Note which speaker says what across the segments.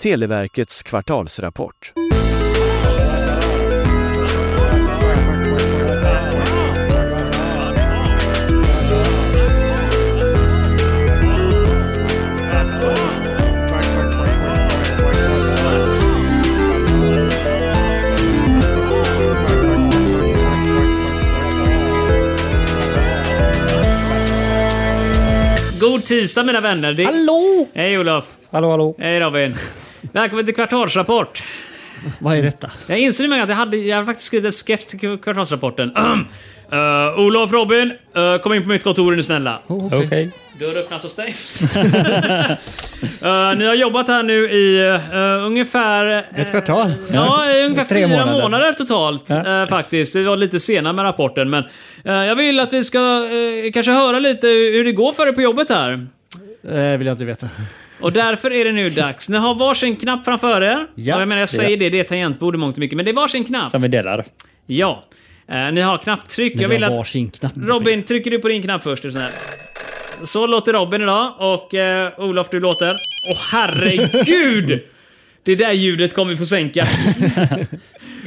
Speaker 1: Televerkets kvartalsrapport.
Speaker 2: God tisdag mina vänner! Det...
Speaker 3: Hallå!
Speaker 2: Hej Olof!
Speaker 3: Hallå, hallå.
Speaker 2: Hej Robin! Välkommen till kvartalsrapport!
Speaker 3: Vad är detta?
Speaker 2: Jag inser nu att jag hade, jag hade faktiskt skrivit en sketch till kvartalsrapporten. uh, Olof, Robin, eh, kom in på mitt kontor nu snälla.
Speaker 3: Okej.
Speaker 2: Dörr öppnas och stängs. Eh, ni har jobbat här nu i eh, ungefär... eh,
Speaker 3: Ett kvartal.
Speaker 2: Ja, i ungefär
Speaker 3: Tre
Speaker 2: fyra månader,
Speaker 3: månader.
Speaker 2: totalt eh, faktiskt. Vi var lite sena med rapporten men eh, jag vill att vi ska eh, kanske höra lite hur det går för er på jobbet här.
Speaker 3: Det Eh, vill jag inte veta.
Speaker 2: Och därför är det nu dags. Ni har varsin knapp framför er.
Speaker 3: Ja.
Speaker 2: och jag menar, jag säger det, det är tangentbord i mångt och mycket. Men det är varsin knapp.
Speaker 4: Som vi delar.
Speaker 2: Ja. Eh, ni har knapptryck. Jag
Speaker 3: vi
Speaker 2: vill
Speaker 3: har
Speaker 2: att...
Speaker 3: varsin knapp.
Speaker 2: Robin, trycker du på din knapp först? Är det sån här? Så låter Robin idag. Och eh, Olof, du låter... Åh herregud! Det där ljudet kommer vi få sänka.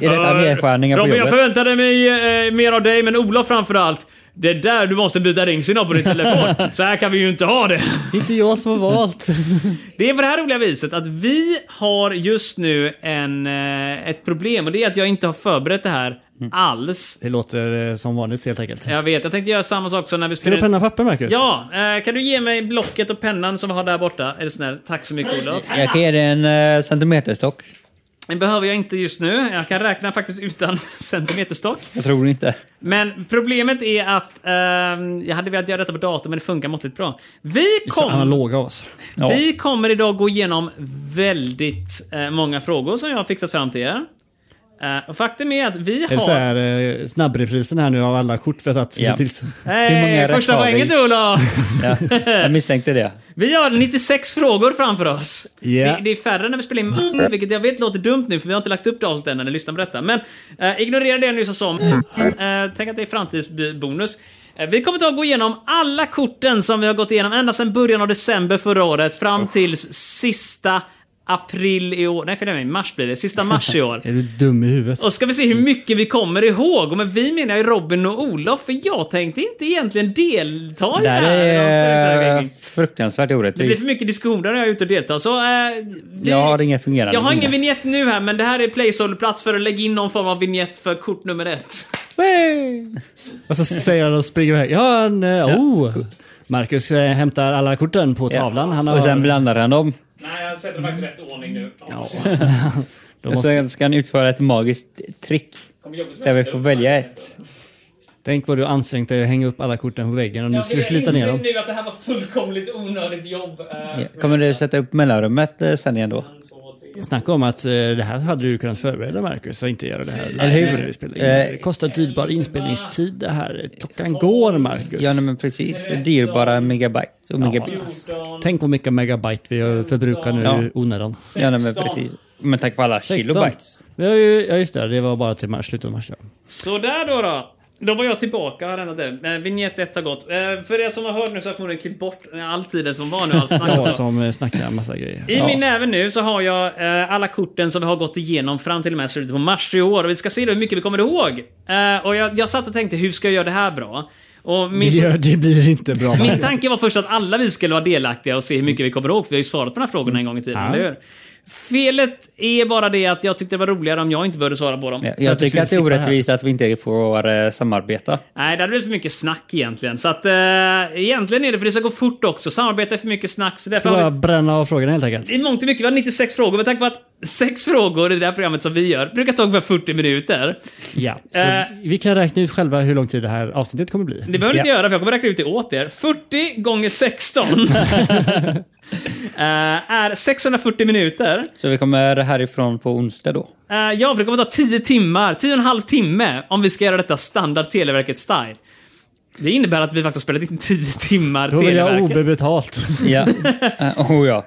Speaker 4: Är detta
Speaker 2: Eh,
Speaker 4: nedskärningar på
Speaker 2: Robin, jag
Speaker 4: jobbet?
Speaker 2: förväntade mig eh, mer av dig, men Olof framförallt. Det där, du måste byta ringsignal på din telefon. Så här kan vi ju inte ha det.
Speaker 3: Inte jag som har valt.
Speaker 2: Det är på det här roliga viset att vi har just nu en, eh, ett problem och det är att jag inte har förberett det här alls.
Speaker 3: Det låter eh, som vanligt helt enkelt. Ska
Speaker 2: Jag vet, jag tänkte göra samma sak som när vi
Speaker 3: du
Speaker 2: skulle...
Speaker 3: ha penna och papper, Marcus?
Speaker 2: Ja, eh, kan du ge mig blocket och pennan som vi har där borta? Är du snäll? Tack så mycket Olof.
Speaker 4: Jag kan ge dig en eh, centimeterstock.
Speaker 2: Det behöver jag inte just nu. Jag kan räkna faktiskt utan centimeterstock.
Speaker 4: Jag tror inte.
Speaker 2: Men problemet är att ehm, jag hade velat göra detta på datorn men det funkar måttligt bra. Vi
Speaker 3: Så
Speaker 2: kom...
Speaker 3: analoga av oss.
Speaker 4: Ja.
Speaker 2: Vi kommer idag gå igenom väldigt eh, många frågor som jag har fixat fram till er. Eh, och faktum är att vi
Speaker 3: Är det så
Speaker 2: har...
Speaker 3: här, eh, snabbreprisen här nu av alla kort vi har tagit
Speaker 4: Ja.
Speaker 3: hittills?
Speaker 4: Hur många
Speaker 2: Hey,
Speaker 4: rätt
Speaker 2: första
Speaker 4: har vi?
Speaker 2: poängen du Olof!
Speaker 4: Ja, jag misstänkte det.
Speaker 2: Vi har 96 frågor framför oss.
Speaker 3: Ja.
Speaker 2: Det, det är färre när vi spelar in matte, vilket jag vet låter dumt nu för vi har inte lagt upp det avsnittet än när ni lyssnar på detta. Men eh, ignorera det jag nyss som. Eh, tänk att det är framtidsbonus. Eh, vi kommer ta och gå igenom alla korten som vi har gått igenom ända sedan början av december förra året fram till sista april i år. Nej, förlåt mig. Mars blir det. Sista mars i år.
Speaker 3: Är du dum i huvudet?
Speaker 2: Och ska vi se hur mycket vi kommer ihåg. Och med vi menar ju Robin och Olof, för jag tänkte inte egentligen delta i
Speaker 4: Det
Speaker 2: det här.
Speaker 4: här
Speaker 2: Alltså,
Speaker 4: är
Speaker 2: så-
Speaker 4: eh, fruktansvärt
Speaker 2: det blir
Speaker 4: orättvist.
Speaker 2: för mycket diskussioner när jag är ute och deltar. Så, eh, vi,
Speaker 4: Jag har ingen fungerande
Speaker 2: jag har ingen
Speaker 4: vilja.
Speaker 2: vignett nu här, men det här är placeholderplats för att lägga in någon form av vignett för kort nummer ett.
Speaker 3: Och så säger han och springer iväg. Ja, han, eh, oh. Marcus eh, hämtar alla korten på
Speaker 4: Ja.
Speaker 3: tavlan. Han har,
Speaker 4: Och sen blandar han dem.
Speaker 2: Nej, jag sätter faktiskt rätt ordning nu. Ja.
Speaker 3: Då
Speaker 4: Och
Speaker 3: måste,
Speaker 4: sen ska han utföra ett magiskt trick. Där vi får välja ett.
Speaker 3: tänk vad du ansträngt dig att hänga upp alla korten på väggen och nu ska du slita ner dem.
Speaker 2: nu att det här var fullkomligt onödigt jobb. Eh,
Speaker 4: Ja. Kommer du sätta upp mellanrummet eh, sen igen då?
Speaker 3: Snacka om att eh, det här hade du kunnat förbereda Marcus och inte göra det här
Speaker 4: Eller hur?
Speaker 3: när vi spelar in.
Speaker 4: Eh,
Speaker 3: Det kostar dyrbar inspelningstid det här. Klockan går Marcus.
Speaker 4: Ja, nej, men precis. Dyrbara megabyte och megabit.
Speaker 3: Tänk på mycket megabyte vi har förbrukat nu
Speaker 4: Ja.
Speaker 3: i onödan.
Speaker 4: Ja, nej, men precis. Men tack vare alla kilobytes.
Speaker 3: Vi har ju, ja just det, det var bara till mars, slutet av mars. Ja.
Speaker 2: Sådär då då. Då var jag tillbaka och har ändrat det. Eh, Vignett 1 har gått. Eh, För er som har hört nu så har jag förmodligen klippt bort eh, all tiden som var nu. Allt snack och
Speaker 3: Jag
Speaker 2: så.
Speaker 3: som eh, snackar massa grejer.
Speaker 2: I
Speaker 3: ja.
Speaker 2: min näve nu så har jag eh, alla korten som vi har gått igenom fram till och med slutet på mars i år. Och vi ska se då hur mycket vi kommer ihåg. Eh, och jag, jag satt och tänkte, hur ska jag göra det här bra? Och
Speaker 3: det,
Speaker 2: min,
Speaker 3: gör, det blir inte bra
Speaker 2: min
Speaker 3: Marcus.
Speaker 2: tanke var först att alla vi skulle vara delaktiga och se hur mycket vi kommer ihåg, för vi har ju svarat på de här frågorna en gång i tiden,
Speaker 3: Ja.
Speaker 2: eller hur? Felet är bara det att jag tyckte det var roligare om jag inte behövde svara på dem.
Speaker 4: Ja,
Speaker 3: För att
Speaker 4: Jag
Speaker 3: du
Speaker 4: tycker att det är
Speaker 3: skulle slippa
Speaker 4: orättvist att vi inte får eh, samarbeta.
Speaker 2: Nej, det hade blivit för mycket snack egentligen. Så att eh, egentligen är det för det ska gå fort också. Samarbete är för mycket snack. Så därför
Speaker 3: Ska
Speaker 2: har vi
Speaker 3: bara bränna av frågorna helt enkelt.
Speaker 2: i mångt och mycket, vi har 96 frågor, men tack vare att sex frågor i det här programmet som vi gör brukar ta ungefär 40 minuter.
Speaker 3: Ja, så
Speaker 2: Eh.
Speaker 3: vi kan räkna ut själva hur lång tid det här avsnittet kommer bli.
Speaker 2: Det behöver ni inte göra, för jag kommer räkna ut det åt er. 40 gånger 16 eh, är 640 minuter.
Speaker 4: Så vi kommer härifrån på onsdag då.
Speaker 2: Eh, ja, för det kommer ta 10 timmar, 10 och en halv timme, om vi ska göra detta standard Televerket-style. Det innebär att vi faktiskt har spelat in 10 timmar
Speaker 3: Då vill jag
Speaker 2: Televerket.
Speaker 3: obebetalt.
Speaker 4: Ja. Eh, oh ja.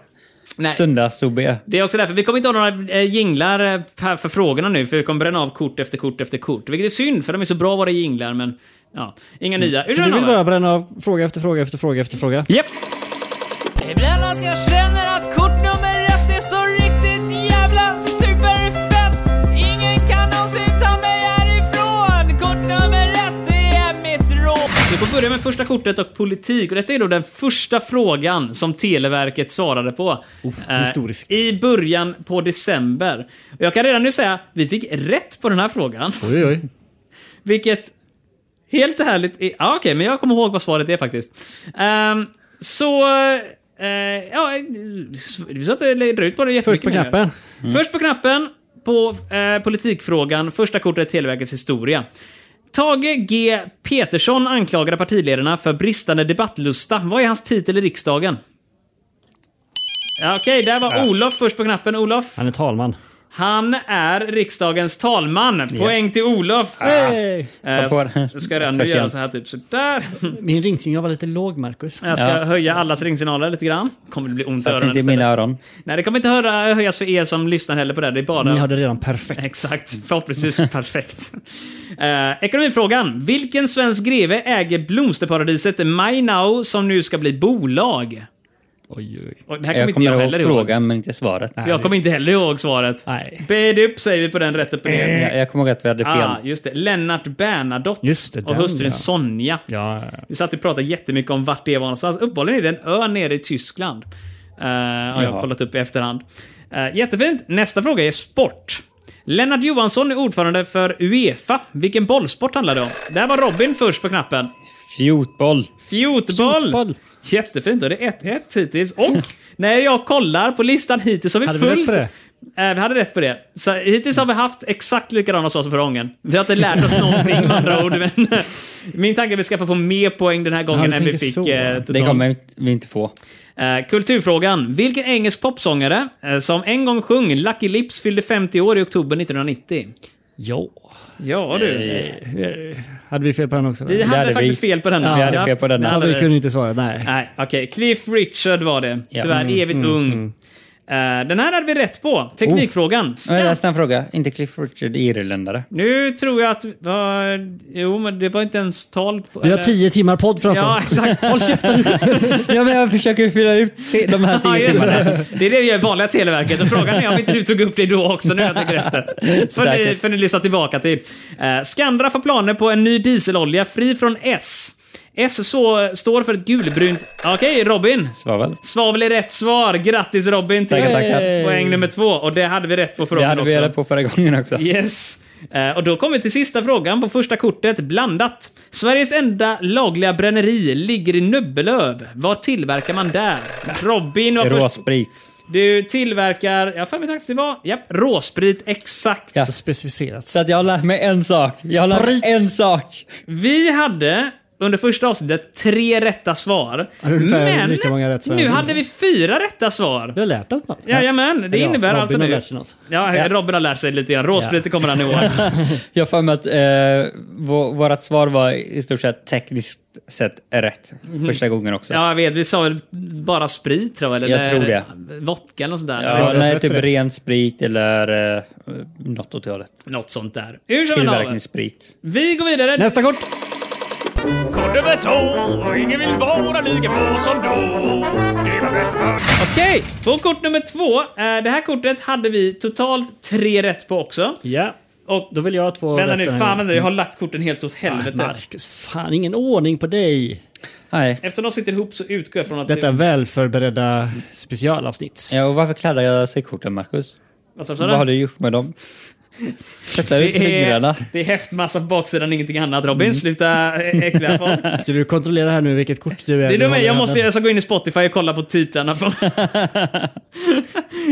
Speaker 2: Nej.
Speaker 4: Söndags-OB.
Speaker 2: Det är också därför vi kommer inte ha några eh, jinglar eh, här för frågorna nu, för vi kommer bränna av kort efter kort efter kort. Vilket är synd, för de är så bra våra jinglar, men ja, inga nya.
Speaker 3: Mm. Så du vill bara bränna av fråga efter fråga efter fråga efter fråga?
Speaker 2: Japp!
Speaker 5: Ibland att jag känner att kort nummer ett är så riktigt
Speaker 2: får börja med första kortet och politik. Och detta är då den första frågan som Televerket svarade på. eh,
Speaker 3: historiskt.
Speaker 2: I början på december. Och jag kan redan nu säga, vi fick rätt på den här frågan.
Speaker 3: Oj, oj.
Speaker 2: Vilket helt härligt är... Ja, okej, men jag kommer ihåg vad svaret är faktiskt. Ehm, så... eh, ja, vi satt och ledde ut på det
Speaker 3: Först
Speaker 2: jättemycket
Speaker 3: på
Speaker 2: meningar.
Speaker 3: knappen. Mm.
Speaker 2: Först på knappen på eh, politikfrågan, första kortet Televerkets historia. Tage G Peterson anklagade partiledarna för bristande debattlusta. Vad är hans titel i riksdagen? Ja, Okej, där var Olof först på knappen. Olof.
Speaker 3: Han är talman.
Speaker 2: Han är riksdagens talman. Poäng till Olof.
Speaker 3: Hey!
Speaker 2: Eh,
Speaker 4: på den.
Speaker 2: jag ska redan nu
Speaker 4: För
Speaker 2: göra
Speaker 4: sent.
Speaker 2: så här typ sådär.
Speaker 3: Min ringsignal var lite låg, Marcus.
Speaker 2: Jag ska
Speaker 4: Ja.
Speaker 2: höja allas ringsignaler lite grann. Kommer det bli ont i
Speaker 4: Fast
Speaker 2: öronen
Speaker 4: inte i
Speaker 2: istället.
Speaker 4: mina öron.
Speaker 2: Nej, det kommer inte höra, höjas för er som lyssnar heller på det. här. Det är bara...
Speaker 3: Ni hade redan perfekt.
Speaker 2: Exakt. Förhoppningsvis perfekt. Eh, ekonomifrågan. Vilken svensk greve äger blomsterparadiset Mainau som nu ska bli bolag?
Speaker 3: Oj, oj.
Speaker 2: Och det här kommer
Speaker 4: Jag
Speaker 2: inte jag
Speaker 4: kommer
Speaker 2: heller
Speaker 4: ihåg
Speaker 2: ihåg.
Speaker 4: frågan men inte svaret.
Speaker 2: Så jag kommer inte heller ihåg svaret.
Speaker 3: Nej.
Speaker 2: Bedup säger vi på den
Speaker 4: Eh,
Speaker 2: rätt upp och ner.
Speaker 4: Jag, jag kommer ihåg att vi hade fel.
Speaker 2: Ah, just det. Lennart Bernadotte
Speaker 3: Just det,
Speaker 2: och
Speaker 3: den,
Speaker 2: hustrun
Speaker 3: ja.
Speaker 2: Sonja.
Speaker 3: Ja, ja,
Speaker 2: Vi satt och pratade jättemycket om vart det var någonstans. Uppehållen är det en ö nere i Tyskland. Eh, har jag
Speaker 4: Jaha.
Speaker 2: kollat upp i efterhand. Eh, jättefint. Nästa fråga är sport. Lennart Johansson är ordförande för Uefa. Vilken bollsport handlar det om? Där var Robin först på knappen.
Speaker 4: Fjotboll.
Speaker 2: Fjotboll!
Speaker 3: Fotboll.
Speaker 2: Jättefint. Och det är 1-1 hittills. Och när jag kollar på listan hittills har vi
Speaker 3: Hade vi
Speaker 2: fullt...
Speaker 3: rätt på det?
Speaker 2: Eh, vi hade rätt på det. Så hittills har vi haft exakt likadana svar som förra gången. Vi har inte lärt oss någonting med andra ord. Men eh, min tanke är att vi ska få mer poäng den här gången
Speaker 3: du
Speaker 2: än vi
Speaker 3: tänker
Speaker 2: fick
Speaker 3: så.
Speaker 2: eh,
Speaker 4: Det
Speaker 2: totalt.
Speaker 4: kommer vi inte få.
Speaker 2: Eh, kulturfrågan. Vilken engelsk popsångare eh, som en gång sjöng Lucky Lips fyllde 50 år i oktober 1990?
Speaker 3: ja.
Speaker 2: Ja du.
Speaker 4: Eh.
Speaker 3: Hade vi fel på den också?
Speaker 2: Vi
Speaker 3: eller?
Speaker 2: hade,
Speaker 4: hade vi.
Speaker 2: faktiskt fel på den.
Speaker 4: Ja, vi hade fel på den.
Speaker 2: det
Speaker 4: Ja,
Speaker 3: Ja,
Speaker 2: hade
Speaker 3: vi
Speaker 2: vi.
Speaker 3: kunde inte svara. Nej.
Speaker 2: Nej, okej. Cliff Richard var det.
Speaker 4: Ja.
Speaker 2: Tyvärr
Speaker 4: Mm,
Speaker 2: evigt ung. Eh, den här hade vi rätt på. Teknikfrågan. Ska-
Speaker 4: Men Eh, jag läste en fråga. Inte Cliff Richard irländare?
Speaker 2: Nu tror jag att... Uh, jo, men det var inte ens tal på...
Speaker 3: Vi har
Speaker 2: eller-
Speaker 3: tio timmar podd framför
Speaker 2: Ja,
Speaker 3: oss.
Speaker 2: exakt. Håll käften!
Speaker 4: ja, men jag försöker ju fylla ut se- de här
Speaker 2: Ja,
Speaker 4: tio
Speaker 2: just
Speaker 4: timmarna.
Speaker 2: det. det är det vi gör i vanliga Televerket. Och frågan är om inte du tog upp det då också, nu när jag tänker efter. För ni,
Speaker 4: Säkert.
Speaker 2: för ni lyssnar tillbaka till. Eh, Skandra får planer på en ny dieselolja fri från S. S så, står för ett gulbrunt... Okej, Robin.
Speaker 4: Svavel.
Speaker 2: Svavel är rätt svar. Grattis Robin till
Speaker 4: Tackar, tackar.
Speaker 2: poäng nummer två. Och det hade vi rätt på förra
Speaker 4: Det
Speaker 2: gången
Speaker 4: hade vi
Speaker 2: också.
Speaker 4: reda på förra gången också.
Speaker 2: Yes. Eh, Och då kommer vi till sista frågan på första kortet, blandat. Sveriges enda lagliga bränneri ligger i Nöbbelöv. Vad tillverkar man där? Robin var först.
Speaker 4: Råsprit.
Speaker 2: Du tillverkar, jag har för mig faktiskt det var, japp, råsprit exakt.
Speaker 4: Ja.
Speaker 3: Så specificerat.
Speaker 4: Så att jag har lärt mig en sak. Jag har lärt mig
Speaker 3: Sprit.
Speaker 4: en sak.
Speaker 2: Vi hade under första avsnittet tre rätta svar.
Speaker 3: Har du ungefär lika många rätt som
Speaker 2: nu
Speaker 3: jag?
Speaker 2: hade vi fyra rätta svar.
Speaker 3: Vi har lärt oss något.
Speaker 2: Jajamän, det
Speaker 3: Ja,
Speaker 2: innebär
Speaker 3: Robin
Speaker 2: alltså
Speaker 3: har
Speaker 2: nu-
Speaker 3: lärt sig något.
Speaker 2: Ja, Robin har lärt sig lite grann. Råsprit, det kommer han ihåg.
Speaker 4: Jag har för mig att eh, vå- vårat svar var i stort sett tekniskt sett rätt första gången också.
Speaker 2: Mhm. Ja, jag vet. Vi sa väl bara sprit tror jag, eller?
Speaker 4: Jag tror det.
Speaker 2: Vodka eller något sånt där.
Speaker 4: Ja,
Speaker 2: Det var
Speaker 4: nej,
Speaker 3: rätt
Speaker 4: typ
Speaker 3: för det.
Speaker 4: ren sprit eller eh, något åt det hållet.
Speaker 2: Något sånt där. Hur som helst.
Speaker 4: Tillverkningssprit.
Speaker 2: Vi går vidare.
Speaker 3: Nästa kort!
Speaker 5: Kort över två och ingen vill vara lika bra som då. Det var bättre förr.
Speaker 2: Okej, på kort nummer två. eh, Det här kortet hade vi totalt tre rätt på också.
Speaker 3: Ja,
Speaker 2: Och
Speaker 3: då vill jag ha två
Speaker 2: vänta nu,
Speaker 3: rätt. eh, mm.
Speaker 2: fan vänta, jag har lagt korten helt åt
Speaker 3: Ah,
Speaker 2: helvete.
Speaker 3: Marcus, fan ingen ordning på dig.
Speaker 4: Nej.
Speaker 2: Eftersom de sitter ihop så utgår jag från att...
Speaker 3: Detta
Speaker 2: det,
Speaker 3: välförberedda specialavsnitt.
Speaker 4: Ja, och varför kladdar jag sig korten, Marcus?
Speaker 2: vad sa
Speaker 4: Vad har
Speaker 2: du?
Speaker 4: du gjort med dem? Tvättar ut
Speaker 2: Det är,
Speaker 4: fingrarna.
Speaker 2: det är häftmassa på baksidan, ingenting annat Robin.
Speaker 3: Mm.
Speaker 2: Sluta eh, äckla folk.
Speaker 3: Ska du kontrollera här nu vilket kort du är?
Speaker 2: Det är
Speaker 3: du
Speaker 2: dumt,
Speaker 3: har i
Speaker 2: jag
Speaker 3: handen?
Speaker 2: måste jag ska gå in i Spotify och kolla på titlarna. På... jag,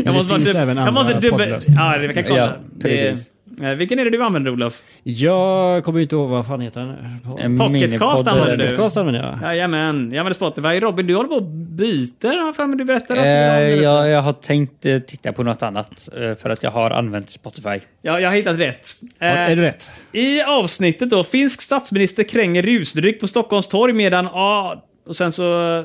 Speaker 3: det
Speaker 2: måste bara
Speaker 3: finns även
Speaker 2: jag
Speaker 3: andra
Speaker 2: måste dubbel...
Speaker 3: poddlösningar.
Speaker 2: Ja, det kan kolla.
Speaker 4: Ja,
Speaker 2: det är...
Speaker 4: precis.
Speaker 2: Eh, Vilken är det du använder Olof?
Speaker 3: Jag kommer ju inte ihåg vad fan heter den nu. På-
Speaker 4: En
Speaker 2: Pocketcast
Speaker 4: minipodd
Speaker 2: använder
Speaker 4: eller-
Speaker 2: du.
Speaker 3: Podcast använder jag.
Speaker 2: Jajamän, jag använder Spotify. Robin, du håller på och byter har jag för mig du berättade. att du
Speaker 4: Eh,
Speaker 2: använder-
Speaker 4: jag, jag har tänkt eh, titta på något annat eh, för att jag har använt Spotify.
Speaker 2: Ja, jag har hittat rätt.
Speaker 3: Ja,
Speaker 2: Eh,
Speaker 3: Är du rätt?
Speaker 2: I avsnittet då, finsk statsminister kränger rusdryck på Stockholms torg medan... Ah, och sen så...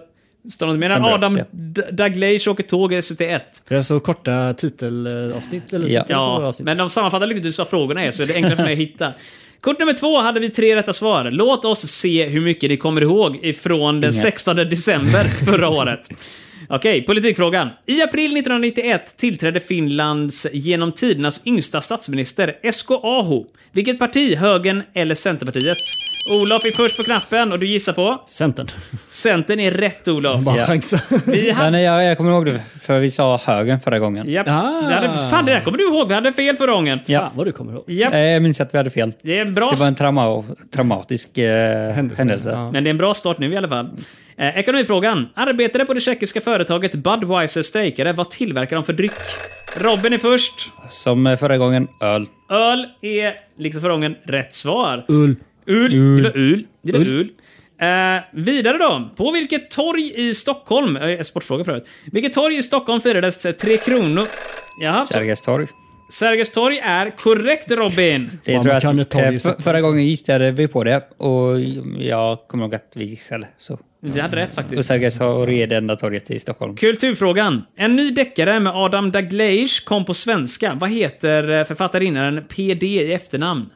Speaker 2: Står det, medan
Speaker 4: Sen bröts,
Speaker 2: Adam
Speaker 4: ja.
Speaker 2: D- Daglej åker tåg i SVT1.
Speaker 3: Det är så korta titelavsnitt eller
Speaker 4: Ja.
Speaker 3: titlar på våra
Speaker 2: Ja,
Speaker 3: avsnitt.
Speaker 2: men de sammanfattar lyckligtvis vad frågorna är, så det är enklare för mig att hitta. Kort nummer två hade vi tre rätta svar. Låt oss se hur mycket ni kommer ihåg ifrån den
Speaker 4: Inget.
Speaker 2: 16 december förra året. Okej, politikfrågan. I april 1991 tillträdde Finlands genom tidernas yngsta statsminister, Esko Aho, Vilket parti? Högern eller Centerpartiet? Olof är först på knappen och du gissar på?
Speaker 3: Centern.
Speaker 2: Centern är rätt Olof.
Speaker 3: Bara
Speaker 4: Ja.
Speaker 3: chansa.
Speaker 2: Vi
Speaker 4: Ja,
Speaker 2: hade...
Speaker 4: nej, eh, jag, jag kommer ihåg det, för vi sa högen förra gången.
Speaker 2: Japp.
Speaker 3: Ah.
Speaker 2: Det hade... Fan, det där kommer du ihåg. Vi hade fel förra gången.
Speaker 3: Ja, vad du kommer ihåg.
Speaker 2: Japp.
Speaker 4: Eh, Jag minns att vi hade fel.
Speaker 2: Det är en bra
Speaker 4: Det var en trauma, traumatisk eh, händelse.
Speaker 3: Ja.
Speaker 2: Men det är en bra start nu i alla fall. Eh, ekonomifrågan. Arbetare på det tjeckiska företaget Budweiser strejkade. Vad tillverkar de för dryck? Robin är först.
Speaker 4: Som eh, förra gången, öl.
Speaker 2: Öl är, liksom förra gången, rätt svar.
Speaker 3: Ull.
Speaker 2: Ul. Det var ul. Det var ul. Eh, vidare då. På vilket torg i Stockholm... Eh, sportfråga för övrigt. Vilket torg i Stockholm firades eh, Tre Kronor... Jaha.
Speaker 4: Sergels torg.
Speaker 2: Sergels torg är korrekt Robin.
Speaker 4: Det
Speaker 3: Ja,
Speaker 4: tror
Speaker 3: man
Speaker 4: jag
Speaker 3: kan ju
Speaker 4: att,
Speaker 3: ta det i
Speaker 4: eh, för-
Speaker 3: Stockholm.
Speaker 4: förra gången gissade vi på det och jag kommer ihåg att vi gissade. Så.
Speaker 2: Du hade rätt
Speaker 4: Och
Speaker 2: faktiskt.
Speaker 4: Sergels torg är det enda torget i Stockholm.
Speaker 2: Kulturfrågan. En ny deckare med Adam Dalgliesh kom på svenska. Vad heter eh, författarinnan PD i efternamn?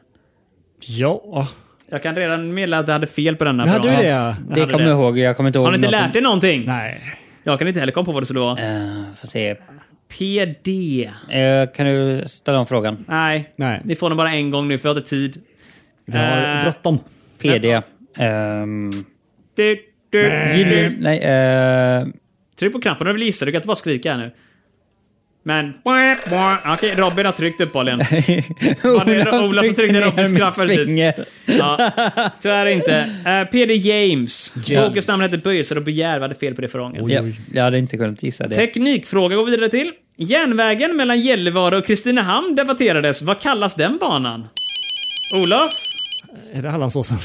Speaker 3: Ja.
Speaker 2: Jag kan redan meddela att jag hade fel på denna
Speaker 3: Vi hade ju
Speaker 2: fråga.
Speaker 3: det. ja.
Speaker 4: Det
Speaker 2: hade
Speaker 4: kommer
Speaker 2: det.
Speaker 4: jag ihåg. Jag kommer inte ihåg
Speaker 2: Har ni inte
Speaker 4: något om-
Speaker 2: lärt er någonting?
Speaker 3: Nej.
Speaker 2: Jag kan inte heller komma på vad det skulle vara.
Speaker 4: Eh, får se.
Speaker 2: PD.
Speaker 4: Eh, kan du ställa om frågan?
Speaker 2: Nej.
Speaker 3: Nej.
Speaker 2: Ni får den bara en gång nu för jag hade tid.
Speaker 3: Vi har
Speaker 2: Eh.
Speaker 3: bråttom.
Speaker 4: PD. Ehm,
Speaker 2: Du, du, du.
Speaker 4: nej, eh,
Speaker 2: Tryck på knappen om du vill gissa. Du kan inte bara skrika här nu. Men... Okej, Robin har tryckt uppenbarligen. det är Ola som tryckte ner Robins knapp
Speaker 4: mitt
Speaker 2: precis.
Speaker 4: finger.
Speaker 2: Ja, tyvärr inte. Eh, PD James.
Speaker 4: James.
Speaker 2: Bokens namn heter Böjelser och Begär. Vi hade fel på det förra gången.
Speaker 4: Ja, jag hade inte kunnat gissa det.
Speaker 2: Teknikfråga går vi vidare till. Järnvägen mellan Gällivare och Kristinehamn debatterades. Vad kallas den banan? Olof?
Speaker 3: Är det Hallandsåsen?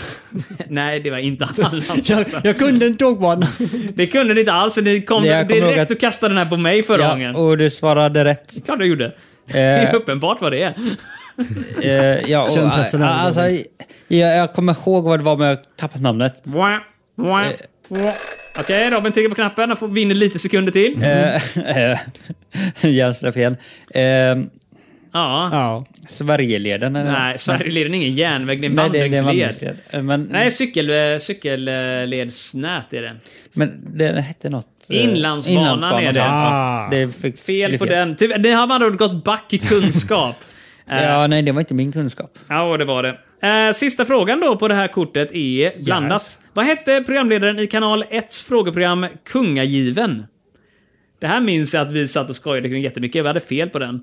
Speaker 2: Nej, det var inte alls. alltså.
Speaker 3: jag, jag kunde en tågbana.
Speaker 2: Det kunde ni inte alls, så ni kom
Speaker 4: Det jag kommer ihåg
Speaker 2: direkt
Speaker 4: att-
Speaker 2: och kastade den här på mig förra gången.
Speaker 4: ja, och du svarade rätt.
Speaker 2: Klart du gjorde. Det är
Speaker 4: Eh,
Speaker 2: uppenbart vad det är.
Speaker 4: eh, ja, och,
Speaker 3: Känn pressen här.
Speaker 4: alltså, jag, jag kommer ihåg vad det var men jag har tappat namnet.
Speaker 2: Wah, wah, wah. Okej, Robin trycker på knappen och får, vinner lite sekunder till.
Speaker 4: Eh, Jävla fel. Eh,
Speaker 2: Ja.
Speaker 3: Ja.
Speaker 4: Sverigeleden eller?
Speaker 2: Nej, Sverigeleden är ingen järnväg, det är en
Speaker 4: Nej, det är en
Speaker 2: vandringsled.
Speaker 4: vandringsled. Eh, Men,
Speaker 2: Nej, cykel, eh, cykelledsnät är det.
Speaker 4: men den hette något... eh,
Speaker 2: Inlandsbanan är det. Ah.
Speaker 4: Ja, det fick,
Speaker 2: Fel
Speaker 4: blev
Speaker 2: på den. Tyvärr, ni har med andra ord gått back i kunskap. Eh,
Speaker 4: Ja, nej, det var inte min kunskap.
Speaker 2: Ja, det var det. Eh, sista frågan då på det här kortet är blandat. Vad hette programledaren i kanal 1s frågeprogram Kungagiven? Det här minns jag att vi satt och skojade kring jättemycket. Vi hade fel på den.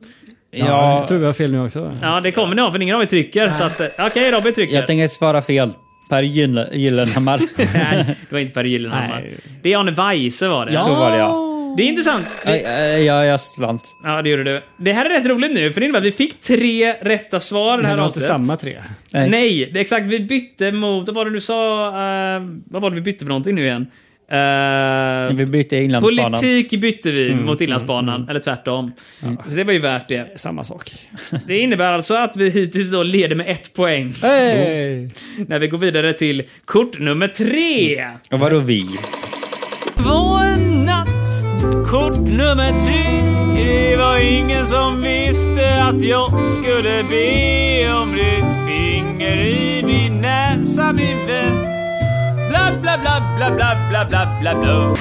Speaker 3: ja.
Speaker 4: Ja,
Speaker 3: Jag tror vi har fel nu också.
Speaker 2: Ja, det kommer ni ha för ingen av er trycker. Så att, eh, Okej, Robin trycker.
Speaker 4: jag tänker svara fel. Per Gyll- Gyllenhammar.
Speaker 2: Nej, det var inte Per Gyllenhammar.
Speaker 3: Nej.
Speaker 2: Det är Arne Weise var det.
Speaker 4: Så var det ja.
Speaker 2: Det är intressant.
Speaker 4: Ja, ja, jag slant.
Speaker 2: Ja, det gjorde du. Det här är rätt roligt nu, för det innebär att vi fick tre rätta svar det
Speaker 3: Men
Speaker 2: här
Speaker 3: det var inte
Speaker 2: avsnittet.
Speaker 3: samma tre.
Speaker 4: Nej.
Speaker 2: Nej, det är exakt. Vi bytte mot... Vad var det du sa? eh, vad var det vi bytte för någonting nu igen? Eh,
Speaker 4: Vi bytte Inlandsbanan.
Speaker 2: politik bytte vi
Speaker 3: Mm.
Speaker 2: mot Inlandsbanan, eller tvärtom. Så det var ju värt det.
Speaker 3: Samma sak.
Speaker 2: Det innebär alltså att vi hittills då leder med ett poäng
Speaker 3: Hej!
Speaker 2: när vi går vidare till kort nummer tre.
Speaker 3: Mm.
Speaker 4: Och vadå vi?
Speaker 2: Vår natt, kort nummer tre. Det var ingen som visste att jag skulle be om ditt finger i min näsa, min vän. Bla, bla, bla, bla, bla, bla, bla, bla, bla.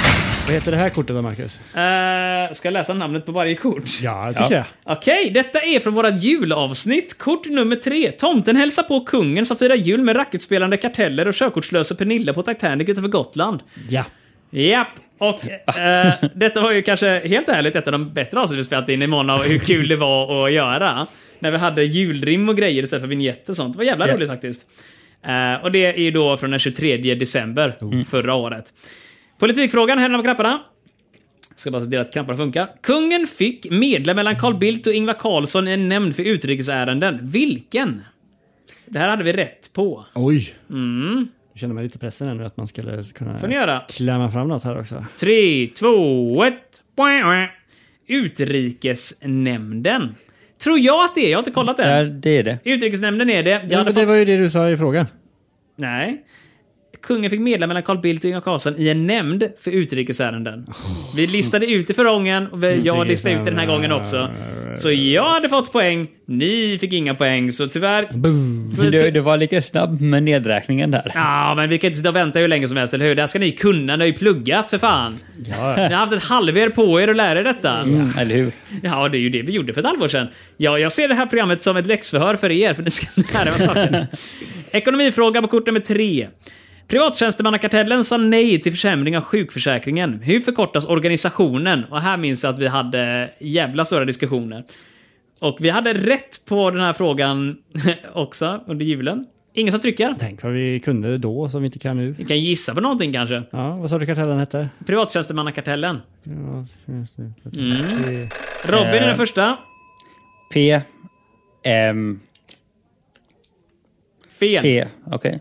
Speaker 3: Vad heter det här kortet då, Marcus?
Speaker 2: Eh, ska jag läsa namnet på varje kort?
Speaker 3: Ja, det tycker jag.
Speaker 2: Okej, detta är från vårat julavsnitt. Kort nummer tre. Tomten hälsar på kungen som firar jul med racketspelande karteller och körkortslösa Pernilla på Titanic utanför Gotland.
Speaker 3: Ja.
Speaker 2: Japp. Och eh, detta var ju kanske helt ärligt ett av de bättre avsnitt vi spelat in i mån av hur kul det var att göra. När vi hade julrim och grejer istället för vignetter och sånt. Det var jävla roligt faktiskt. Eh, och det är ju då från den 23 december förra året. Politikfrågan, händerna på knapparna. Ska bara se till att knapparna funkar. Kungen fick medla mellan Carl Bildt och Ingvar Carlsson i en nämnd för utrikesärenden. Vilken? Det här hade vi rätt på.
Speaker 3: Oj. Mm. Jag känner mig lite pressen ännu att man skulle kunna
Speaker 2: Får ni göra?
Speaker 3: klämma fram något här också.
Speaker 2: Tre, två, ett. Boing, boing. Utrikesnämnden. Tror jag att det är. Jag har inte kollat
Speaker 4: Ja,
Speaker 2: än.
Speaker 4: det är det.
Speaker 2: Utrikesnämnden är det. Jag
Speaker 3: Ja,
Speaker 2: hade
Speaker 3: men det
Speaker 2: fått...
Speaker 3: var ju det du sa i frågan.
Speaker 2: Nej. kungen fick medla mellan Carl Bildt och Ingvar Carlsson i en nämnd för utrikesärenden. Vi listade ut i förra gången och vi- jag listade ut det den här gången också. Så jag hade fått poäng, ni fick inga poäng, så tyvärr...
Speaker 3: Boom.
Speaker 4: Du, du var lite snabb med nedräkningen där.
Speaker 2: Ja, men vi kan inte sitta och vänta hur länge som helst, eller hur? Det här ska ni kunna, ni har ju pluggat för fan. Ni har haft ett halvår på er att lära er detta.
Speaker 4: Mm. Eller hur?
Speaker 2: Ja, det är ju det vi gjorde för ett halvår sedan. Ja, jag ser det här programmet som ett läxförhör för er, för ni ska lära er saker. Ekonomifråga på kort nummer tre. Privattjänstemannakartellen sa nej till försämring av sjukförsäkringen. Hur förkortas organisationen? Och här minns jag att vi hade jävla stora diskussioner. Och vi hade rätt på den här frågan också under julen. Ingen som trycker?
Speaker 3: Tänk vad vi kunde då som vi inte kan nu.
Speaker 2: Ni kan gissa på någonting kanske.
Speaker 3: Ja, vad sa du kartellen hette?
Speaker 2: Privattjänstemannakartellen. Robin är den första.
Speaker 4: P. M.
Speaker 2: Fel.
Speaker 4: T. Okej.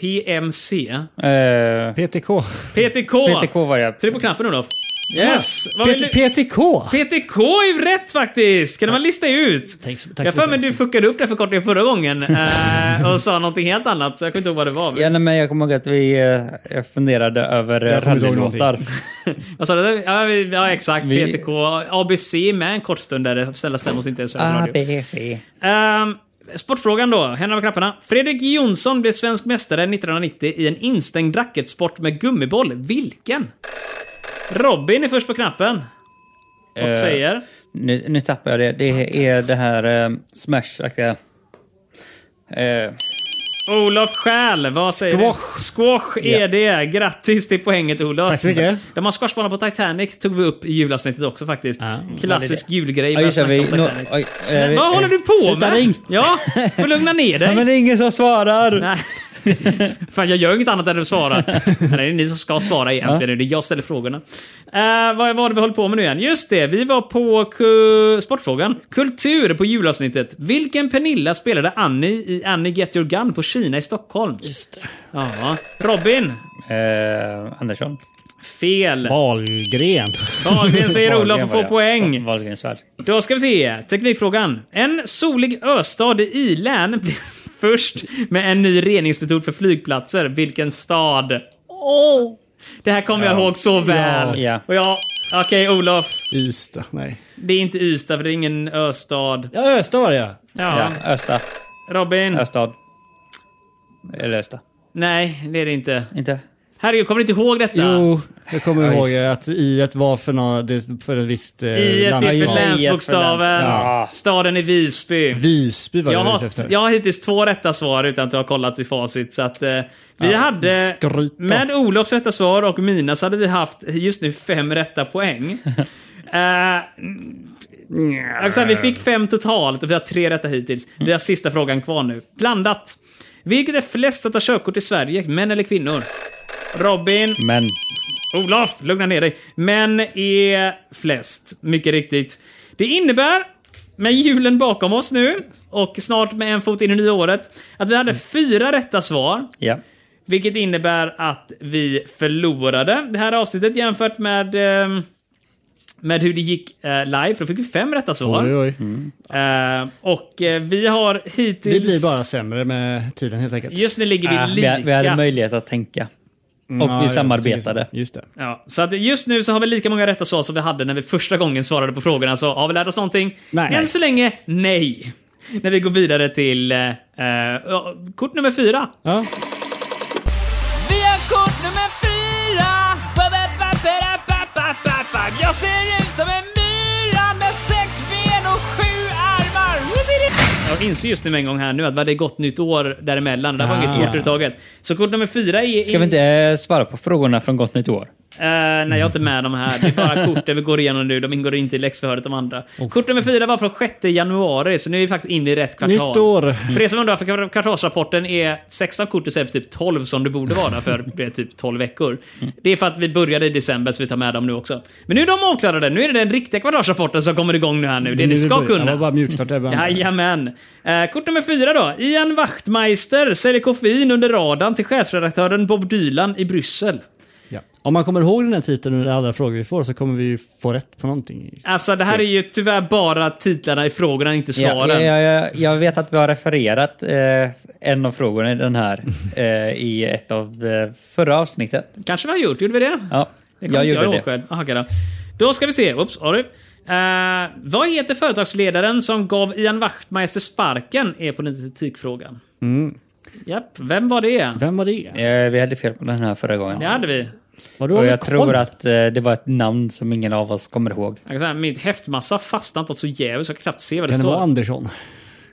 Speaker 2: PMC.
Speaker 4: Eh,
Speaker 3: PTK.
Speaker 2: PTK.
Speaker 4: PTK var jag.
Speaker 2: Tryck på knappen Olof. Yes! Vad vill
Speaker 3: PT-
Speaker 2: du?
Speaker 3: PTK!
Speaker 2: PTK är ju rätt faktiskt! Kan man lista ut?
Speaker 3: Tack så- tack så
Speaker 2: Jag har för mig
Speaker 3: mycket.
Speaker 2: du fuckade upp den förkortningen förra gången eh, och sa någonting helt annat, så jag kommer inte ihåg vad det var.
Speaker 4: Ja, nej, men jag kommer ihåg att vi eh, jag funderade över eh,
Speaker 3: Jag kommer inte ihåg
Speaker 4: rallylåtar.
Speaker 2: Vad sa du? Ja, vi- ja exakt,
Speaker 4: Vi-
Speaker 2: PTK. ABC med en kort stund där det snälla stämmer oss inte i
Speaker 3: Ah,
Speaker 2: Sveriges
Speaker 4: A,
Speaker 2: Radio.
Speaker 4: B, C.
Speaker 2: Ehm, sportfrågan då, händerna med knapparna. Fredrik Jonsson blev svensk mästare 1990 i en instängd racketsport med gummiboll. Vilken? Robin är först på knappen. Och
Speaker 4: Eh,
Speaker 2: säger...
Speaker 4: Nu, nu tappar jag det. Det är det här eh, Smash-aktiga. Eh,
Speaker 2: Olof Skäl, vad säger
Speaker 3: Squash.
Speaker 2: du? Squash är det. Grattis till poänget Olof.
Speaker 3: Tack så mycket.
Speaker 2: De har squashbana på Titanic, tog vi upp i julavsnittet också faktiskt.
Speaker 3: Ja,
Speaker 2: Klassisk julgrej.
Speaker 4: ja,
Speaker 2: med
Speaker 4: just det.
Speaker 2: att snacka om
Speaker 4: Vi, no,
Speaker 2: Titanic.
Speaker 4: oj,
Speaker 2: Men
Speaker 4: eh, vi-
Speaker 2: vad håller du på
Speaker 3: sluta
Speaker 2: med?
Speaker 3: ring.
Speaker 2: Ja, får lugna ner dig.
Speaker 4: Ja, men det är ingen som svarar!
Speaker 2: Nej. Fan, jag gör inget annat än att svara. Nej, det är ni som ska svara egentligen. Det är jag som ställer frågorna. Eh, vad var det vi höll på med nu igen? Just det, vi var på ku- sportfrågan. Kultur på julavsnittet. Vilken Pernilla spelade Annie i Annie Get Your Gun på Kina i Stockholm? Just det. Ja. Robin?
Speaker 4: Eh, Andersson.
Speaker 2: Fel.
Speaker 3: Wahlgren.
Speaker 2: Wahlgren säger Olof
Speaker 4: Wahlgren
Speaker 2: och
Speaker 4: var
Speaker 2: får
Speaker 4: jag.
Speaker 2: poäng.
Speaker 4: Wahlgren svärd.
Speaker 2: Då ska vi se. Teknikfrågan. En solig östad i i-län blev först med en ny reningsmetod för flygplatser. Vilken stad? Det här kommer jag ihåg så väl.
Speaker 4: Ja.
Speaker 2: Och jag... Okej, Olof.
Speaker 3: Ystad. Nej.
Speaker 2: Det är inte Ystad, för det är ingen östad.
Speaker 3: Ja, Östad var det ja.
Speaker 2: Ja.
Speaker 4: Ja, Östa.
Speaker 2: Robin?
Speaker 4: Östad. Eller Östa.
Speaker 2: Nej, det är det inte.
Speaker 4: Inte?
Speaker 2: Herregud, kommer du inte ihåg detta?
Speaker 3: Jo, jag kommer
Speaker 4: Ja,
Speaker 3: ihåg
Speaker 4: just.
Speaker 3: att i ett var för, nå- det- för ett visst eh,
Speaker 2: I ett
Speaker 3: landskap.
Speaker 2: visst länsbokstaven.
Speaker 4: Ja.
Speaker 2: Staden är Visby.
Speaker 3: Visby var det
Speaker 2: Jag
Speaker 3: jag var ute
Speaker 2: har,
Speaker 3: efter.
Speaker 2: jag har hittills två rätta svar utan att jag har kollat i facit. Så att, eh, vi hade...
Speaker 3: skryta.
Speaker 2: Med Olofs rätta svar och mina så hade vi haft just nu fem rätta poäng. Eh, jag kan säga, vi fick fem totalt och vi har tre rätta hittills. Vi har sista frågan kvar nu. Blandat. Vilket är flest att ta körkort i Sverige, män eller kvinnor? Robin,
Speaker 4: Men.
Speaker 2: Olof, lugna ner dig. Män är flest, mycket riktigt. Det innebär, med julen bakom oss nu och snart med en fot in i nya året, att vi hade fyra rätta svar.
Speaker 4: Ja.
Speaker 2: Vilket innebär att vi förlorade det här avsnittet jämfört med, ehm, med hur det gick eh, live. För då fick vi fem rätta svar.
Speaker 3: Oj, oj.
Speaker 2: Eh, och eh, vi har hittills...
Speaker 3: Det blir bara sämre med tiden helt enkelt.
Speaker 2: Just nu ligger vi
Speaker 4: Ah, vi,
Speaker 2: lika.
Speaker 4: hade- vi hade möjlighet att tänka.
Speaker 2: Mm,
Speaker 4: Och
Speaker 3: Ja,
Speaker 4: vi
Speaker 3: jag
Speaker 4: samarbetade.
Speaker 3: tänker så. Just det.
Speaker 2: Ja, så att just nu så har vi lika många rätta svar som vi hade när vi första gången svarade på frågorna. Så har vi lärt oss någonting?
Speaker 3: Nej.
Speaker 2: Än så länge, nej. När vi går vidare till eh, eh, kort nummer fyra.
Speaker 3: Ja.
Speaker 5: Vi har kort nummer fyra. Jag ser ut som en myra med sex ben och sju armar.
Speaker 2: Jag inser just nu med en gång här nu att vi hade gått nytt år däremellan. Det var
Speaker 3: Ah.
Speaker 2: inget kort överhuvudtaget. Så kort nummer fyra är...
Speaker 4: Ska vi inte eh, svara på frågorna från Gott Nytt År?
Speaker 2: Eh, nej, jag är inte med de här. Det är bara korten vi går igenom nu. De ingår inte i läxförhöret de andra. Kort nummer fyra var från 6 januari, så nu är vi faktiskt inne i rätt kvartal.
Speaker 3: Nytt år.
Speaker 2: För er som undrar, för kvartalsrapporten är 16 kort istället för typ 12 som det borde vara för det är typ 12 veckor. Det är för att vi började i december så vi tar med dem nu också. Men nu är de avklarade. Nu är det den riktiga kvartalsrapporten som kommer igång nu här nu. Det
Speaker 3: Nu
Speaker 2: ni
Speaker 3: är
Speaker 2: ska
Speaker 3: början. Det var
Speaker 2: kunna.
Speaker 3: bara mjukstart där. bara.
Speaker 2: Jajamän. Eh, kort nummer fyra då. Ian Wachtmeister säljer koffein under radarn till chefredaktören Bob Dylan i Bryssel.
Speaker 3: Ja. Om man kommer ihåg den här titeln under alla frågor vi får så kommer vi ju få rätt på någonting.
Speaker 2: Alltså det här är ju tyvärr bara titlarna i frågorna, inte svaren.
Speaker 4: Ja, ja, ja, jag vet att vi har refererat eh, en av frågorna i den här eh, i ett av eh, förra avsnittet.
Speaker 2: Kanske vi har gjort, gjorde vi det?
Speaker 4: Ja,
Speaker 2: Det
Speaker 4: jag
Speaker 2: kommer inte
Speaker 4: gjorde
Speaker 2: ihåg
Speaker 4: det.
Speaker 2: själv. Aha, okej då. då ska vi se. Oops, sorry. Eh, vad heter företagsledaren som gav Ian Wachtmeister sparken? Är på den kritikfrågan.
Speaker 3: Mm.
Speaker 2: Japp, vem var det?
Speaker 3: Vem var det?
Speaker 4: Eh, vi hade fel på den här förra gången.
Speaker 2: Det hade vi.
Speaker 3: Var du
Speaker 4: Och
Speaker 3: har
Speaker 4: jag
Speaker 3: väl koll?
Speaker 4: tror att eh, det var ett namn som ingen av oss kommer ihåg.
Speaker 2: Jag kan säga, min häftmassa fastnar inte åt så jävligt så jag kan knappt se vad det
Speaker 3: Kan det
Speaker 2: står.
Speaker 3: vara Andersson?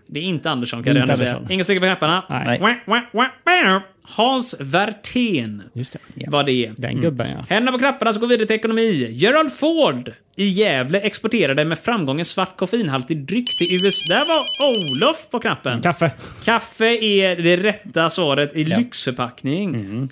Speaker 2: det är inte Andersson
Speaker 3: Det är
Speaker 2: kan jag
Speaker 3: inte
Speaker 2: redan säga.
Speaker 3: Andersson.
Speaker 2: Ingen sticker på knapparna.
Speaker 3: Nej.
Speaker 2: Wah, wah, wah, wah. Hans Werthén
Speaker 3: Just det.
Speaker 2: var det.
Speaker 3: Den gubben
Speaker 4: Mm.
Speaker 3: ja.
Speaker 2: Händerna på knapparna så går vi vidare till ekonomi. Gerald Ford i Gävle exporterade med framgång en svart koffeinhaltig dryck till USA. Där var Olof på knappen.
Speaker 3: Kaffe.
Speaker 2: Kaffe är det rätta svaret i lyxförpackning. Är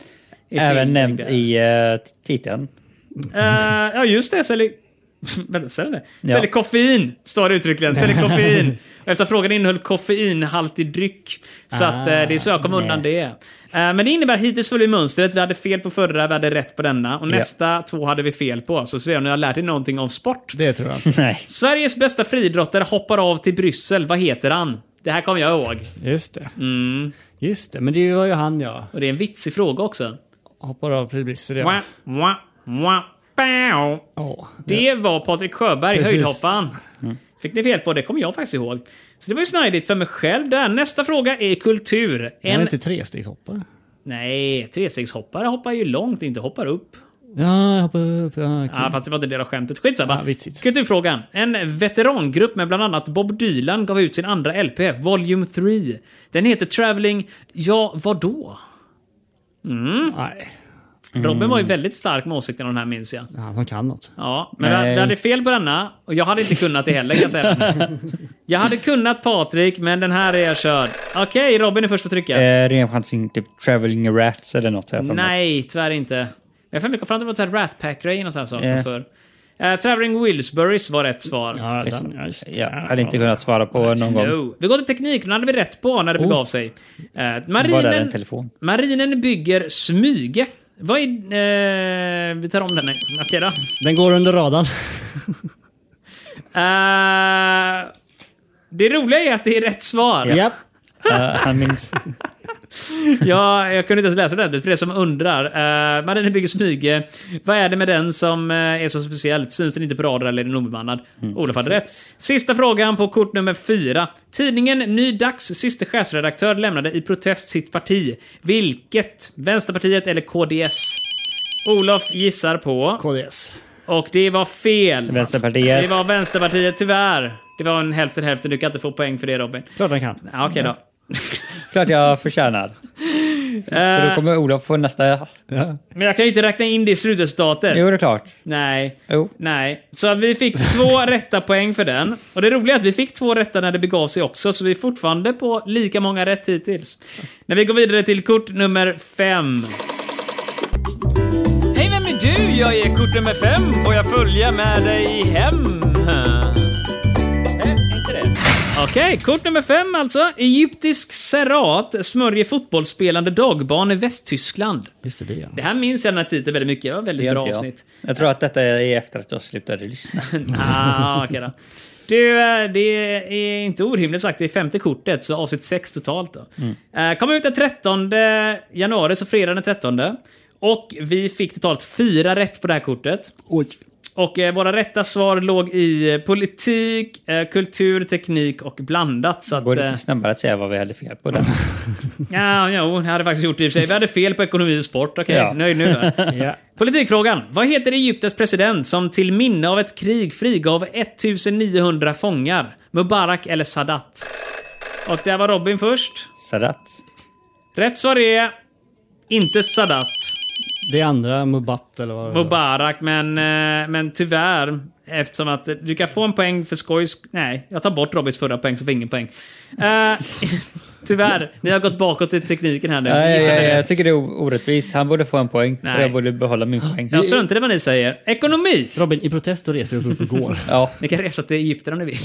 Speaker 4: Mm. Även nämnt
Speaker 2: tillgängliga.
Speaker 4: i eh, titeln.
Speaker 2: Eh, ja, just det. Säljer... Vänta, säljer det?
Speaker 4: Ja.
Speaker 2: Säljer koffein, står det uttryckligen. Säljer koffein. Och Eftersom frågan innehöll koffeinhaltig dryck. Så att, eh, det är så jag kom undan det. Eh, men det innebär hittills följer mönstret. Vi hade fel på förra, vi hade rätt på denna. Och nästa två hade vi fel på. Så ser jag om ni har lärt er någonting om sport.
Speaker 3: Det tror jag inte.
Speaker 4: Nej.
Speaker 2: Sveriges bästa friidrottare hoppar av till Bryssel. Vad heter han? Det här kommer jag ihåg.
Speaker 3: Just det.
Speaker 2: Mm.
Speaker 3: Just det, men det var ju han ja.
Speaker 2: Och det är en vitsig fråga också.
Speaker 3: Hoppar av Pibrisser
Speaker 2: Wah,
Speaker 3: ja.
Speaker 2: wah, wah, pow.
Speaker 3: Ja.
Speaker 2: Det var Patrik Sjöberg,
Speaker 3: Precis. Mm.
Speaker 2: höjdhopparen. Fick ni fel på, det kommer jag faktiskt ihåg. Så det var ju snajdigt för mig själv där. Nästa fråga är kultur.
Speaker 3: Han är
Speaker 2: En...
Speaker 3: inte trestegshoppare?
Speaker 2: Nej, trestegshoppare hoppar ju långt, inte hoppar upp.
Speaker 3: Ja, jag hoppar upp. Ja,
Speaker 2: Ja,
Speaker 3: kul.
Speaker 2: fast det var inte del av skämtet. Skitsamma.
Speaker 3: Mm. Ja, vitsigt.
Speaker 2: Kulturfrågan. En veterangrupp med bland annat Bob Dylan gav ut sin andra LP, Volume 3. Den heter Traveling... Ja, vadå?
Speaker 3: Nej. Mm.
Speaker 2: Robin var ju väldigt stark med åsikten om den här, minns jag.
Speaker 3: Det är Han som kan något.
Speaker 2: Ja, men
Speaker 4: Nej.
Speaker 2: vi hade fel på denna och jag hade inte kunnat det heller kan jag säga. Jag hade kunnat Patrik, men den här är jag körd. Okej, Robin är först på trycka.
Speaker 4: Eh, Ren chansning typ Traveling Rats eller något. har jag för mig.
Speaker 2: Nej, tyvärr inte. Men Jag har kommit fram till att det var Rat Pack-grejen och sådana saker
Speaker 4: Ja.
Speaker 2: förr. Eh, Traveling Wilsburys var rätt svar.
Speaker 3: Ja,
Speaker 4: Just-
Speaker 3: den, ja, just, det.
Speaker 4: Jag hade inte kunnat svara på någon gång.
Speaker 2: Jo. Vi går till teknik, den hade vi rätt på när det begav sig. Eh,
Speaker 4: Oh. Var det en
Speaker 2: marinen,
Speaker 4: telefon?
Speaker 2: marinen bygger Smyge. Vad är... Eh, vi tar om den. här. Okej då.
Speaker 3: Den går under radarn.
Speaker 2: Eh, det roliga är att det är rätt svar.
Speaker 3: Japp.
Speaker 4: Eh, han minns.
Speaker 2: Ja, jag kunde inte ens läsa det ordentligt, för det som undrar. Uh, Marinen bygger smyge. Vad är det med den som eh, är så speciellt? Syns den inte på radar eller är den obemannad?
Speaker 4: Mm,
Speaker 2: Olof hade rätt. Sista frågan på kort nummer fyra. Tidningen Ny Dags sista chefsredaktör lämnade i protest sitt parti. Vilket? Vänsterpartiet eller KDS? Olof gissar på.
Speaker 3: KDS.
Speaker 2: Och det var fel. Det
Speaker 4: Vänsterpartiet.
Speaker 2: var Vänsterpartiet, tyvärr. Det var en hälften hälften. Du kan inte få poäng för det Robin.
Speaker 3: Klart den kan.
Speaker 2: Ja, Okej då.
Speaker 4: Klart jag förtjänar. Mm. För
Speaker 2: Eh.
Speaker 4: då kommer Olof få nästa...
Speaker 2: Men jag kan ju inte räkna in det i slutresultatet.
Speaker 4: Jo, det är klart.
Speaker 2: Nej.
Speaker 4: Jo.
Speaker 2: Nej. Så vi fick två rätta poäng för den. Och det roliga är att vi fick två rätta när det begav sig också, så vi är fortfarande på lika många rätt hittills. När vi går vidare till kort nummer fem. Hej, vem är du? Jag är kort nummer fem. Får jag följa med dig hem? Eh, Okej, kort nummer fem alltså. Egyptisk serat smörjer fotbollsspelande dagbarn i Västtyskland.
Speaker 3: Just det, det är han.
Speaker 2: Det här minns jag den här titeln väldigt mycket. Det var ett
Speaker 4: Det
Speaker 2: väldigt
Speaker 4: är
Speaker 2: bra
Speaker 4: inte jag.
Speaker 2: avsnitt.
Speaker 4: Jag tror att detta är efter att jag slutade lyssna.
Speaker 2: Ah, okej då. Du, eh, det är inte orimligt sagt. Det är femte kortet, så avsnitt sex totalt. Då.
Speaker 4: Mm.
Speaker 2: Eh, Kom ut den 13 januari, så fredag den 13. Och vi fick totalt fyra rätt på det här kortet.
Speaker 3: Oj.
Speaker 2: Och eh, våra rätta svar låg i eh, politik, eh, kultur, teknik och blandat. Så att,
Speaker 4: Går det
Speaker 2: eh,
Speaker 4: lite snabbare att säga vad vi hade fel på den?
Speaker 2: ja, jo, jag hade faktiskt gjort det i och för sig. Vi hade fel på ekonomi och sport. Okej,
Speaker 4: Ja.
Speaker 2: nöjd nu. va?
Speaker 3: Ja.
Speaker 2: Politikfrågan. Vad heter Egyptens president som till minne av ett krig frigav 1900 fångar? Mubarak eller Sadat? Och där var Robin först.
Speaker 4: Sadat.
Speaker 2: Rätt svar är inte Sadat.
Speaker 3: Det är andra Mubat eller vad det var.
Speaker 2: Mubarak, men, eh, men tyvärr. Eftersom att eh, du kan få en poäng för skojs... Nej, jag tar bort Robins förra poäng så får jag ingen poäng. Eh, tyvärr, ni har gått bakåt i tekniken här nu.
Speaker 4: Nej,
Speaker 2: Gissa
Speaker 4: jag,
Speaker 2: rätt.
Speaker 4: jag tycker det är o- orättvist. Han borde få en poäng.
Speaker 2: Nej.
Speaker 4: Och jag borde behålla min poäng.
Speaker 2: jag struntar i vad ni säger. Ekonomi!
Speaker 3: Robin, i protest och reser vi upp och går.
Speaker 4: Ja.
Speaker 2: Ni kan resa till Egypten om ni vill.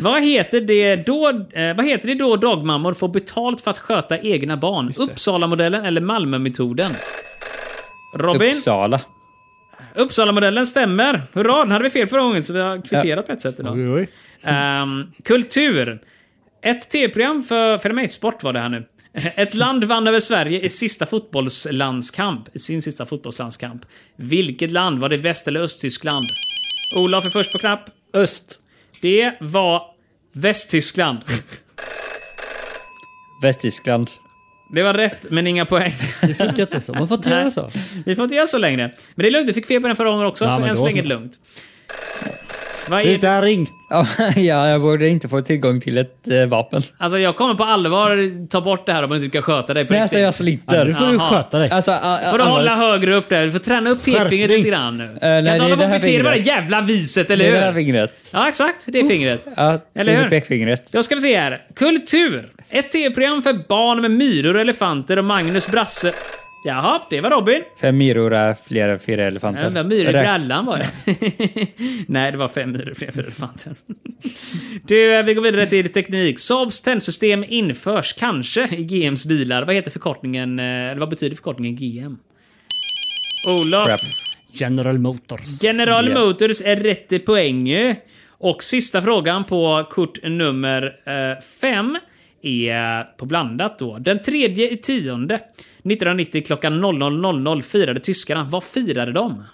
Speaker 2: vad, heter det då, eh, vad heter det då dagmammor får betalt för att sköta egna barn?
Speaker 3: det.
Speaker 2: Uppsalamodellen eller Malmömetoden? Robin,
Speaker 4: Uppsala.
Speaker 2: Uppsala-modellen stämmer. Hurra, den hade vi fel förra gången så vi har kvitterat på ett sätt idag.
Speaker 3: Oj, oj.
Speaker 2: Ehm, kultur. Ett tv-program för, för mig, sport var det här nu. Ett land vann över Sverige i sista fotbollslandskamp. I sin sista fotbollslandskamp. Vilket land? Var det Väst eller Östtyskland? Olof är först på knapp.
Speaker 3: Öst.
Speaker 2: Det var Västtyskland.
Speaker 4: Västtyskland.
Speaker 2: Det var rätt, men inga poäng.
Speaker 3: Det funkar inte så. Man får inte göra så.
Speaker 2: Vi får inte göra så längre. Men det är lugnt, vi fick fel på den förra gången också,
Speaker 3: Ja,
Speaker 2: så
Speaker 3: men
Speaker 2: än
Speaker 3: då
Speaker 2: så länge
Speaker 3: så.
Speaker 2: är det lugnt. Vad är
Speaker 3: Sluta ring.
Speaker 4: Ja, ja, jag borde inte få tillgång till ett eh, vapen.
Speaker 2: Alltså jag kommer på allvar ta bort det här om du inte kan sköta dig på
Speaker 4: Nej, alltså jag sliter.
Speaker 3: Du får ju
Speaker 2: Aha.
Speaker 3: sköta dig.
Speaker 4: Alltså, a- a-
Speaker 2: får du
Speaker 4: alla-
Speaker 2: hålla högre upp där. Du får träna upp pekfingret
Speaker 3: Skärpning.
Speaker 2: lite grann nu.
Speaker 4: Eh, nej,
Speaker 2: kan
Speaker 4: det är
Speaker 2: inte hålla på
Speaker 4: det här
Speaker 2: och bete dig med det
Speaker 4: fingret.
Speaker 2: jävla viset,
Speaker 4: Det
Speaker 2: eller
Speaker 4: är det här
Speaker 2: hur?
Speaker 4: fingret.
Speaker 2: Ja, exakt. Det är fingret.
Speaker 4: Ja,
Speaker 2: Eller
Speaker 4: det är
Speaker 2: hur?
Speaker 4: pekfingret.
Speaker 2: Då ska vi se här. Kultur. Ett tv-program för barn med myror och elefanter och Magnus Brasse... Jaha, det var Robin.
Speaker 4: Fem myror är fler än fyra elefanter.
Speaker 2: Ja, det var myror i
Speaker 4: Räk-
Speaker 2: brallan var det. Nej, det var fem myror framför elefanten. du, eh, vi går vidare till teknik. Saabs tändsystem införs kanske i GMs bilar. Vad heter förkortningen, eh, eller vad betyder förkortningen GM? Olof.
Speaker 4: Crap.
Speaker 3: General Motors.
Speaker 2: General
Speaker 4: Ja.
Speaker 2: Motors är rätt i poäng ju. Och sista frågan på kort nummer eh, fem är på blandat då. Den tredje i tionde 1990 klockan 00.00 firade tyskarna. Vad firade de?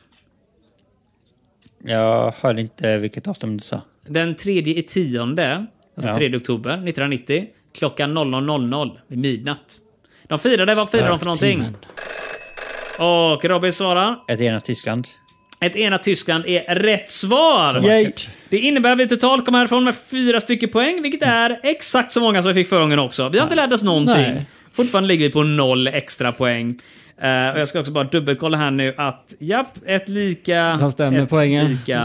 Speaker 4: Jag hörde inte vilket datum du sa.
Speaker 2: Den tredje i tionde, alltså
Speaker 4: Ja.
Speaker 2: 3 oktober 1990, klockan 00.00 vid midnatt. De firade, vad firade de för någonting? Och Robin svarar.
Speaker 4: Ett enat Tyskland.
Speaker 2: Ett enat Tyskland är rätt svar!
Speaker 4: Yay!
Speaker 2: Det innebär att vi totalt kommer härifrån med fyra stycken poäng, vilket är exakt så många som vi fick förra gången också. Vi har inte lärt oss någonting.
Speaker 3: Mm. Nej.
Speaker 2: Fortfarande ligger vi på noll extra poäng. Eh, och jag ska också bara dubbelkolla här nu att, japp, ett lika...
Speaker 3: Han stämmer
Speaker 2: ett
Speaker 3: poängen.
Speaker 2: Lika.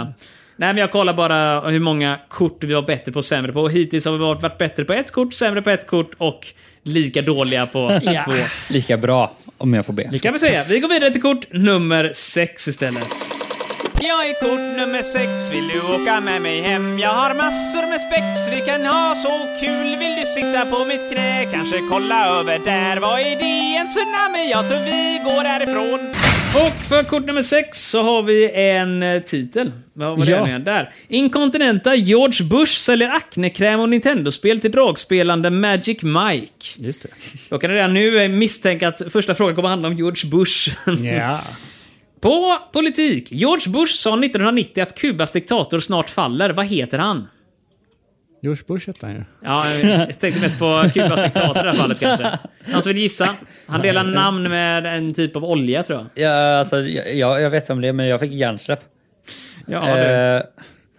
Speaker 2: Nej, men jag kollar bara hur många kort vi var bättre på och sämre på. Och hittills har vi varit, varit bättre på ett kort, sämre på ett kort och lika dåliga på två.
Speaker 4: Lika bra, om jag får be.
Speaker 2: Ska vi se, vi går vidare till kort nummer sex istället.
Speaker 5: Jag är kort nummer sex, vill du åka med mig hem? Jag har massor med spex, vi kan ha så kul Vill du sitta på mitt knä, kanske kolla över där? Vad är det? En tsunami? Jag tror vi går därifrån
Speaker 2: Och för kort nummer sex så har vi en eh, titel. Vad var det
Speaker 3: Ja.
Speaker 2: nu igen? Där. Inkontinenta George Bush säljer aknekräm och Nintendo-spel till dragspelande Magic Mike.
Speaker 3: Just det.
Speaker 2: Då kan du redan nu eh, misstänka att första frågan kommer handla om George Bush.
Speaker 3: Ja.
Speaker 2: På politik. George Bush sa 1990 att Kubas diktator snart faller. Vad heter han?
Speaker 3: George Bush hette han ju.
Speaker 2: Ja, jag tänkte mest på Kubas diktator i det här fallet kanske. Någon som vill gissa? Han delar namn med en typ av olja tror jag.
Speaker 4: Ja, alltså, jag, jag- jag vet om det, men jag fick hjärnsläpp.
Speaker 2: Ja, du.
Speaker 4: Eh,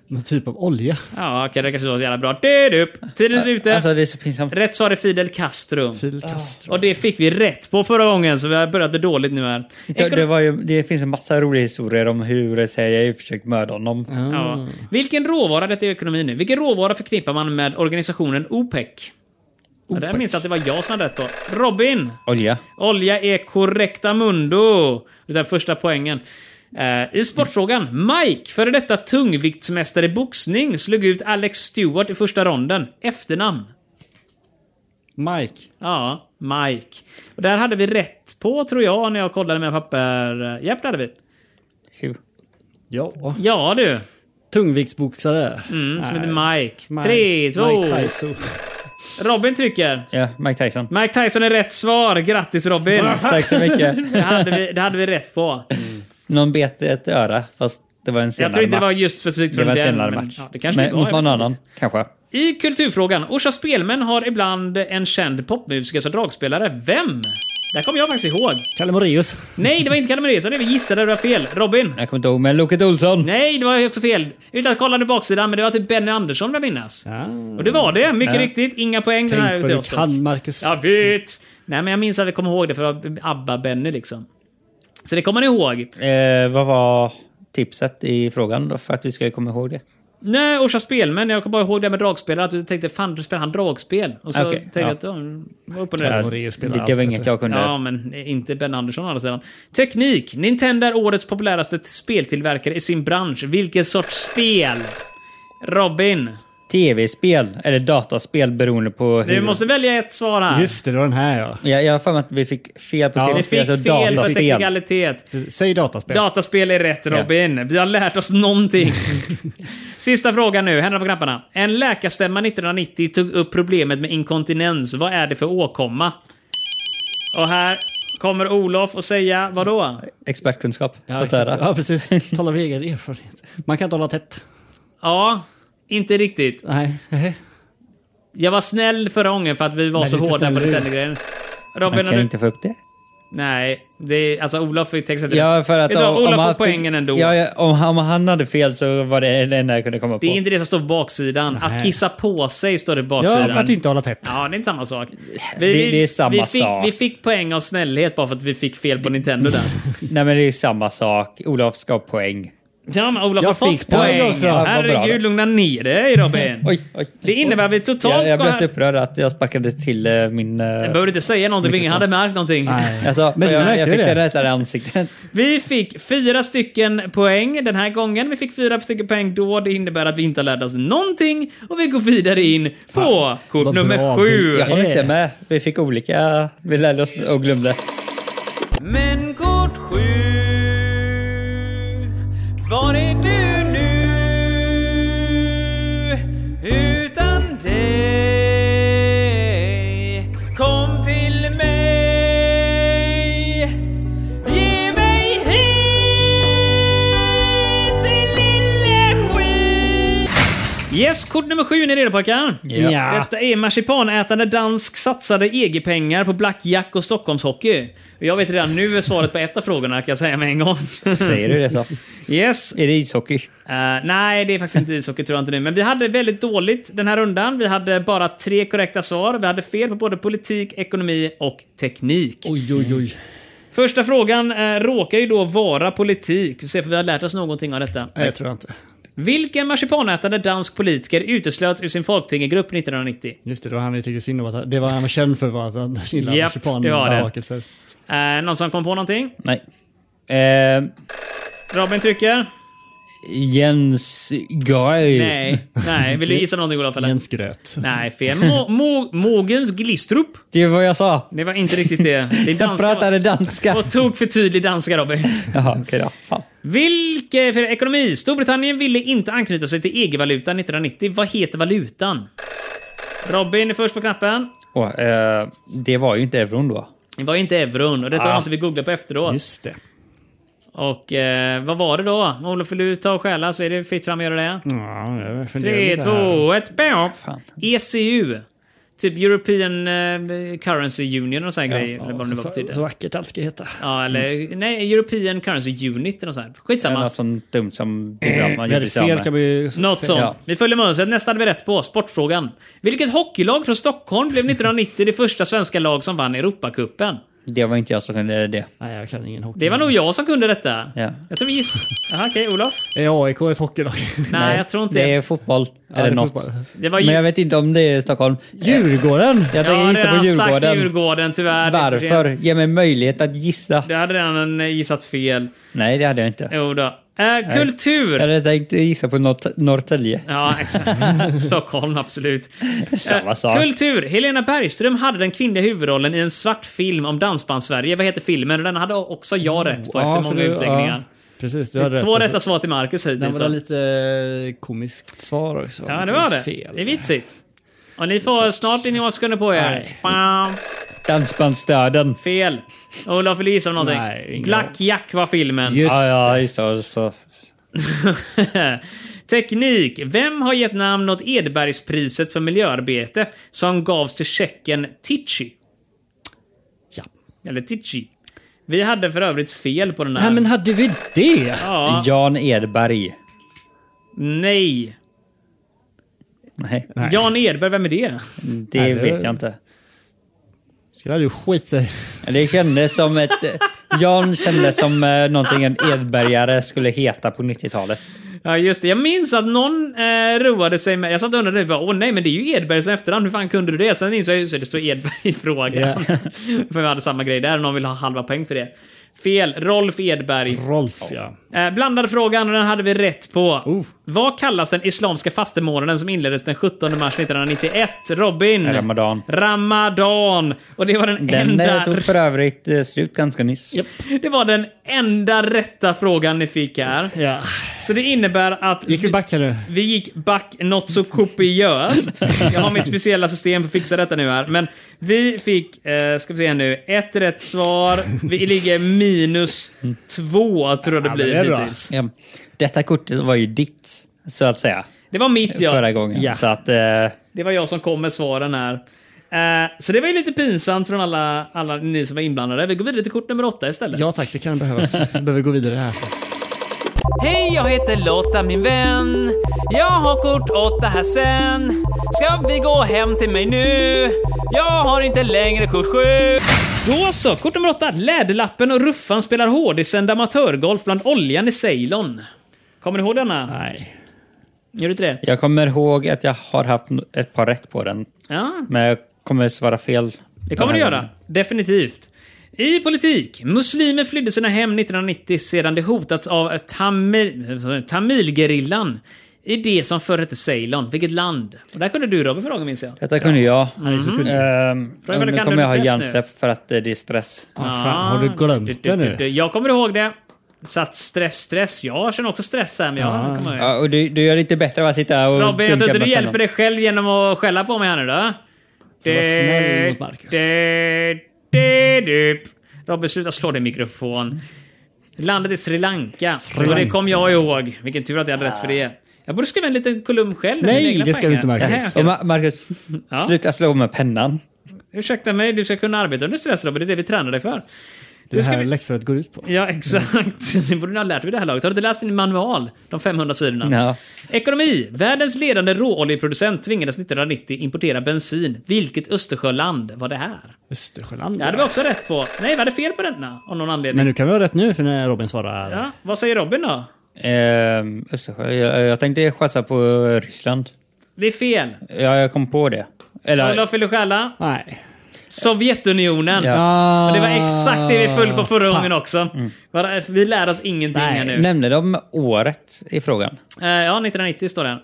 Speaker 3: Någon typ av olja.
Speaker 2: Ja, okej, det kanske inte var så jävla bra. Dudup. Tiden är ute.
Speaker 4: alltså, det är så pinsamt.
Speaker 2: Rätt svar är Fidel Castro.
Speaker 3: Fidel Castro.
Speaker 2: Och det fick vi rätt på förra gången, så vi har börjat dåligt nu här.
Speaker 4: Det,
Speaker 2: Ekon-
Speaker 4: det, var ju, det finns en massa roliga historier om hur eh, CIA försökt mörda honom.
Speaker 2: ja. Vilken råvara, detta är ekonomi nu, vilken råvara förknippar man med organisationen OPEC? Ja, där minns jag att det var jag som hade rätt då. Robin!
Speaker 4: Olja.
Speaker 2: Olja är korrekta mundo. Det är första poängen. Eh, I sportfrågan. Mike, före detta tungviktsmästare i boxning, slog ut Alex Stewart i första ronden. Efternamn?
Speaker 3: Mike.
Speaker 2: Ja, Mike. Och där hade vi rätt på, tror jag, när jag kollade med papper. Japp, det hade vi.
Speaker 3: Ja.
Speaker 2: Ja du.
Speaker 3: Tungviktsboxare.
Speaker 2: Mm, som heter Mike.
Speaker 3: Mike-
Speaker 2: Tre, två...
Speaker 3: Mike Tyson.
Speaker 2: Robin trycker.
Speaker 4: Ja, Mike Tyson.
Speaker 2: Mike Tyson är rätt svar. Grattis Robin!
Speaker 4: Tack så mycket.
Speaker 2: Det hade vi, det hade vi rätt på.
Speaker 4: Någon bet ett öra, fast det var en senare
Speaker 2: Jag tror inte det var
Speaker 4: match.
Speaker 2: just specifikt
Speaker 4: Det
Speaker 2: från
Speaker 4: var en
Speaker 2: den.
Speaker 4: senare
Speaker 2: men-
Speaker 4: match.
Speaker 2: Ja, det kanske det inte var,
Speaker 4: mot
Speaker 2: jag vet
Speaker 4: någon
Speaker 2: inte.
Speaker 4: annan, kanske.
Speaker 2: I kulturfrågan. Orsa Spelmän har ibland en känd popmusiker som dragspelare. Vem? Det här kommer jag faktiskt ihåg.
Speaker 3: Kalle Moraeus.
Speaker 2: Nej, det var inte Kalle Moraeus. Det vi gissade. Det var fel. Robin?
Speaker 4: Jag kommer inte ihåg, men Loket Olsson.
Speaker 2: Nej, det var ju också fel. Utan att kolla nu baksidan, men det var typ Benny Andersson vill jag minnas. Och det var det. Mycket riktigt. Inga poäng den här
Speaker 3: Ah. Tänk vad
Speaker 2: ute
Speaker 3: du
Speaker 2: åt oss.
Speaker 3: kan, Marcus.
Speaker 2: Jag vet! Nej, men jag minns att vi kom ihåg det för det var ABBA-Benny liksom. Så det kommer ni ihåg.
Speaker 4: Eh, vad var tipset i frågan då, för att vi ska komma ihåg det?
Speaker 2: Nej, Orsa Spelmän. Jag kommer bara ihåg det med dragspelare. Att du tänkte fan, spelar han dragspel? Och så
Speaker 4: Okej,
Speaker 2: tänkte
Speaker 4: ja.
Speaker 2: jag att de var upp och ner.
Speaker 3: Ja,
Speaker 2: rätt.
Speaker 3: Moraeus spelar
Speaker 4: Det,
Speaker 3: allt,
Speaker 4: det var
Speaker 3: vet
Speaker 4: inget
Speaker 3: du.
Speaker 4: jag kunde...
Speaker 2: Ja, men inte Ben Andersson å andra sidan. Teknik. Nintendo är årets populäraste speltillverkare i sin bransch. Vilken sorts spel? Robin.
Speaker 4: tv-spel eller dataspel beroende på hur...
Speaker 2: Du måste välja ett svar här.
Speaker 3: Just det, det var den här ja.
Speaker 4: Ja, jag har för mig att vi fick fel på
Speaker 3: Ja.
Speaker 2: Vi
Speaker 4: tv-spel,
Speaker 2: fick
Speaker 4: alltså
Speaker 2: fel för
Speaker 4: dataspel.
Speaker 2: teknikalitet.
Speaker 3: Säg dataspel.
Speaker 2: Dataspel är rätt Robin. Vi har lärt oss någonting. Sista frågan nu, händerna på knapparna. En läkarstämma 1990 tog upp problemet med inkontinens. Vad är det för åkomma? Och här kommer Olof och säga vadå?
Speaker 4: Expertkunskap.
Speaker 3: Ja,
Speaker 4: Låt höra.
Speaker 3: exakt. ja, precis. Talar vi egen erfarenhet. Man kan inte hålla tätt.
Speaker 2: Ja, inte riktigt.
Speaker 3: Nej.
Speaker 2: Jag var snäll förra gången för att vi var
Speaker 3: Men
Speaker 2: så
Speaker 3: du är inte
Speaker 2: hårda på
Speaker 3: snäll nu.
Speaker 2: detaljergrejen. Robin,
Speaker 4: Man
Speaker 2: har
Speaker 4: kan
Speaker 2: du...
Speaker 4: inte få upp det.
Speaker 2: Nej, det är, alltså Olof fick texten rätt.
Speaker 4: Ja, för att
Speaker 2: Vet du vad, Olof får
Speaker 4: fick-
Speaker 2: poängen ändå.
Speaker 4: Ja, ja, om, om han hade fel så var det det enda jag kunde komma på.
Speaker 2: Det är inte det som står på baksidan. Att
Speaker 3: Nej.
Speaker 2: kissa på sig står det på baksidan.
Speaker 3: Ja, att inte hålla tätt.
Speaker 2: Ja, det är inte samma sak.
Speaker 4: Det- det är samma
Speaker 2: vi fick,
Speaker 4: sak.
Speaker 2: Vi fick poäng av snällhet bara för att vi fick fel på Nintendo där.
Speaker 4: Nej, men det är samma sak. Olof ska ha poäng.
Speaker 2: Ja, men Olof
Speaker 3: Jag
Speaker 2: har fått
Speaker 3: fick poäng
Speaker 2: poäng.
Speaker 3: också.
Speaker 4: Ja, vad bra då.
Speaker 2: Herregud, lugna ner dig Robin.
Speaker 4: Oj, oj.
Speaker 2: Det innebär att vi totalt...
Speaker 4: Jag, jag
Speaker 2: går
Speaker 4: blev så
Speaker 2: här-
Speaker 4: upprörd att jag sparkade till eh, min... eh,
Speaker 2: jag behöver inte säga någonting, för ingen hade märkt någonting.
Speaker 3: Nej.
Speaker 4: Alltså,
Speaker 3: Men
Speaker 4: för
Speaker 3: vi
Speaker 4: jag,
Speaker 3: märkte
Speaker 4: jag fick
Speaker 3: det.
Speaker 4: det nästan i ansiktet.
Speaker 2: Vi fick fyra stycken poäng den här gången. Vi fick fyra stycken poäng då. Det innebär att vi inte har lärt oss någonting. Och vi går vidare in på kort
Speaker 3: vad
Speaker 2: nummer
Speaker 3: bra
Speaker 2: sju.
Speaker 3: vi-
Speaker 4: Jag
Speaker 3: Ja.
Speaker 4: håller inte med. Vi fick olika... Vi lärde oss och glömde.
Speaker 5: Men kort sju Var är du nu? Utan dig Kom till mig Ge mig hit din lille skit
Speaker 2: Yes, kort nummer sju. Är ni redo pojkar?
Speaker 4: Ja.
Speaker 2: Detta är marsipanätande dansk satsade EG-pengar på blackjack och Stockholmshockey. Och Jag vet redan nu är svaret på ett av frågorna kan jag säga med en gång.
Speaker 4: Säger du det så?
Speaker 2: Yes.
Speaker 4: Är det ishockey?
Speaker 2: Eh, nej, det är faktiskt inte ishockey tror jag inte nu. Men vi hade väldigt dåligt den här rundan. Vi hade bara tre korrekta svar. Vi hade fel på både politik, ekonomi och teknik.
Speaker 3: Oj, oj, oj.
Speaker 2: Första frågan eh, råkar ju då vara politik. Vi ser för vi har lärt oss någonting av detta.
Speaker 3: Nej, jag tror inte.
Speaker 2: Vilken marsipanätande dansk politiker uteslöts ur sin folktingegrupp 1990?
Speaker 3: Just det, det var han vi tyckte synd om. Att, det var han var känd för var att han gillade
Speaker 2: Japp, det var det.
Speaker 3: marsipanhakelser.
Speaker 2: Eh, någon som kom på någonting?
Speaker 4: Nej. Eh,
Speaker 2: Robin trycker?
Speaker 4: Jens Geil.
Speaker 2: Nej. Nej. Vill du gissa någonting Olof? Eller?
Speaker 3: Jens Gröt.
Speaker 2: Nej, fel. Mo- Mo- Mogens Glistrup?
Speaker 4: Det är vad jag sa.
Speaker 2: Det var inte riktigt det. Det är
Speaker 4: Jag
Speaker 2: danska.
Speaker 4: pratade danska.
Speaker 2: Och tog för tydlig danska Robin.
Speaker 4: Jaha, okej då. Fan.
Speaker 2: Vilken för ekonomi? Storbritannien ville inte anknyta sig till EG-valutan 1990. Vad heter valutan? Robin är först på knappen.
Speaker 4: Åh, eh, det var ju inte euron då.
Speaker 2: Det var ju inte euron och detta var
Speaker 4: Ah.
Speaker 2: inte vi googlade på efteråt.
Speaker 3: Just det.
Speaker 2: Och eh, vad var det då? Olof, vill du ta och stjäla så är det fritt fram att göra
Speaker 4: Mm,
Speaker 2: det.
Speaker 3: Ja, jag funderar
Speaker 2: 3,
Speaker 3: lite här.
Speaker 2: 2, 1, bam!
Speaker 4: Fan.
Speaker 2: ECU. E Typ European eh, Currency Union och sån här grej. eller vad det nu var för
Speaker 3: så,
Speaker 2: tiden.
Speaker 3: så vackert allt ska heta.
Speaker 2: Ja, eller
Speaker 4: Mm.
Speaker 2: nej, European Currency Unit eller nåt sånt. här.
Speaker 4: Eller
Speaker 2: Skitsamma.
Speaker 4: något sånt dumt som program man gjorde
Speaker 3: Väldigt
Speaker 4: sig av
Speaker 3: fel kan
Speaker 4: med.
Speaker 3: man ju
Speaker 2: Något
Speaker 3: säga.
Speaker 2: sånt.
Speaker 4: ja.
Speaker 2: Vi följer mönstret. Nästa hade vi rätt på. Sportfrågan. Vilket hockeylag från Stockholm blev 1990 det första svenska lag som vann Europacupen?
Speaker 4: Det var inte jag som kunde det.
Speaker 3: Nej, jag kan ingen hockey.
Speaker 2: Det var nog jag som kunde detta.
Speaker 4: Mm. Ja.
Speaker 2: Jag tror vi giss... Jaha, okej. Olof?
Speaker 3: Är AIK ett hockeylag?
Speaker 2: Nej, jag tror inte
Speaker 4: Eh, Det är fotboll.
Speaker 3: Ja, det
Speaker 4: eller
Speaker 3: är
Speaker 4: något.
Speaker 3: fotboll.
Speaker 2: Det var ju...
Speaker 4: Men jag vet inte om det är i Stockholm.
Speaker 3: Djurgården!
Speaker 4: Jag
Speaker 2: Ja,
Speaker 4: tänker gissa på
Speaker 2: redan sagt
Speaker 4: Djurgården.
Speaker 2: Djurgården tyvärr. Det är för sent.
Speaker 4: Varför? Ge mig möjlighet att gissa.
Speaker 2: Du hade redan eh, gissat fel.
Speaker 4: Nej, det hade jag inte.
Speaker 2: Jo då. Eh, kultur.
Speaker 4: Jag hade tänkt gissa på Nort- Norrtälje.
Speaker 2: Ja, exakt. Stockholm, absolut.
Speaker 4: Samma
Speaker 2: Eh,
Speaker 4: sak.
Speaker 2: Kultur. Helena Bergström hade den kvinnliga huvudrollen i en svart film om Dansbandssverige. Vad heter filmen? Och Den hade också jag rätt
Speaker 3: Oh,
Speaker 2: på
Speaker 4: Ja,
Speaker 2: efter
Speaker 4: för
Speaker 2: många
Speaker 4: du-
Speaker 2: utläggningar.
Speaker 3: Precis, du hade
Speaker 2: Två
Speaker 3: rätt.
Speaker 2: rätta svar till Marcus
Speaker 3: Den
Speaker 2: hittills.
Speaker 3: var
Speaker 2: då.
Speaker 3: lite eh, komiskt svar också.
Speaker 2: Ja, det var det. Det är vitsigt. Och ni får snart in i sekunder på er.
Speaker 3: Nej.
Speaker 2: Bam.
Speaker 4: Dansbandsdöden.
Speaker 2: Fel. Olof, vill du gissa om någonting?
Speaker 3: Nej, ingen
Speaker 2: Black Jack var filmen.
Speaker 3: Just
Speaker 4: Ja, ja, just det. Så.
Speaker 2: Teknik. Vem har gett namn åt Edbergspriset för miljöarbete som gavs till tjecken Tichy?
Speaker 3: Ja.
Speaker 2: Eller Tichy. Vi hade för övrigt fel på den här.
Speaker 3: Nej, men hade vi det?
Speaker 2: ja,
Speaker 4: Jan Edberg.
Speaker 2: nej.
Speaker 4: Nej, Mm,
Speaker 2: Jan Edberg, vem är det?
Speaker 4: det
Speaker 3: Nej, det-
Speaker 4: vet jag inte.
Speaker 3: Skulle du skit i.
Speaker 4: Det kändes som eh, ett... Jan kändes som eh, någonting en Edbergare skulle heta på 90-talet.
Speaker 2: Ja, just det. Jag minns att någon eh, roade sig med... Jag satt och undrade bara, åh nej, men det är ju Edberg som efternamn. Hur fan kunde du det? Sen insåg jag ju så det står Edberg i frågan.
Speaker 3: Ja.
Speaker 2: för vi hade samma grej där och någon ville ha halva poäng för det. Fel. Rolf Edberg.
Speaker 3: Rolf, ja.
Speaker 2: Eh, blandade frågan och den hade vi rätt på.
Speaker 3: Oh.
Speaker 2: Vad kallas den islamiska fastemånaden som inleddes den 17 mars 1991? Robin?
Speaker 4: Ramadan.
Speaker 2: Ramadan. Och det var den,
Speaker 4: Den
Speaker 2: enda...
Speaker 4: eh, tog för övrigt eh, slut ganska nyss.
Speaker 2: Det var den enda rätta frågan ni fick här.
Speaker 3: ja.
Speaker 2: Så det innebär att...
Speaker 3: Gick vi back här nu?
Speaker 2: Vi gick back något så kopiöst. Jag har mitt speciella system för att fixa detta nu här. Men vi fick, eh, ska vi se här nu, ett rätt svar. Vi ligger minus två, tror jag det
Speaker 3: Ja,
Speaker 2: blir
Speaker 3: men det är bra.
Speaker 2: hittills.
Speaker 4: Ja. Detta kortet var ju ditt, så att säga.
Speaker 2: Det var mitt
Speaker 4: Förra
Speaker 2: ja.
Speaker 4: gången.
Speaker 3: Ja.
Speaker 4: Så att... Eh,
Speaker 2: Det var jag som kom med svaren här. Eh, så det var ju lite pinsamt från alla, alla ni som var inblandade. Vi går vidare till kort nummer åtta istället.
Speaker 3: Ja tack, det kan behövas. Vi behöver gå vidare här.
Speaker 5: Hej, jag heter Lotta min vän. Jag har kort åtta här sen. Ska vi gå hem till mig nu? Jag har inte längre kort sju.
Speaker 2: Då så, kort nummer åtta. Läderlappen och Ruffan spelar hårdissänd amatörgolf bland oljan i Ceylon. Kommer ni ihåg denna?
Speaker 3: Nej.
Speaker 2: Gör du inte det?
Speaker 4: jag kommer ihåg att jag har haft ett par rätt på den.
Speaker 2: Ja,
Speaker 4: Men jag kommer svara fel.
Speaker 2: Det kommer du göra. Definitivt. I politik. Muslimer flydde sina hem 1990 sedan de hotats av tamil, tamilgerillan i det som förr hette Ceylon. Vilket land? Och där kunde du Robin fråga minns jag.
Speaker 4: Detta kunde jag.
Speaker 2: Mm.
Speaker 3: är så kunnig.
Speaker 4: Ehm,
Speaker 2: Frågan är,
Speaker 4: nu
Speaker 2: kan
Speaker 4: kommer
Speaker 2: du
Speaker 4: jag ha
Speaker 2: bäst nu?
Speaker 4: hjärnsläpp för att eh, det är stress.
Speaker 3: Ah, fan, har du glömt
Speaker 2: Du, du, du,
Speaker 3: det nu?
Speaker 2: du. Jag kommer ihåg det. Så att stress, stress. Jag känner också stress här men jag
Speaker 3: Ja.
Speaker 2: kommer ihåg.
Speaker 4: Ja, och du, du gör lite bättre av att sitta och
Speaker 2: Robin, jag
Speaker 4: tänka
Speaker 2: tror inte du
Speaker 4: bort
Speaker 2: hjälper
Speaker 4: den.
Speaker 2: dig själv genom att skälla på mig här nu då.
Speaker 3: var snäll mot Marcus.
Speaker 2: du, du, du. Robin, sluta slå din mikrofon. Landet är Sri Lanka.
Speaker 3: Sri
Speaker 2: Och det
Speaker 3: Lanka.
Speaker 2: kom jag ihåg. Vilken tur att jag hade rätt för det. Jag borde skriva en liten kolumn själv. med
Speaker 3: Nej,
Speaker 2: mina egna
Speaker 3: det ska
Speaker 2: pengar.
Speaker 3: du inte, Marcus.
Speaker 2: Nähä, okej.
Speaker 4: Och Ma- Marcus,
Speaker 2: Ja.
Speaker 4: sluta slå med pennan.
Speaker 2: Ursäkta mig, du ska kunna arbeta under stress Robin. Det är det vi tränar dig för.
Speaker 3: Det
Speaker 2: Nu ska
Speaker 3: här
Speaker 2: vi-
Speaker 3: läxföret går ut på.
Speaker 2: Ja, exakt. Det borde ni ha lärt er vid det här laget. Har du inte läst din manual? De 500 sidorna.
Speaker 4: Ja.
Speaker 2: Ekonomi. Världens ledande råoljeproducent tvingades 1990 importera bensin. Vilket Östersjöland var det här?
Speaker 3: Östersjöland.
Speaker 2: Det hade vi också rätt på. Nej, vi hade fel på denna. Av någon anledning.
Speaker 3: Men nu kan vi ha rätt nu för när Robin svarar.
Speaker 2: Ja, vad säger Robin då?
Speaker 4: Ehm, Östersjö. Jag, jag tänkte chansa på eh, Ryssland.
Speaker 2: Det är fel.
Speaker 4: Ja, jag kom på det. Eller...
Speaker 2: Olof vill du stjäla?
Speaker 3: Nej.
Speaker 2: Sovjetunionen.
Speaker 4: Ja. Ah. Mm.
Speaker 2: Och det var exakt det vi föll på förra gången också. Bara- Vi lär oss ingenting
Speaker 3: Nej,
Speaker 2: här nu.
Speaker 4: Nämnde de året i frågan?
Speaker 2: Eh, Ja, 1990 står det.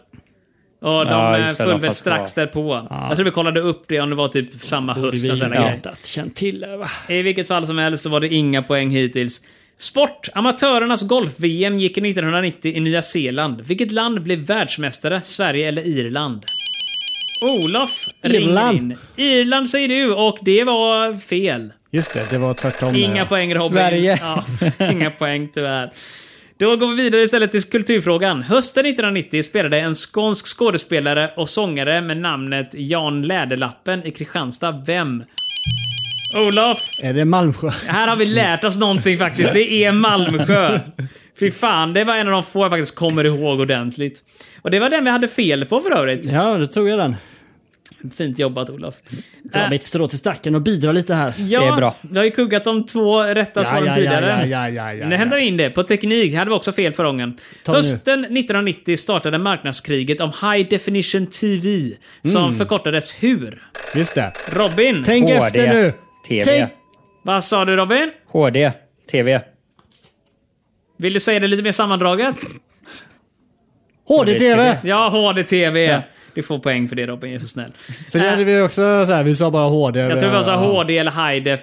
Speaker 2: Och de ja,
Speaker 4: Ja, just det,
Speaker 2: föll
Speaker 4: de
Speaker 2: väl
Speaker 4: fanns
Speaker 2: strax
Speaker 4: kvar.
Speaker 2: därpå. Jag tror vi kollade upp det om det var typ samma höst.
Speaker 3: Ah. Vi
Speaker 2: och sådana
Speaker 3: har
Speaker 2: grejer.
Speaker 3: vetat, känt till det va?
Speaker 2: I vilket fall som helst så var det inga poäng hittills. Sport. Amatörernas golf-VM gick 1990 i Nya Zeeland. Vilket land blev världsmästare? Sverige eller Irland? Olof ringer
Speaker 3: Irland.
Speaker 2: in. Irland säger du och det var fel.
Speaker 3: Just det, det var tvärtom.
Speaker 2: Inga
Speaker 3: ja.
Speaker 2: poäng Robin.
Speaker 4: Sverige.
Speaker 2: Ja, inga poäng tyvärr. Då går vi vidare istället till kulturfrågan. Hösten 1990 spelade en skånsk skådespelare och sångare med namnet Jan Läderlappen i Kristianstad. Vem? Olof.
Speaker 3: Är det Malmsjö?
Speaker 2: Här har vi lärt oss någonting faktiskt. Det är Malmsjö. Fy fan, det var en av de få jag faktiskt kommer ihåg ordentligt. Och det var den vi hade fel på för övrigt.
Speaker 3: Ja, då tog
Speaker 2: Äh.
Speaker 3: jag den.
Speaker 2: Fint jobbat Olof.
Speaker 3: Dra
Speaker 2: Äh,
Speaker 3: mitt strå till stacken och bidra lite här.
Speaker 2: ja,
Speaker 4: Det är bra.
Speaker 2: Vi har ju kuggat de två rätta svaren tidigare.
Speaker 3: ja, ja, ja,
Speaker 2: Nu hämtar vi in det. På teknik hade vi också fel förra gången.
Speaker 3: Ta nu.
Speaker 2: Hösten 1990 startade marknadskriget om High Definition TV, som förkortades HUR.
Speaker 3: Just det.
Speaker 2: Robin,
Speaker 3: Mm. Tänk
Speaker 4: HD,
Speaker 3: efter nu!
Speaker 4: TV.
Speaker 3: Tänk...
Speaker 2: vad sa du Robin?
Speaker 4: HD. TV.
Speaker 2: Vill du säga det lite mer sammandraget?
Speaker 3: HD-TV!
Speaker 2: Ja, HD-TV. Du får poäng för det Robin, jag är så snäll. Eh,
Speaker 3: För det hade vi också så här, vi sa bara HD.
Speaker 2: Äh. Jag tror vi sa
Speaker 3: Ja,
Speaker 2: HD eller High Def.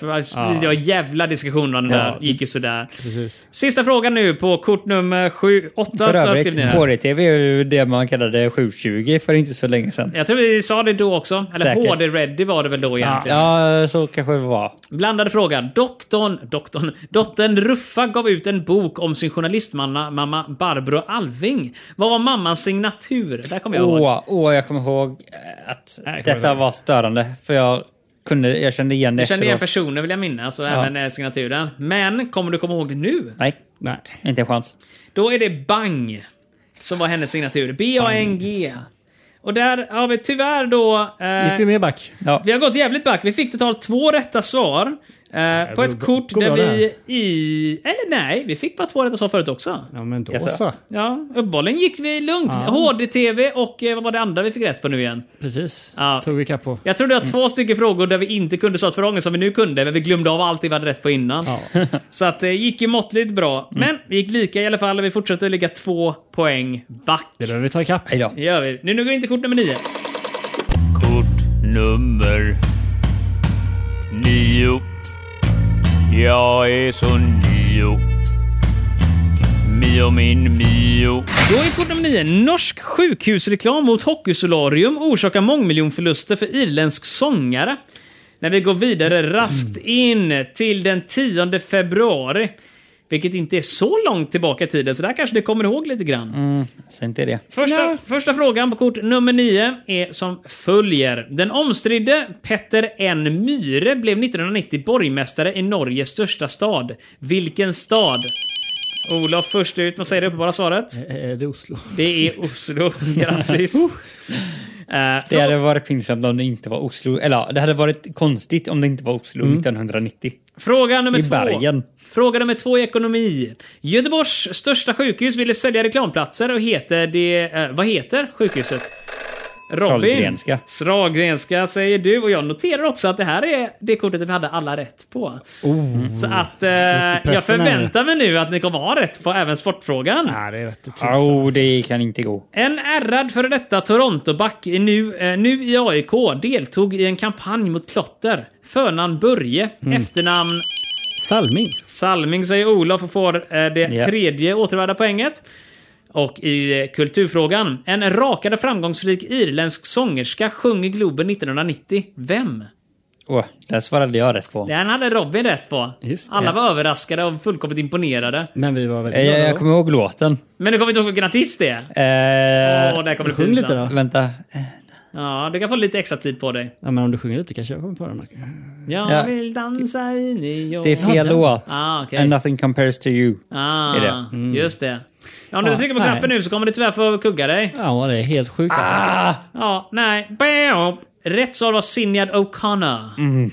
Speaker 2: Det var jävla diskussioner om det där. Gick ju sådär.
Speaker 3: Precis.
Speaker 2: Sista frågan nu på kort nummer 7, 8
Speaker 4: För
Speaker 2: så har jag skrivit
Speaker 4: övrigt,
Speaker 2: ner. här.
Speaker 4: HD-TV är ju det man kallade 720 för inte så länge sedan.
Speaker 2: Jag tror vi sa det då också. Eller
Speaker 4: Säkert.
Speaker 2: HD Ready var det väl då egentligen.
Speaker 4: Ja, så kanske det var.
Speaker 2: Blandade fråga. Doktorn, doktorn, dottern Ruffa gav ut en bok om sin journalistmamma mamma Barbro Alving. Vad var mammans signatur? Där kommer jag ihåg.
Speaker 4: Åh, åh, jag kommer ihåg eh, att
Speaker 3: Nej, jag kommer
Speaker 4: detta
Speaker 3: ihåg.
Speaker 4: var störande. För jag, kunde, jag kände igen det
Speaker 2: Jag kände igen
Speaker 4: efteråt.
Speaker 2: personen vill jag minnas och även eh, signaturen. Men kommer du komma ihåg det nu?
Speaker 4: Nej,
Speaker 3: Nej.
Speaker 4: inte en chans.
Speaker 2: Då är det Bang som var hennes signatur. B-A-N-G. Och där har vi tyvärr då... eh,
Speaker 3: Gick vi mer back?
Speaker 4: Ja.
Speaker 2: vi har gått jävligt back. Vi fick totalt två rätta svar. Eh, på
Speaker 3: det
Speaker 2: ett
Speaker 3: går-
Speaker 2: kort
Speaker 3: går
Speaker 2: där
Speaker 3: bra
Speaker 2: vi i... Eller nej, vi fick bara två rätt och så förut också.
Speaker 3: Ja men då
Speaker 4: Jaså?
Speaker 3: så.
Speaker 2: Ja, uppehållen gick vi lugnt. HD-TV och eh, vad var det andra vi fick rätt på nu igen?
Speaker 3: Precis.
Speaker 2: Ja.
Speaker 3: Tog vi kapp på.
Speaker 2: Jag tror det var två stycken frågor där vi inte kunde svara för ången som vi nu kunde, men vi glömde av allt vi hade rätt på innan. Så att det gick ju måttligt bra. Men
Speaker 3: Mm.
Speaker 2: vi gick lika i alla fall och vi fortsätter ligga två poäng back.
Speaker 3: Det behöver vi ta ikapp.
Speaker 4: Idag.
Speaker 2: Det gör vi. Nu går vi in till kort nummer nio.
Speaker 5: Kort nummer nio. Jag är så nio. Mio min Mio.
Speaker 2: Då är kort nummer nio. Norsk sjukhusreklam mot hockeysolarium orsakar mångmiljonförluster för irländsk sångare. När vi går vidare raskt in till den 10 februari. Vilket inte är så långt tillbaka i tiden, så där kanske ni kommer ihåg lite grann.
Speaker 4: Säg inte det.
Speaker 2: Första, första frågan på kort nummer 9 är som följer. Den omstridde Petter N. Myhre blev 1990 borgmästare i Norges största stad. Vilken stad? Olof först ut, vad säger det uppenbara svaret?
Speaker 3: Eh, Det är Oslo.
Speaker 2: Det är Oslo. Grattis! Eh,
Speaker 4: Det hade varit pinsamt om det inte var Oslo. Eller ja, det hade varit konstigt om det inte var Oslo
Speaker 2: Mm.
Speaker 4: 1990.
Speaker 2: Fråga nummer
Speaker 4: I
Speaker 2: två.
Speaker 4: bergen.
Speaker 2: Fråga nummer två i ekonomi. Göteborgs största sjukhus ville sälja reklamplatser och heter det... Eh, vad heter sjukhuset? Robin.
Speaker 4: Sahlgrenska.
Speaker 2: Sahlgrenska säger du och jag noterar också att det här är det kortet vi hade alla rätt på. Så att eh, jag
Speaker 3: pressen här.
Speaker 2: förväntar mig nu att ni kommer ha rätt på även sportfrågan.
Speaker 3: Nej, det vet du tusan.
Speaker 4: Åh, oh, det kan inte gå.
Speaker 2: En ärrad före detta Torontoback i nu, eh, nu i AIK deltog i en kampanj mot klotter. Förnamn Börje, efternamn
Speaker 3: Salming.
Speaker 2: Salming säger Olof och får eh, det
Speaker 4: Ja.
Speaker 2: tredje återvärda poänget. Och i eh, kulturfrågan. En rakade framgångsrik irländsk sångerska sjöng i Globen 1990. Vem?
Speaker 4: Åh, där svarade jag rätt på.
Speaker 2: Den hade Robin rätt på.
Speaker 3: Just det.
Speaker 2: Alla var överraskade och fullkomligt imponerade.
Speaker 3: Men vi var väldigt
Speaker 4: Eh, Jag,
Speaker 3: glada.
Speaker 4: jag kommer ihåg låten.
Speaker 2: Men du kommer inte ihåg vilken artist det är?
Speaker 4: Eh,
Speaker 2: Åh, det här kommer bli
Speaker 3: sjung lite
Speaker 2: pinsamt.
Speaker 3: då.
Speaker 4: Vänta.
Speaker 2: Ja, du kan få lite extra tid på dig.
Speaker 3: Ja, men om du sjunger lite kanske jag kommer på den. Marcus.
Speaker 2: Jag
Speaker 4: Ja.
Speaker 2: vill dansa i New
Speaker 4: Det är fel låt.
Speaker 2: Ah, okej.
Speaker 4: And nothing compares to you.
Speaker 2: Ah,
Speaker 4: är det. Mm.
Speaker 2: Just det. Ja, om du
Speaker 3: Ja,
Speaker 2: trycker på
Speaker 3: nej.
Speaker 2: knappen nu så kommer du tyvärr få kugga dig.
Speaker 3: Ja, det är helt sjukt. alltså.
Speaker 4: Ah,
Speaker 2: Ja, nej. Bam! Rätt svar var Signad O'Connor.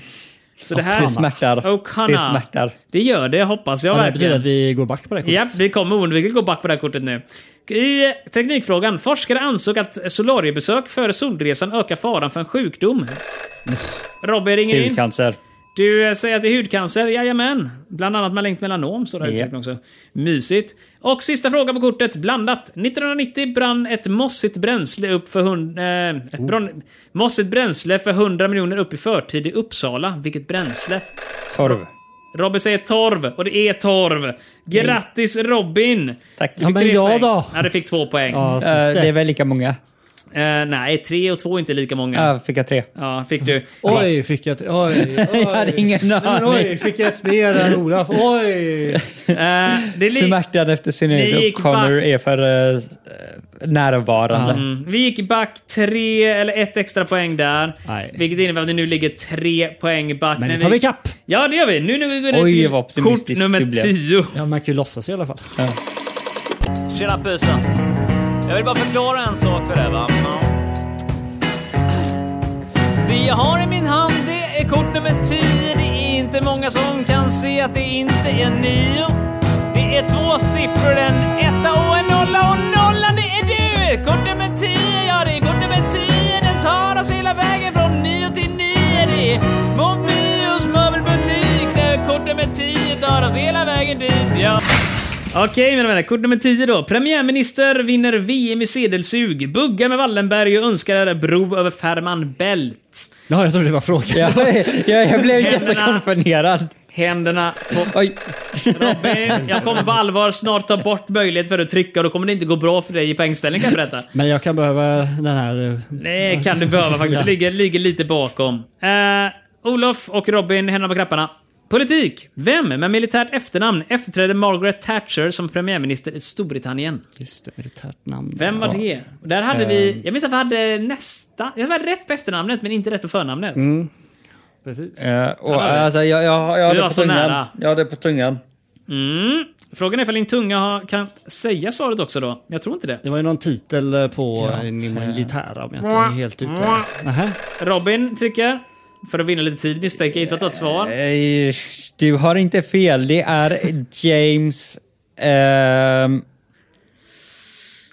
Speaker 2: Så det här...
Speaker 4: Mm.
Speaker 2: Oh,
Speaker 4: Det smärtar.
Speaker 2: O'Connor.
Speaker 4: Det smärtar.
Speaker 2: Det gör det, hoppas jag
Speaker 3: Ja, det betyder
Speaker 2: verkligen.
Speaker 3: att vi går back på det här
Speaker 2: Japp,
Speaker 3: kortet.
Speaker 2: vi kommer oundvikligt gå back på det här kortet nu. I teknikfrågan. Forskare ansåg att solariebesök före solresan ökar faran för en sjukdom. Robin ringer in.
Speaker 4: Hudcancer.
Speaker 2: Du eh, säger att det är hudcancer? Jajamän. Bland annat malignt melanom står det här
Speaker 4: Ja.
Speaker 2: uttryckt också. Mysigt. Och sista frågan på kortet, blandat. 1990 brann ett mossigt bränsle upp för hund, eh, ett brann, mossigt bränsle för 100 miljoner upp i förtid i Uppsala. Vilket bränsle?
Speaker 4: Torv.
Speaker 2: Robin säger torv och det är torv. Grattis Robin!
Speaker 4: Tack.
Speaker 2: Du fick
Speaker 3: men
Speaker 2: tre
Speaker 3: jag
Speaker 2: poäng.
Speaker 3: då?
Speaker 2: Ja, du fick två poäng.
Speaker 3: Ja,
Speaker 4: Eh,
Speaker 3: just det.
Speaker 4: det är väl lika många?
Speaker 2: Eh, nej, tre och två är inte lika många.
Speaker 4: Ja, fick jag tre.
Speaker 2: Ja, fick du.
Speaker 3: Oj, fick jag... Oj, oj.
Speaker 4: Jag hade ingen
Speaker 3: Men
Speaker 4: aning.
Speaker 3: oj, fick jag ett mer än Olof? Oj!
Speaker 2: Eh, det är li-
Speaker 4: Smärtan efter sin
Speaker 2: Det
Speaker 4: egen
Speaker 2: gick
Speaker 4: Connor
Speaker 2: back.
Speaker 4: är för eh, närvarande.
Speaker 2: Mm. Vi gick back tre, eller ett extra poäng där.
Speaker 3: Nej.
Speaker 2: Vilket innebär att vi nu ligger tre poäng back.
Speaker 3: Men det tar vi kapp.
Speaker 2: Ja, det gör vi. Nu när vi går
Speaker 4: Oj,
Speaker 2: till
Speaker 4: vad
Speaker 2: kort
Speaker 4: optimistisk du
Speaker 2: nummer
Speaker 4: blev.
Speaker 2: tio.
Speaker 3: Ja, man kan ju låtsas i alla fall.
Speaker 5: Tjena busen. Jag vill bara förklara en sak för dig va. Ja.
Speaker 2: Det jag har i min hand, det är kort nummer tio. Det är inte många som kan se att det inte är nio. Det är två siffror, en etta och en nolla. Och nollan, det är du! Kort nummer tio, ja det är kort nummer tio. Den tar oss hela vägen från nio till nio. Det är mot Mios möbelbutik. Där kort nummer tio tar oss hela vägen dit, ja. Okej mina vänner, kort nummer 10 då. Premiärminister vinner VM i sedelsug, buggar med Wallenberg och önskar bro över Fehmarn Bält.
Speaker 3: Ja, jag trodde det var frågan.
Speaker 4: Jag, jag, jag blev
Speaker 2: Händerna.
Speaker 4: jättekonfunderad.
Speaker 2: Händerna på
Speaker 4: Oj.
Speaker 2: Robin. Jag kommer på allvar snart ta bort möjlighet för dig att trycka och då kommer det inte gå bra för dig i poängställning kan jag berätta.
Speaker 3: Men jag kan behöva den här... eh,
Speaker 2: Det kan du behöva faktiskt. Det ligger, ligger lite bakom. Uh, Olof och Robin, händerna på knapparna. Politik. Vem med militärt efternamn efterträdde Margaret Thatcher som premiärminister i Storbritannien?
Speaker 3: Just det, militärt namn.
Speaker 2: Vem var det? Och Där hade
Speaker 4: Ehm.
Speaker 2: vi... Jag minns att vi hade nästa... Jag var rätt på efternamnet men inte rätt på förnamnet.
Speaker 4: Mm.
Speaker 3: Precis.
Speaker 4: Eh, och, alltså, jag, jag, jag
Speaker 2: Du
Speaker 4: hade
Speaker 2: var
Speaker 4: på
Speaker 2: så nära.
Speaker 4: tungan. Jag hade på tungan.
Speaker 2: Mm. Frågan är ifall din tunga har- kan säga svaret också då. Jag tror inte det.
Speaker 3: Det var ju någon titel eh, på en, en gitarr om jag inte är helt ute. Nähä.
Speaker 2: Robin trycker. För att vinna lite tid misstänker jag. Inte för att ha ett svar.
Speaker 4: Eh, Du har inte fel. Det är James... ehm,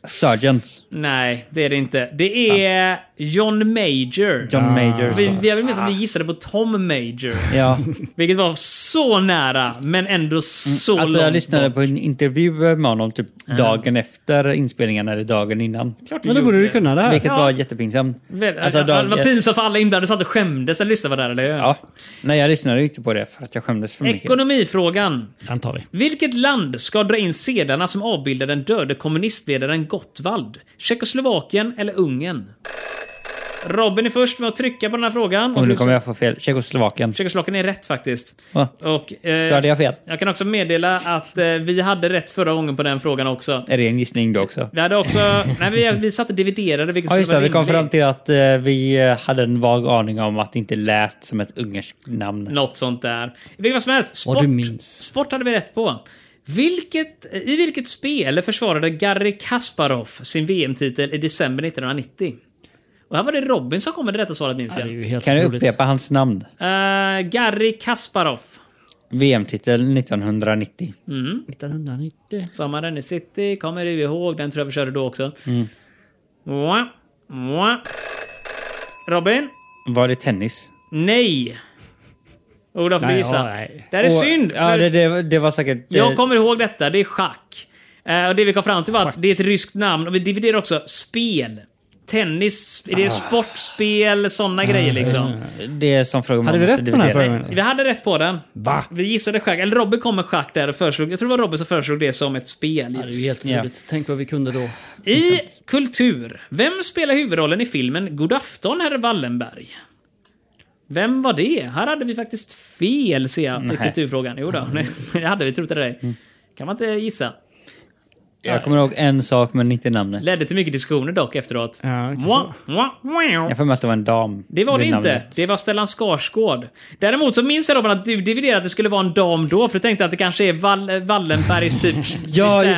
Speaker 4: Sargent.
Speaker 2: Nej, det är det inte. Det är John Major.
Speaker 4: John Major.
Speaker 2: Vi, vi, jag minns att vi gissade på Tom Major.
Speaker 4: Ja.
Speaker 2: Vilket var så nära, men ändå så
Speaker 4: Alltså jag
Speaker 2: långt
Speaker 4: lyssnade
Speaker 2: bort.
Speaker 4: på en intervju med honom typ dagen efter inspelningen eller dagen innan.
Speaker 2: Klart
Speaker 3: Men då
Speaker 2: gjorde
Speaker 3: borde du kunna det här.
Speaker 4: Vilket var jättepinsamt.
Speaker 2: Väl,
Speaker 4: Alltså,
Speaker 2: ja, det var
Speaker 4: dagen-
Speaker 2: pinsamt för alla inblandade satt och skämdes när de lyssnade på det här, eller hur?
Speaker 4: Ja. Nej, jag lyssnade ju inte på det för att jag skämdes för mycket.
Speaker 2: Ekonomifrågan.
Speaker 3: Den tar vi.
Speaker 2: Vilket land ska dra in sedlarna som avbildar den döde kommunistledaren Gottwald? Tjeckoslovakien eller Ungern? Robin är först med att trycka på den här frågan.
Speaker 4: Och nu kommer jag få fel. Tjeckoslovakien.
Speaker 2: Tjeckoslovakien är rätt faktiskt.
Speaker 4: Va?
Speaker 2: Och,
Speaker 4: Då hade
Speaker 2: eh,
Speaker 4: jag fel.
Speaker 2: jag kan också meddela att eh, vi hade rätt förra gången på den frågan också.
Speaker 4: Är det en gissning då också?
Speaker 2: Vi hade också... nej, vi, vi satt och dividerade vilket
Speaker 4: Ja, just det. Vi kom
Speaker 2: rimligt.
Speaker 4: fram till att eh, vi eh, hade en vag aning om att det inte lät som ett ungerskt namn.
Speaker 2: Något sånt där. I vilket fall som helst, sport,
Speaker 3: Vad du minns.
Speaker 2: sport hade vi rätt på. Vilket, I vilket spel försvarade Garry Kasparov sin VM-titel i december 1990? Och här var det Robin som kom med det rätta svaret minns
Speaker 3: Det är
Speaker 2: jag.
Speaker 3: ju helt
Speaker 4: Kan du
Speaker 3: otroligt.
Speaker 4: upprepa hans namn?
Speaker 2: Uh, Garry Kasparov.
Speaker 4: VM-titel 1990.
Speaker 3: 1990.
Speaker 2: Sommaren i city, kommer du ihåg? Den tror jag vi körde då också. Mwah, mwah. Robin?
Speaker 4: Var det tennis?
Speaker 2: Nej. Olof, du
Speaker 3: Nej,
Speaker 2: gissa.
Speaker 3: ja, nej.
Speaker 2: Det här är
Speaker 4: Och-
Speaker 2: synd.
Speaker 4: Ja,
Speaker 2: för-
Speaker 4: det, det, det var säkert... Det,
Speaker 2: Jag kommer ihåg detta, det är schack. Eh, och det vi kom fram till var att det är ett ryskt namn och vi dividerar också spel. Tennis, sp-
Speaker 3: Ah.
Speaker 2: det är sportspel, sådana grejer liksom. Eh,
Speaker 4: det är som fråga man
Speaker 3: Hade vi
Speaker 4: måste
Speaker 3: rätt på den här
Speaker 4: dividera.
Speaker 3: frågan?
Speaker 2: Vi hade rätt på den.
Speaker 3: Va?
Speaker 2: Vi gissade schack, eller Robin kom med schack där och föreslog, jag tror det var Robin som föreslog det som ett spel.
Speaker 3: Ja, det är
Speaker 2: just.
Speaker 3: ju helt otroligt. Tänk vad vi kunde då.
Speaker 2: I kultur, vem spelar huvudrollen i filmen God afton herr Wallenberg? Vem var det? Här hade vi faktiskt fel ser jag, till
Speaker 4: Nej.
Speaker 2: kulturfrågan. Jo då, nej, det hade vi trott det dig.
Speaker 3: Mm.
Speaker 2: Kan man inte gissa.
Speaker 4: Jag kommer ihåg en sak men inte namnet.
Speaker 2: Ledde till mycket diskussioner dock efteråt.
Speaker 3: Ja, kanske.
Speaker 2: Mwah, mwah, mwah.
Speaker 4: Jag får mig att det var en dam.
Speaker 2: Det var det
Speaker 4: vid
Speaker 2: inte.
Speaker 4: namnet.
Speaker 2: Det var Stellan Skarsgård. Däremot så minns jag Robin att du dividerade att det skulle vara en dam då, för du tänkte att det kanske är Wall Wallenbergs typ
Speaker 4: Ja, just det,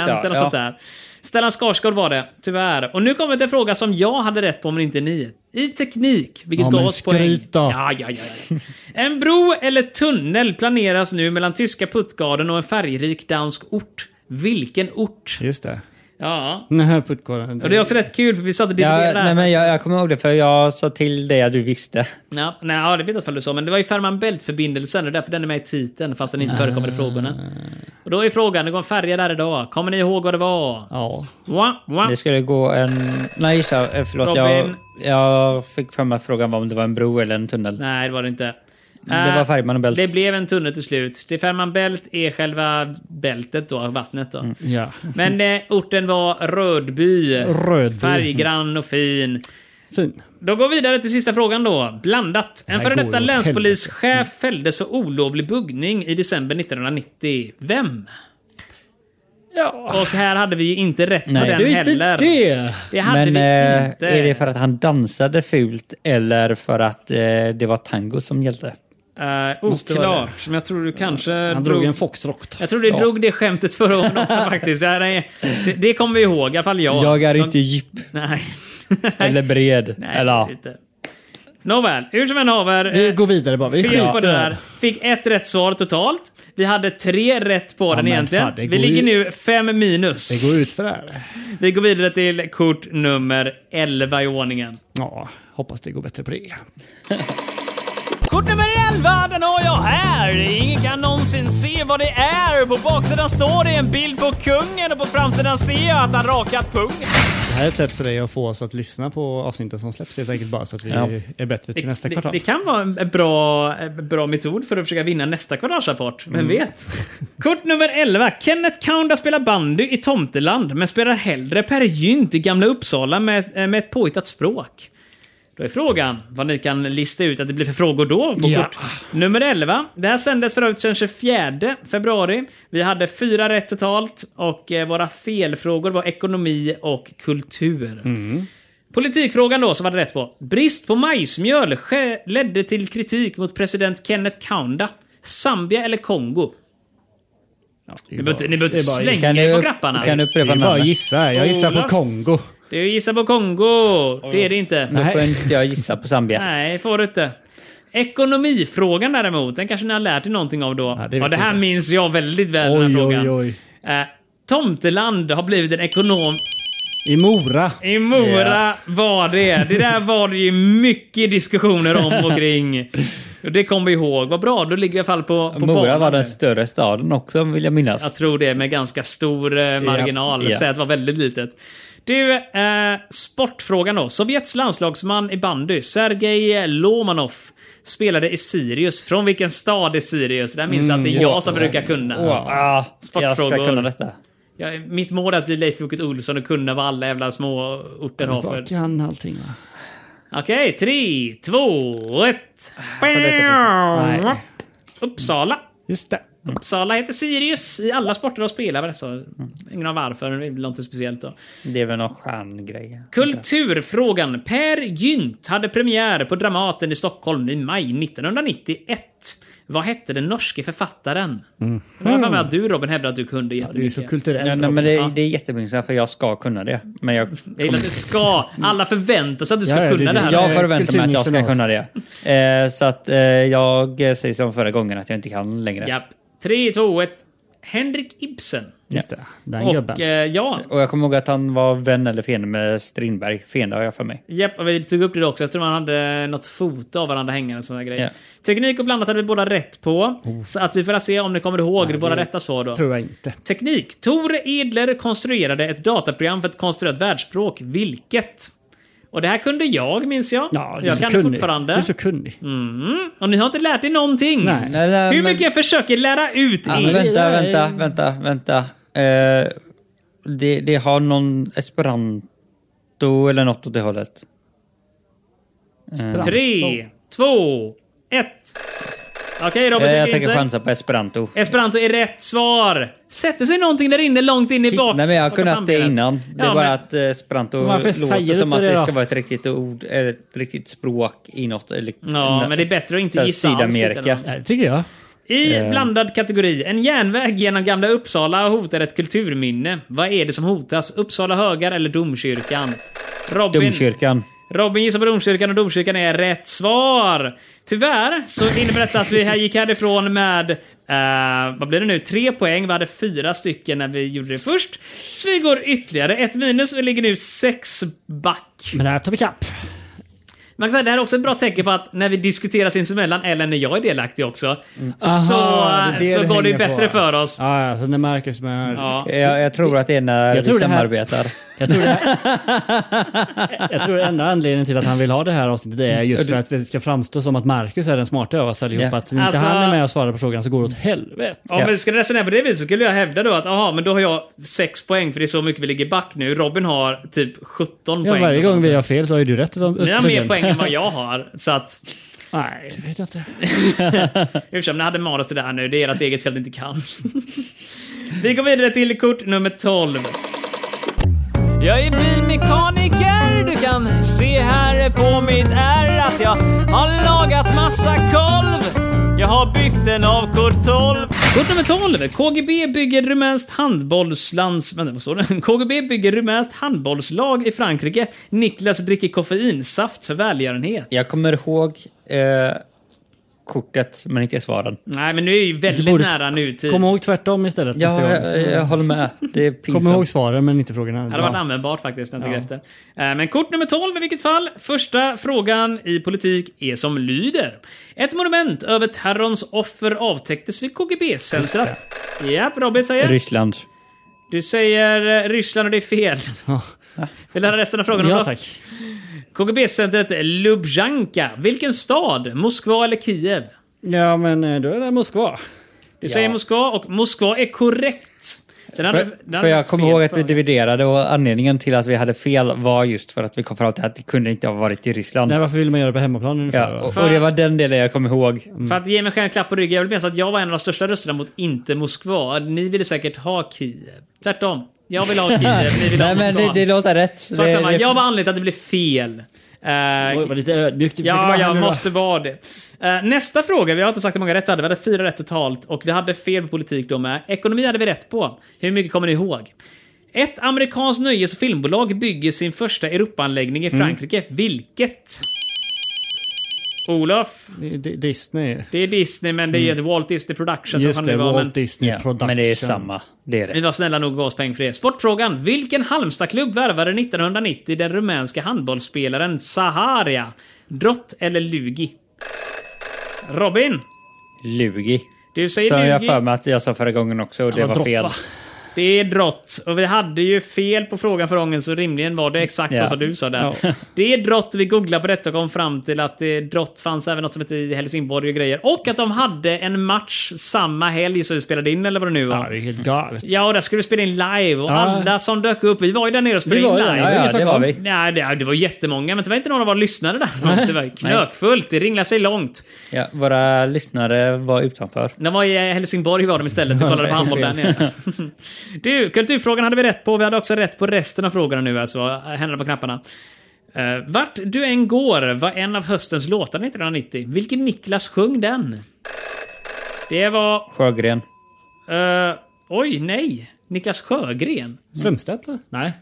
Speaker 2: betjänt eller
Speaker 4: ja.
Speaker 2: sånt där. Stellan Skarsgård var det, tyvärr. Och nu kommer det en fråga som jag hade rätt på, men inte ni. I teknik, vilket
Speaker 3: Ja,
Speaker 2: gav
Speaker 3: men
Speaker 2: oss poäng.
Speaker 3: skryt då.
Speaker 2: Ja, ja, ja, ja. En bro eller tunnel planeras nu mellan tyska Puttgarden och en färgrik dansk ort. Vilken ort?
Speaker 3: Just det.
Speaker 2: Ja,
Speaker 3: Den här puttkorren.
Speaker 2: och det är också rätt kul för vi satt och
Speaker 4: Ja,
Speaker 2: dividerade.
Speaker 4: nej, men jag, jag kommer ihåg det för jag sa till dig att du visste.
Speaker 2: Ja, nej, ja, det vet jag inte om du sa, men det var ju Fehmarn Bält-förbindelsen och därför den är med i titeln fast den inte
Speaker 4: Ah.
Speaker 2: förekommer i frågorna. Och då är frågan, det går en färja där idag. Kommer ni ihåg vad det var?
Speaker 3: Ja.
Speaker 2: Wa, wa.
Speaker 4: Det skulle gå en... Nej, gissa. Eh, Förlåt. Jag,
Speaker 2: Robin.
Speaker 4: jag fick för mig att frågan var om det var en bro eller en tunnel.
Speaker 2: Nej, det var det inte.
Speaker 4: Mm,
Speaker 2: Eh,
Speaker 4: Det var Fehmarn och Bält.
Speaker 2: Det blev en tunnel till slut. Det Fehmarn Bält är själva bältet då, vattnet
Speaker 4: Mm.
Speaker 2: då.
Speaker 3: ja.
Speaker 2: Men eh, orten var Rödby.
Speaker 3: Rödby.
Speaker 2: Färggrann och fin.
Speaker 3: Fin.
Speaker 2: Då går vi vidare till sista frågan då. Blandat. En
Speaker 3: Här
Speaker 2: före
Speaker 3: går
Speaker 2: detta
Speaker 3: det åt
Speaker 2: länspolischef fälldes för olovlig buggning i december 1990. Vem? Ja. Och här hade vi ju inte rätt på
Speaker 4: Nej.
Speaker 2: den
Speaker 3: Det är
Speaker 2: heller.
Speaker 3: inte det!
Speaker 2: Det hade
Speaker 4: Men
Speaker 2: vi
Speaker 4: eh,
Speaker 2: inte.
Speaker 4: är det för att han dansade fult eller för att eh, det var tango som gällde?
Speaker 2: Eh,
Speaker 3: Måste vara
Speaker 2: oklart, men jag tror du kanske
Speaker 3: Han drog en foxtrot.
Speaker 2: Jag tror du drog det skämtet förra året också faktiskt. Ja, nej, Det, det kommer vi ihåg, i alla fall jag.
Speaker 4: Jag är
Speaker 2: De-
Speaker 4: inte djup
Speaker 2: Nej.
Speaker 4: eller bred.
Speaker 2: Nej,
Speaker 4: eller, ja.
Speaker 2: inte. Nåväl, hur som än haver.
Speaker 3: Vi
Speaker 2: eh,
Speaker 3: går vidare bara. Vi
Speaker 2: Fel på
Speaker 3: skiter
Speaker 2: det
Speaker 3: i
Speaker 2: där. Fick ett rätt svar totalt. Vi hade tre rätt på den
Speaker 3: men
Speaker 2: egentligen.
Speaker 3: fan, det
Speaker 2: vi
Speaker 3: går
Speaker 2: ligger
Speaker 3: ju-
Speaker 2: nu fem minus.
Speaker 3: Det går ut för det här.
Speaker 2: Vi går vidare till kort nummer 11 i ordningen.
Speaker 3: Ja, hoppas det går bättre på det.
Speaker 2: Kort nummer 11, den har jag här! Ingen kan någonsin se vad det är. På baksidan står det en bild på kungen och på framsidan ser jag att han rakat pungen.
Speaker 3: Det här är ett sätt för dig att få oss att lyssna på avsnitten som släpps helt enkelt bara så att vi
Speaker 4: Ja.
Speaker 3: är bättre till nästa
Speaker 2: det,
Speaker 3: kvartal.
Speaker 2: det kan vara en en bra, en bra metod för att försöka vinna nästa kvartalsrapport.
Speaker 3: Mm.
Speaker 2: Vem vet? Kort nummer 11. Kenneth Kaunda spelar bandy i Tomteland, men spelar hellre Per Gynt i Gamla Uppsala med, eh, med ett påhittat språk. Då är frågan vad ni kan lista ut att det blir för frågor då på
Speaker 3: Ja.
Speaker 2: kort nummer 11. Det här sändes för övrigt den 24 februari. Vi hade fyra rätt totalt och eh, våra felfrågor var ekonomi och kultur. Politikfrågan då, som var det rätt på. Brist på majsmjöl ske- ledde till kritik mot president Kenneth Kaunda. Zambia eller Kongo? Ni behöver inte- ni behöver inte
Speaker 3: det är bara-
Speaker 2: slänga
Speaker 4: Kan
Speaker 2: er på
Speaker 4: du,
Speaker 2: grapparna.
Speaker 4: kan du
Speaker 3: Det
Speaker 4: upprepa
Speaker 3: är bara att
Speaker 4: namnet?
Speaker 3: gissa. Jag gissar på
Speaker 2: Olof.
Speaker 3: Kongo.
Speaker 2: Det är ju gissa på Kongo. Det är det inte.
Speaker 4: Då
Speaker 3: Nej.
Speaker 4: får inte jag gissa på Zambia.
Speaker 2: Nej, får du inte. Ekonomifrågan däremot, den kanske ni har lärt er någonting av då.
Speaker 3: Ja,
Speaker 2: Ja,
Speaker 3: det
Speaker 2: det,
Speaker 3: vet
Speaker 2: här
Speaker 3: jag inte.
Speaker 2: minns jag väldigt väl, den här
Speaker 3: Oj,
Speaker 2: frågan.
Speaker 3: oj, oj.
Speaker 2: Eh, Tomteland har blivit en ekonom...
Speaker 3: I Mora.
Speaker 2: I Mora var det. Det där var det ju mycket diskussioner om och kring. Och Det kommer vi ihåg. Vad bra, då ligger vi i alla fall på, på
Speaker 4: Mora
Speaker 2: banan
Speaker 4: var
Speaker 2: nu.
Speaker 4: den större staden också vill jag minnas.
Speaker 2: Jag tror det med ganska stor eh, marginal.
Speaker 4: ja.
Speaker 2: Säg att det var väldigt litet. Du, eh, sportfrågan då. Sovjets landslagsman i bandy, Sergej Lomanov, spelade i Sirius. Från vilken stad i Sirius? Där minns jag att det är jag som brukar kunna.
Speaker 4: Åh, ah, jag ska
Speaker 2: Sportfrågor.
Speaker 4: kunna detta.
Speaker 2: Jag, mitt mål är att bli Leif Bucket Olsson och kunna vad alla jävla små orter har för...
Speaker 3: kan allting va?
Speaker 2: Okej, tre, två, ett.
Speaker 3: Nej.
Speaker 2: Uppsala.
Speaker 3: Just det.
Speaker 2: Uppsala heter Sirius i alla sporter de spelar. men alltså, Ingen av varför, det blir något speciellt då.
Speaker 4: Det är väl någon stjärngrej.
Speaker 2: Kulturfrågan. Per Gynt hade premiär på Dramaten i Stockholm i maj 1991. Vad hette den norske författaren? Mm. Jag har för mig att du Robin hävdade att du kunde
Speaker 3: Du Hmm. är ju
Speaker 2: jättemycket.
Speaker 3: så kulturell.
Speaker 4: Ja, nej, men det, det är jättepinsamt för jag ska kunna det. Men jag,
Speaker 2: Jag gillar att det ska. Alla förväntar sig att du ska
Speaker 3: Ja, ja, det-
Speaker 2: kunna det, här.
Speaker 4: jag förväntar mig att jag ska
Speaker 3: kulturministern
Speaker 4: kunna det. Eh, så att eh, jag säger som förra gången att jag inte kan längre.
Speaker 2: Japp. 3, 2, 1. Henrik Ibsen.
Speaker 3: Just det. Den
Speaker 2: Och
Speaker 3: gubben.
Speaker 2: eh, ja,
Speaker 4: Och jag kommer ihåg att han var vän eller fiende med Strindberg. Fiende har jag för mig.
Speaker 2: Japp, och vi tog upp det då också. Jag tror man hade något foto av varandra hängande och sådana grejer.
Speaker 4: Ja.
Speaker 2: Teknik och blandat hade vi båda rätt på.
Speaker 3: Oh.
Speaker 2: Så att vi får se om ni kommer ihåg våra rätta svar då.
Speaker 3: Tror jag inte.
Speaker 2: Teknik. Tore Edler konstruerade ett dataprogram för ett konstruerat världsspråk. Vilket? Och det här kunde jag, minns jag.
Speaker 3: Ja, du är
Speaker 2: jag
Speaker 3: så
Speaker 2: kan det
Speaker 3: kunnig.
Speaker 2: fortfarande.
Speaker 3: Du är så kunnig.
Speaker 2: Mm. Och ni har inte lärt er någonting.
Speaker 3: Nej.
Speaker 4: Nej, nej,
Speaker 2: Hur
Speaker 4: men-
Speaker 2: mycket jag försöker lära ut
Speaker 4: Ja,
Speaker 2: er.
Speaker 4: men vänta, vänta, vänta, vänta. Eh, det, det har någon esperanto eller något åt det hållet.
Speaker 2: Tre, två, ett. Okej, Robert
Speaker 4: Eh,
Speaker 2: fick
Speaker 4: jag
Speaker 2: in
Speaker 4: tänker
Speaker 2: sig.
Speaker 4: chansa på esperanto.
Speaker 2: Esperanto är rätt svar! Sätter sig någonting där inne långt in i bak...
Speaker 4: Nej, men jag har kunnat det
Speaker 2: frambenet.
Speaker 4: innan. Det är
Speaker 2: Ja,
Speaker 4: bara
Speaker 2: men-
Speaker 4: att eh, esperanto
Speaker 3: Men varför säger
Speaker 4: låter
Speaker 3: du
Speaker 4: som
Speaker 3: inte
Speaker 4: att
Speaker 3: det
Speaker 4: det
Speaker 3: då?
Speaker 4: ska vara ett riktigt ord, eller ett riktigt språk i något. Eller,
Speaker 2: Ja, men det är bättre att inte
Speaker 4: där
Speaker 2: gissa alls, tycker
Speaker 4: Sydamerika.
Speaker 2: jag.
Speaker 3: Nej, det tycker jag.
Speaker 2: I blandad kategori. En järnväg genom Gamla Uppsala hotar ett kulturminne. Vad är det som hotas? Uppsala högar eller domkyrkan? Robin,
Speaker 4: Domkyrkan.
Speaker 2: Robin gissar på domkyrkan och domkyrkan är rätt svar! Tyvärr så innebär detta att vi här gick härifrån med eh, vad blir det nu? Tre poäng. Vi hade fyra stycken när vi gjorde det först. Så vi går ytterligare ett minus och vi ligger nu sex back.
Speaker 3: Men det här tar vi kapp.
Speaker 2: Man kan säga, det här är också ett bra tecken på att när vi diskuterar sinsemellan, eller när jag är delaktig också, så,
Speaker 3: Mm.
Speaker 2: eh,
Speaker 3: Aha, det är det
Speaker 2: så
Speaker 3: det
Speaker 2: går det ju
Speaker 3: hänger
Speaker 2: bättre
Speaker 3: på.
Speaker 2: för oss.
Speaker 3: Ja, ja, så när Marcus med...
Speaker 2: Ja.
Speaker 4: Jag, jag tror att det är när
Speaker 3: Jag
Speaker 4: vi
Speaker 3: tror det här-
Speaker 4: samarbetar.
Speaker 3: Jag tror, det här, jag tror enda anledningen till att han vill ha det här avsnittet är
Speaker 2: Mm.
Speaker 3: just för att det ska framstå som att Marcus är den smarta av oss allihopa.
Speaker 4: Ja.
Speaker 3: Att inte
Speaker 2: Alltså-
Speaker 3: han är med och svarar på frågan så går det åt helvete.
Speaker 2: Om
Speaker 4: Ja.
Speaker 2: vi skulle resonera på det viset så skulle jag hävda då att aha, men då har jag 6 poäng för det är så mycket vi ligger back nu. Robin har typ 17
Speaker 3: Ja,
Speaker 2: poäng.
Speaker 3: varje
Speaker 2: och sånt.
Speaker 3: gång vi har fel så har ju du rätt.
Speaker 2: Ni har mer poäng än vad jag har. Så att,
Speaker 3: Nej, det vet jag inte.
Speaker 2: ursäkta, men ni hade manus till det här nu. Det är ert eget fel att ni inte kan. vi går vidare till kort nummer 12. Jag är bilmekaniker, du kan se här på mitt R att jag har lagat massa kolv. Jag har byggt den av kort 12. Kort nummer 12. KGB bygger rumänskt handbollslands... Vänta, vad står det? KGB bygger rumänskt handbollslag i Frankrike. Niklas dricker koffeinsaft för välgörenhet.
Speaker 4: Jag kommer ihåg eh, kortet, men inte svaren.
Speaker 2: Nej, men nu är ju väldigt
Speaker 3: Du borde-
Speaker 2: nära nutid.
Speaker 3: Kom ihåg tvärtom istället.
Speaker 4: Ja,
Speaker 3: nästa gång.
Speaker 4: jag, jag, jag håller med. Det är
Speaker 3: Kom ihåg
Speaker 4: pinsamt.
Speaker 3: svaren men inte frågorna.
Speaker 2: Det hade varit
Speaker 3: Ja.
Speaker 2: användbart faktiskt när jag tänker efter. Eh, Men kort nummer 12 i vilket fall. Första frågan i politik är som lyder. Ett monument över terrorns offer avtäcktes vid KGB-centret. Ja, Robin säger.
Speaker 4: Ryssland.
Speaker 2: Du säger eh, Ryssland och det är fel. Vill du höra resten av frågan?
Speaker 3: Ja,
Speaker 2: Olof?
Speaker 3: tack.
Speaker 2: KGB-centret Lubjanka. Vilken stad? Moskva eller Kiev?
Speaker 3: Ja, men eh, då är det Moskva.
Speaker 2: Du säger Moskva och Moskva är korrekt. Den hade- den
Speaker 4: För,
Speaker 2: hade
Speaker 4: för jag
Speaker 2: varit
Speaker 4: kommer
Speaker 2: fel
Speaker 4: ihåg att vi
Speaker 2: fråga.
Speaker 4: dividerade och anledningen till att vi hade fel var just för att vi kom fram till att det kunde inte ha varit i Ryssland.
Speaker 3: Nej, varför vill man göra det på hemmaplan ungefär? alltså?
Speaker 4: ja,
Speaker 3: va?
Speaker 4: och, och det var den delen jag kommer ihåg.
Speaker 2: För att ge mig själv en klapp på ryggen, jag vill minnas att jag var en av de största rösterna mot inte Moskva. Ni ville säkert ha Kiev. Tvärtom. Jag vill ha Kiev, ni vill ha
Speaker 4: Nej men det,
Speaker 2: Moskva.
Speaker 4: det låter rätt.
Speaker 2: Sak
Speaker 4: Det-
Speaker 2: samma,
Speaker 4: det-
Speaker 2: jag var anledningen till att det blev fel. Eh,
Speaker 3: Oj, vad lite ödmjukt. Du
Speaker 4: typ
Speaker 3: försöker
Speaker 2: ja,
Speaker 3: vara här
Speaker 2: jag
Speaker 3: nu, va?
Speaker 2: måste vara det. Eh, nästa fråga, vi har inte sagt hur många rätt vi hade. Vi hade fyra rätt totalt och vi hade fel på politik då med. Ekonomi hade vi rätt på. Hur mycket kommer ni ihåg? Ett amerikanskt nöjes och
Speaker 4: Mm.
Speaker 2: filmbolag bygger sin första Europaanläggning i Frankrike. Vilket? Olof,
Speaker 3: Det är Di- Disney.
Speaker 2: det är Disney men det är ett Walt Disney Productions som
Speaker 3: Mm. Just
Speaker 2: fan det
Speaker 3: det,
Speaker 2: var. Men
Speaker 3: Walt Disney
Speaker 4: Ja,
Speaker 3: Production.
Speaker 4: men det är samma. Det är
Speaker 2: vi
Speaker 4: det.
Speaker 2: var snälla nog att gav oss pengar för det. Sportfrågan. Vilken Halmstadklubb värvade 1990 den rumänska handbollsspelaren Saharia? Drott eller Lugi? Robin,
Speaker 4: Lugi.
Speaker 2: du säger
Speaker 4: Som jag
Speaker 2: Lugi.
Speaker 4: för mig att jag sa förra gången också och det
Speaker 3: var
Speaker 4: var,
Speaker 3: drott,
Speaker 4: fel.
Speaker 3: va?
Speaker 2: Det är drott. Och vi hade ju fel på frågan förra gången så rimligen var det exakt så
Speaker 4: Ja.
Speaker 2: som du sa där. Det är drott. Vi googlade på detta och kom fram till att eh, drott fanns även något som hette i Helsingborg och grejer. Och att de hade en match samma helg som vi spelade in eller vad det nu var.
Speaker 3: Ja, det är helt galet.
Speaker 2: Ja, och där skulle vi spela in live och
Speaker 3: Ja.
Speaker 2: alla som dök upp. Vi var ju där nere och
Speaker 3: Vi
Speaker 2: spelade in
Speaker 3: var ju
Speaker 2: live.
Speaker 3: där,
Speaker 4: Ja, ja,
Speaker 3: ingen som
Speaker 4: det var
Speaker 3: kom.
Speaker 4: vi.
Speaker 2: Nej, det, det var jättemånga, men det var inte någon av våra lyssnare där. Det var knökfullt, det ringlade sig långt.
Speaker 4: Ja, våra lyssnare var utanför.
Speaker 2: De var i eh, Helsingborg var de istället och kollade på handboll där nere. Du, kulturfrågan hade vi rätt på. Vi hade också rätt på resten av frågorna nu, alltså. Händerna på knapparna. Eh, vart du än går var en av höstens låtar 1990. Vilken Niklas sjöng den? Det var...
Speaker 4: Sjögren.
Speaker 2: eh, oj, nej. Niklas Sjögren.
Speaker 3: Strömstedt eller? Nej.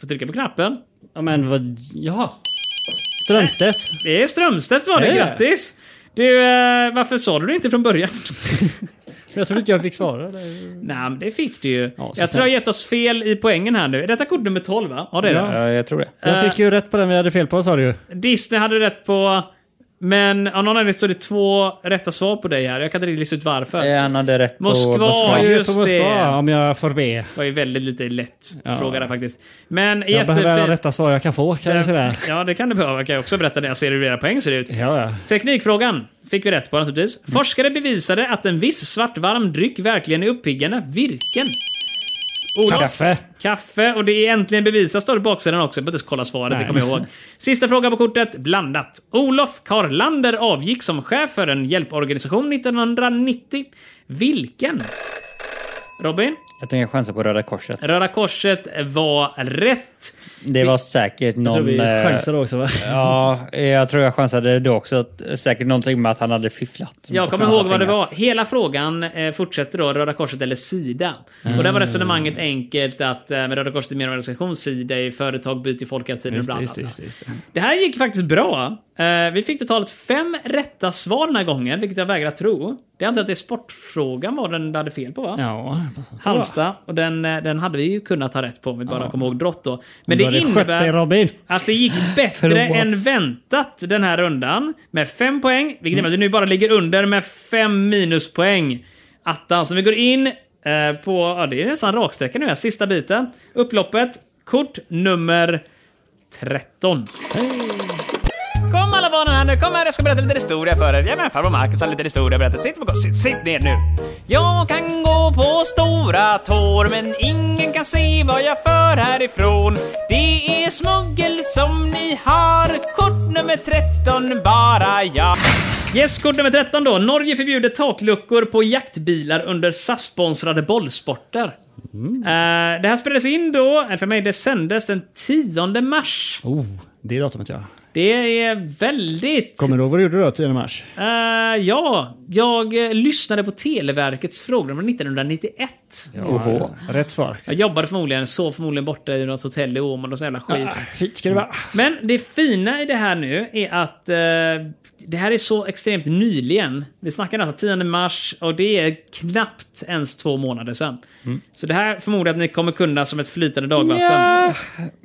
Speaker 2: Får trycka på knappen.
Speaker 3: Ja men vad... Ja. Strömstedt.
Speaker 2: Det är Strömstedt var det,
Speaker 3: Är det?
Speaker 2: grattis! Du, eh, varför sa du det inte från början?
Speaker 3: Jag trodde inte jag fick svara. Det-
Speaker 2: Nej, men det fick du ju.
Speaker 3: så
Speaker 2: jag
Speaker 3: snällt.
Speaker 2: tror jag gett oss fel i poängen här nu. Är detta kort nummer 12 va? Ja, det är
Speaker 3: Ja.
Speaker 2: det.
Speaker 4: Ja, jag tror det.
Speaker 3: Jag fick ju rätt på den vi hade fel på sa du ju.
Speaker 2: Disney hade du rätt på, men av någon anledning står det två rätta svar på dig här. Jag kan inte riktigt lista ut varför.
Speaker 4: Eh, Han hade rätt
Speaker 2: Moskva.
Speaker 4: på Moskva.
Speaker 2: Ja,
Speaker 3: Jag är
Speaker 2: just
Speaker 3: på Moskva,
Speaker 2: det.
Speaker 3: Om jag får be.
Speaker 2: Det var ju väldigt lite lätt
Speaker 3: Ja.
Speaker 2: fråga där faktiskt. Men
Speaker 3: Jag behöver alla
Speaker 2: jättefin-
Speaker 3: rätta svar jag kan få kan jag säga.
Speaker 2: Ja, det kan du behöva. Kan jag också berätta när jag ser hur era poäng ser ut.
Speaker 3: Ja, ja.
Speaker 2: Teknikfrågan fick vi rätt på naturligtvis.
Speaker 3: Mm.
Speaker 2: Forskare bevisade att en viss svartvarm dryck verkligen är uppiggande. Vilken? Olof?
Speaker 3: Kaffe.
Speaker 2: Kaffe och det är äntligen bevisat står det på baksidan också. Jag behöver inte kolla svaret, det
Speaker 3: Nej.
Speaker 2: kommer jag ihåg. Sista fråga på kortet, blandat. Olof Karlander avgick som chef för en hjälporganisation 1990. Vilken? Robin?
Speaker 4: Jag tänker chansa på Röda Korset.
Speaker 2: Röda Korset var rätt.
Speaker 4: Det var säkert
Speaker 3: Jag tror
Speaker 4: någon...
Speaker 3: vi
Speaker 4: eh,
Speaker 3: chansade också va?
Speaker 4: Ja, eh, jag tror jag chansade då också. att- Säkert någonting med att han hade fifflat.
Speaker 3: Mm.
Speaker 2: Jag
Speaker 4: Och
Speaker 2: kommer
Speaker 4: chansat
Speaker 2: ihåg vad det
Speaker 4: pengar.
Speaker 2: var. Hela frågan eh, fortsätter då, Röda Korset eller Sida. Och
Speaker 3: Mm.
Speaker 2: där var resonemanget enkelt att eh, med Röda Korset är mer en organisation, Sida är företag, byter folk hela tiden.
Speaker 3: Just
Speaker 2: bla,
Speaker 3: det,
Speaker 2: bla,
Speaker 3: just det,
Speaker 2: bla.
Speaker 3: just det, just det.
Speaker 2: Det här gick faktiskt bra. Eh, vi fick totalt fem rätta svar den här gången, vilket jag vägrar tro. Det antar jag att det är sportfrågan var den du hade fel på va?
Speaker 3: Ja,
Speaker 2: Halmstad, och den, eh, den hade vi ju kunnat ta rätt på om vi bara kom ihåg drott då. Men det
Speaker 3: Du hade skött dig,
Speaker 2: innebär
Speaker 3: Robin.
Speaker 2: att det gick bättre
Speaker 3: Förlåt.
Speaker 2: än väntat den här rundan. Med fem poäng, vilket innebär att du nu bara ligger under med fem minuspoäng. Attan, så vi går in eh, på, ja det är nästan raksträcka nu här, sista biten. Upploppet, kort nummer 13.
Speaker 5: Kom alla barnen här nu, kom här jag ska berätta lite historia för er. Ja men farbror Marcus har lite historia att berätta. Sitt, på, sitt, sitt ner nu. Jag kan gå på stora tår men ingen kan se vad jag för härifrån. Det är smuggel som ni har. Kort nummer 13 bara jag.
Speaker 2: Yes, kort nummer 13 då. Norge förbjuder takluckor på jaktbilar under SAS-sponsrade bollsporter.
Speaker 5: Mm.
Speaker 2: Eh, det här spelades in då, eh, för mig, det sändes den 10 mars.
Speaker 3: Oh, det är datumet ja.
Speaker 2: Det är väldigt...
Speaker 3: Kommer du ihåg vad du gjorde då 10 mars?
Speaker 2: Eh, ja, jag eh, lyssnade på Televerkets frågor från 1991.
Speaker 3: Ja, rätt svar.
Speaker 2: Jag jobbade förmodligen, sov förmodligen borta i något hotell i Åmål och sån jävla skit.
Speaker 3: Ah, Fint ska det vara.
Speaker 2: Men det fina i det här nu är att eh, det här är så extremt nyligen. Vi snackar alltså 10 mars och det är knappt ens två månader sedan.
Speaker 3: Mm.
Speaker 2: Så det här förmodar jag att ni kommer kunna som ett flytande dagvatten.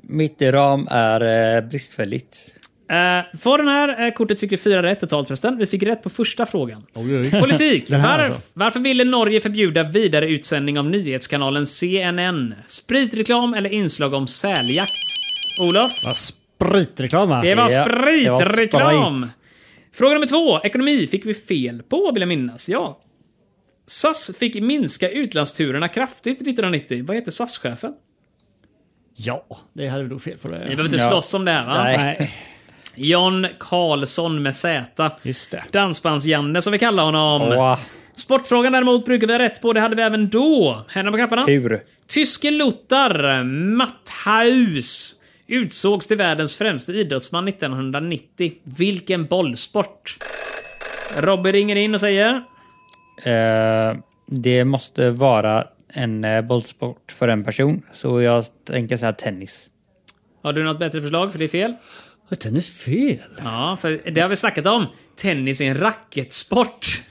Speaker 4: Mitt i ram är eh, bristfälligt.
Speaker 2: Eh, för den här eh, kortet fick vi fyra rätt totalt förresten. Vi fick rätt på första frågan.
Speaker 3: Oj, oj, oj.
Speaker 2: Politik.
Speaker 3: Den här
Speaker 2: Varf-
Speaker 3: alltså.
Speaker 2: Varför ville Norge förbjuda vidare utsändning av nyhetskanalen CNN? Spritreklam eller inslag om säljakt? Olof?
Speaker 3: Vad Spritreklam va?
Speaker 2: Det var
Speaker 4: Ja, det var
Speaker 2: spritreklam!
Speaker 4: sprit.
Speaker 2: Fråga nummer två. Ekonomi fick vi fel på, vill jag minnas. Ja. SAS fick minska utlandsturerna kraftigt 1990. Vad heter SAS-chefen?
Speaker 3: Ja, det hade vi nog fel på
Speaker 2: Ni
Speaker 3: det.
Speaker 2: behöver inte
Speaker 4: Ja.
Speaker 2: slåss om det här, va?
Speaker 4: Nej.
Speaker 2: Jon Karlsson med Z.
Speaker 3: Just det.
Speaker 2: Dansbands-Janne, som vi kallar honom.
Speaker 4: Åh,
Speaker 2: Sportfrågan däremot brukar vi ha rätt på. Det hade vi även då. Händerna på knapparna.
Speaker 4: hur?
Speaker 2: Tysken Lothar Matthaus utsågs till världens främste idrottsman 1990. Vilken bollsport? Robbe ringer in och säger...
Speaker 4: Eh, det måste vara en eh, bollsport för en person. Så jag tänker säga tennis.
Speaker 2: Har du något bättre förslag? För det är fel.
Speaker 3: Har tennis fel?
Speaker 2: Ja, för det har vi snackat om. Tennis är en racketsport.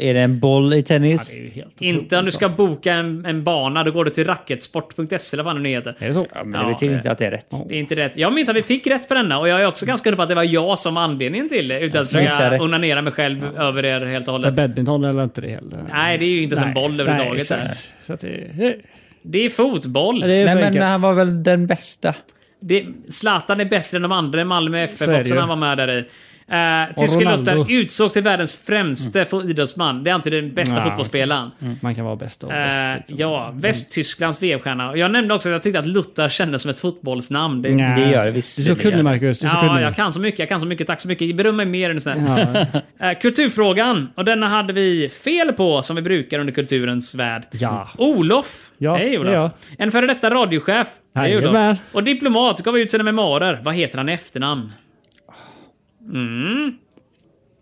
Speaker 4: Är det en boll i tennis?
Speaker 3: ju helt
Speaker 2: Inte om du ska boka en, en bana, då går du till racketsport.se eller vad det nu heter.
Speaker 3: Är det så?
Speaker 4: Ja, men
Speaker 2: Ja,
Speaker 4: det betyder
Speaker 2: det-
Speaker 4: inte att det är rätt.
Speaker 2: Det är inte rätt. Jag minns att vi fick rätt på denna och jag är också ganska hundra på att det var jag som var anledningen till det. Utan att
Speaker 4: gissar
Speaker 2: jag
Speaker 4: rätt.
Speaker 2: onanera mig själv över er helt och
Speaker 3: Men
Speaker 2: hållet.
Speaker 3: badminton eller inte det heller?
Speaker 2: Nej, det är ju inte ens en
Speaker 3: Nej,
Speaker 2: boll
Speaker 3: nej,
Speaker 2: överhuvudtaget.
Speaker 3: exakt. Så att det, det
Speaker 2: det är fotboll.
Speaker 3: är så
Speaker 4: Nej, men
Speaker 3: enkelt.
Speaker 4: han var väl den bästa.
Speaker 2: Det, Zlatan är bättre än de andra i Malmö FF
Speaker 3: Så är det
Speaker 2: också när
Speaker 3: ju.
Speaker 2: han var med där i. Uh, Tyske
Speaker 3: Ronaldo. Mm.
Speaker 2: Luther utsågs till världens främste fo- idrottsman. Det är inte den bästa
Speaker 3: Ja.
Speaker 2: fotbollsspelaren.
Speaker 3: Man kan vara bäst och
Speaker 2: Eh,
Speaker 3: bäst. liksom.
Speaker 2: ja, Västtysklands VM-stjärna. Jag nämnde också att jag tyckte att Luther kändes som ett fotbollsnamn. Det,
Speaker 3: Nej.
Speaker 4: Det gör det
Speaker 3: Du är
Speaker 4: visserligen.
Speaker 3: så kunnig Marcus. Du är så
Speaker 2: Ja,
Speaker 3: kunnig.
Speaker 2: jag kan så mycket, jag kan så mycket. Tack så mycket. Beröm mig mer än snäll. Eh, kulturfrågan. Och denna hade vi fel på, som vi brukar under kulturens värld.
Speaker 3: Ja.
Speaker 2: Olof.
Speaker 3: Ja,
Speaker 2: Hej Olof.
Speaker 3: det är jag.
Speaker 2: En före detta radiochef. Olof.
Speaker 3: Jajamän.
Speaker 2: Och diplomat. Gav ut sina memoarer. Vad heter han i efternamn?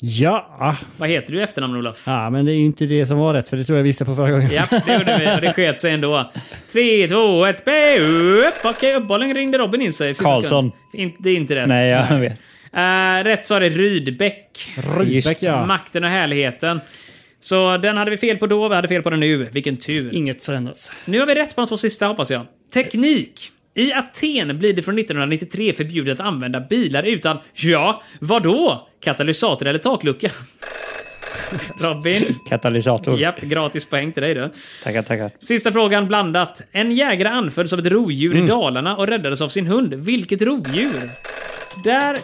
Speaker 3: Ja.
Speaker 2: Vad heter du i efternamn Olof?
Speaker 3: ja, men det är ju inte det som var rätt för det tror jag visade på förra gången.
Speaker 2: Ja, det gjorde vi och det sket sig ändå. 3, 2, 1, B, upp! Okej, uppbollen ringde Robin in sig. i sista
Speaker 4: Karlsson.
Speaker 2: sekund. In- Det är inte rätt.
Speaker 4: Nej, jag vet.
Speaker 2: Eh, rätt svar är Rydbeck.
Speaker 3: Rydbeck, ja.
Speaker 2: Makten och härligheten. Så den hade vi fel på då, vi hade fel på den nu. Vilken tur.
Speaker 3: Inget förändras.
Speaker 2: Nu har vi rätt på de två sista hoppas jag. Teknik. I Aten blir det från 1993 förbjudet att använda bilar utan, ja, vadå? Katalysator eller taklucka? Robin.
Speaker 4: Katalysator.
Speaker 2: Japp, gratis poäng till dig då.
Speaker 4: Tackar, tackar.
Speaker 2: Sista frågan blandat. En jägare anföll som ett rovdjur i Dalarna och räddades av sin hund. Vilket rovdjur? Där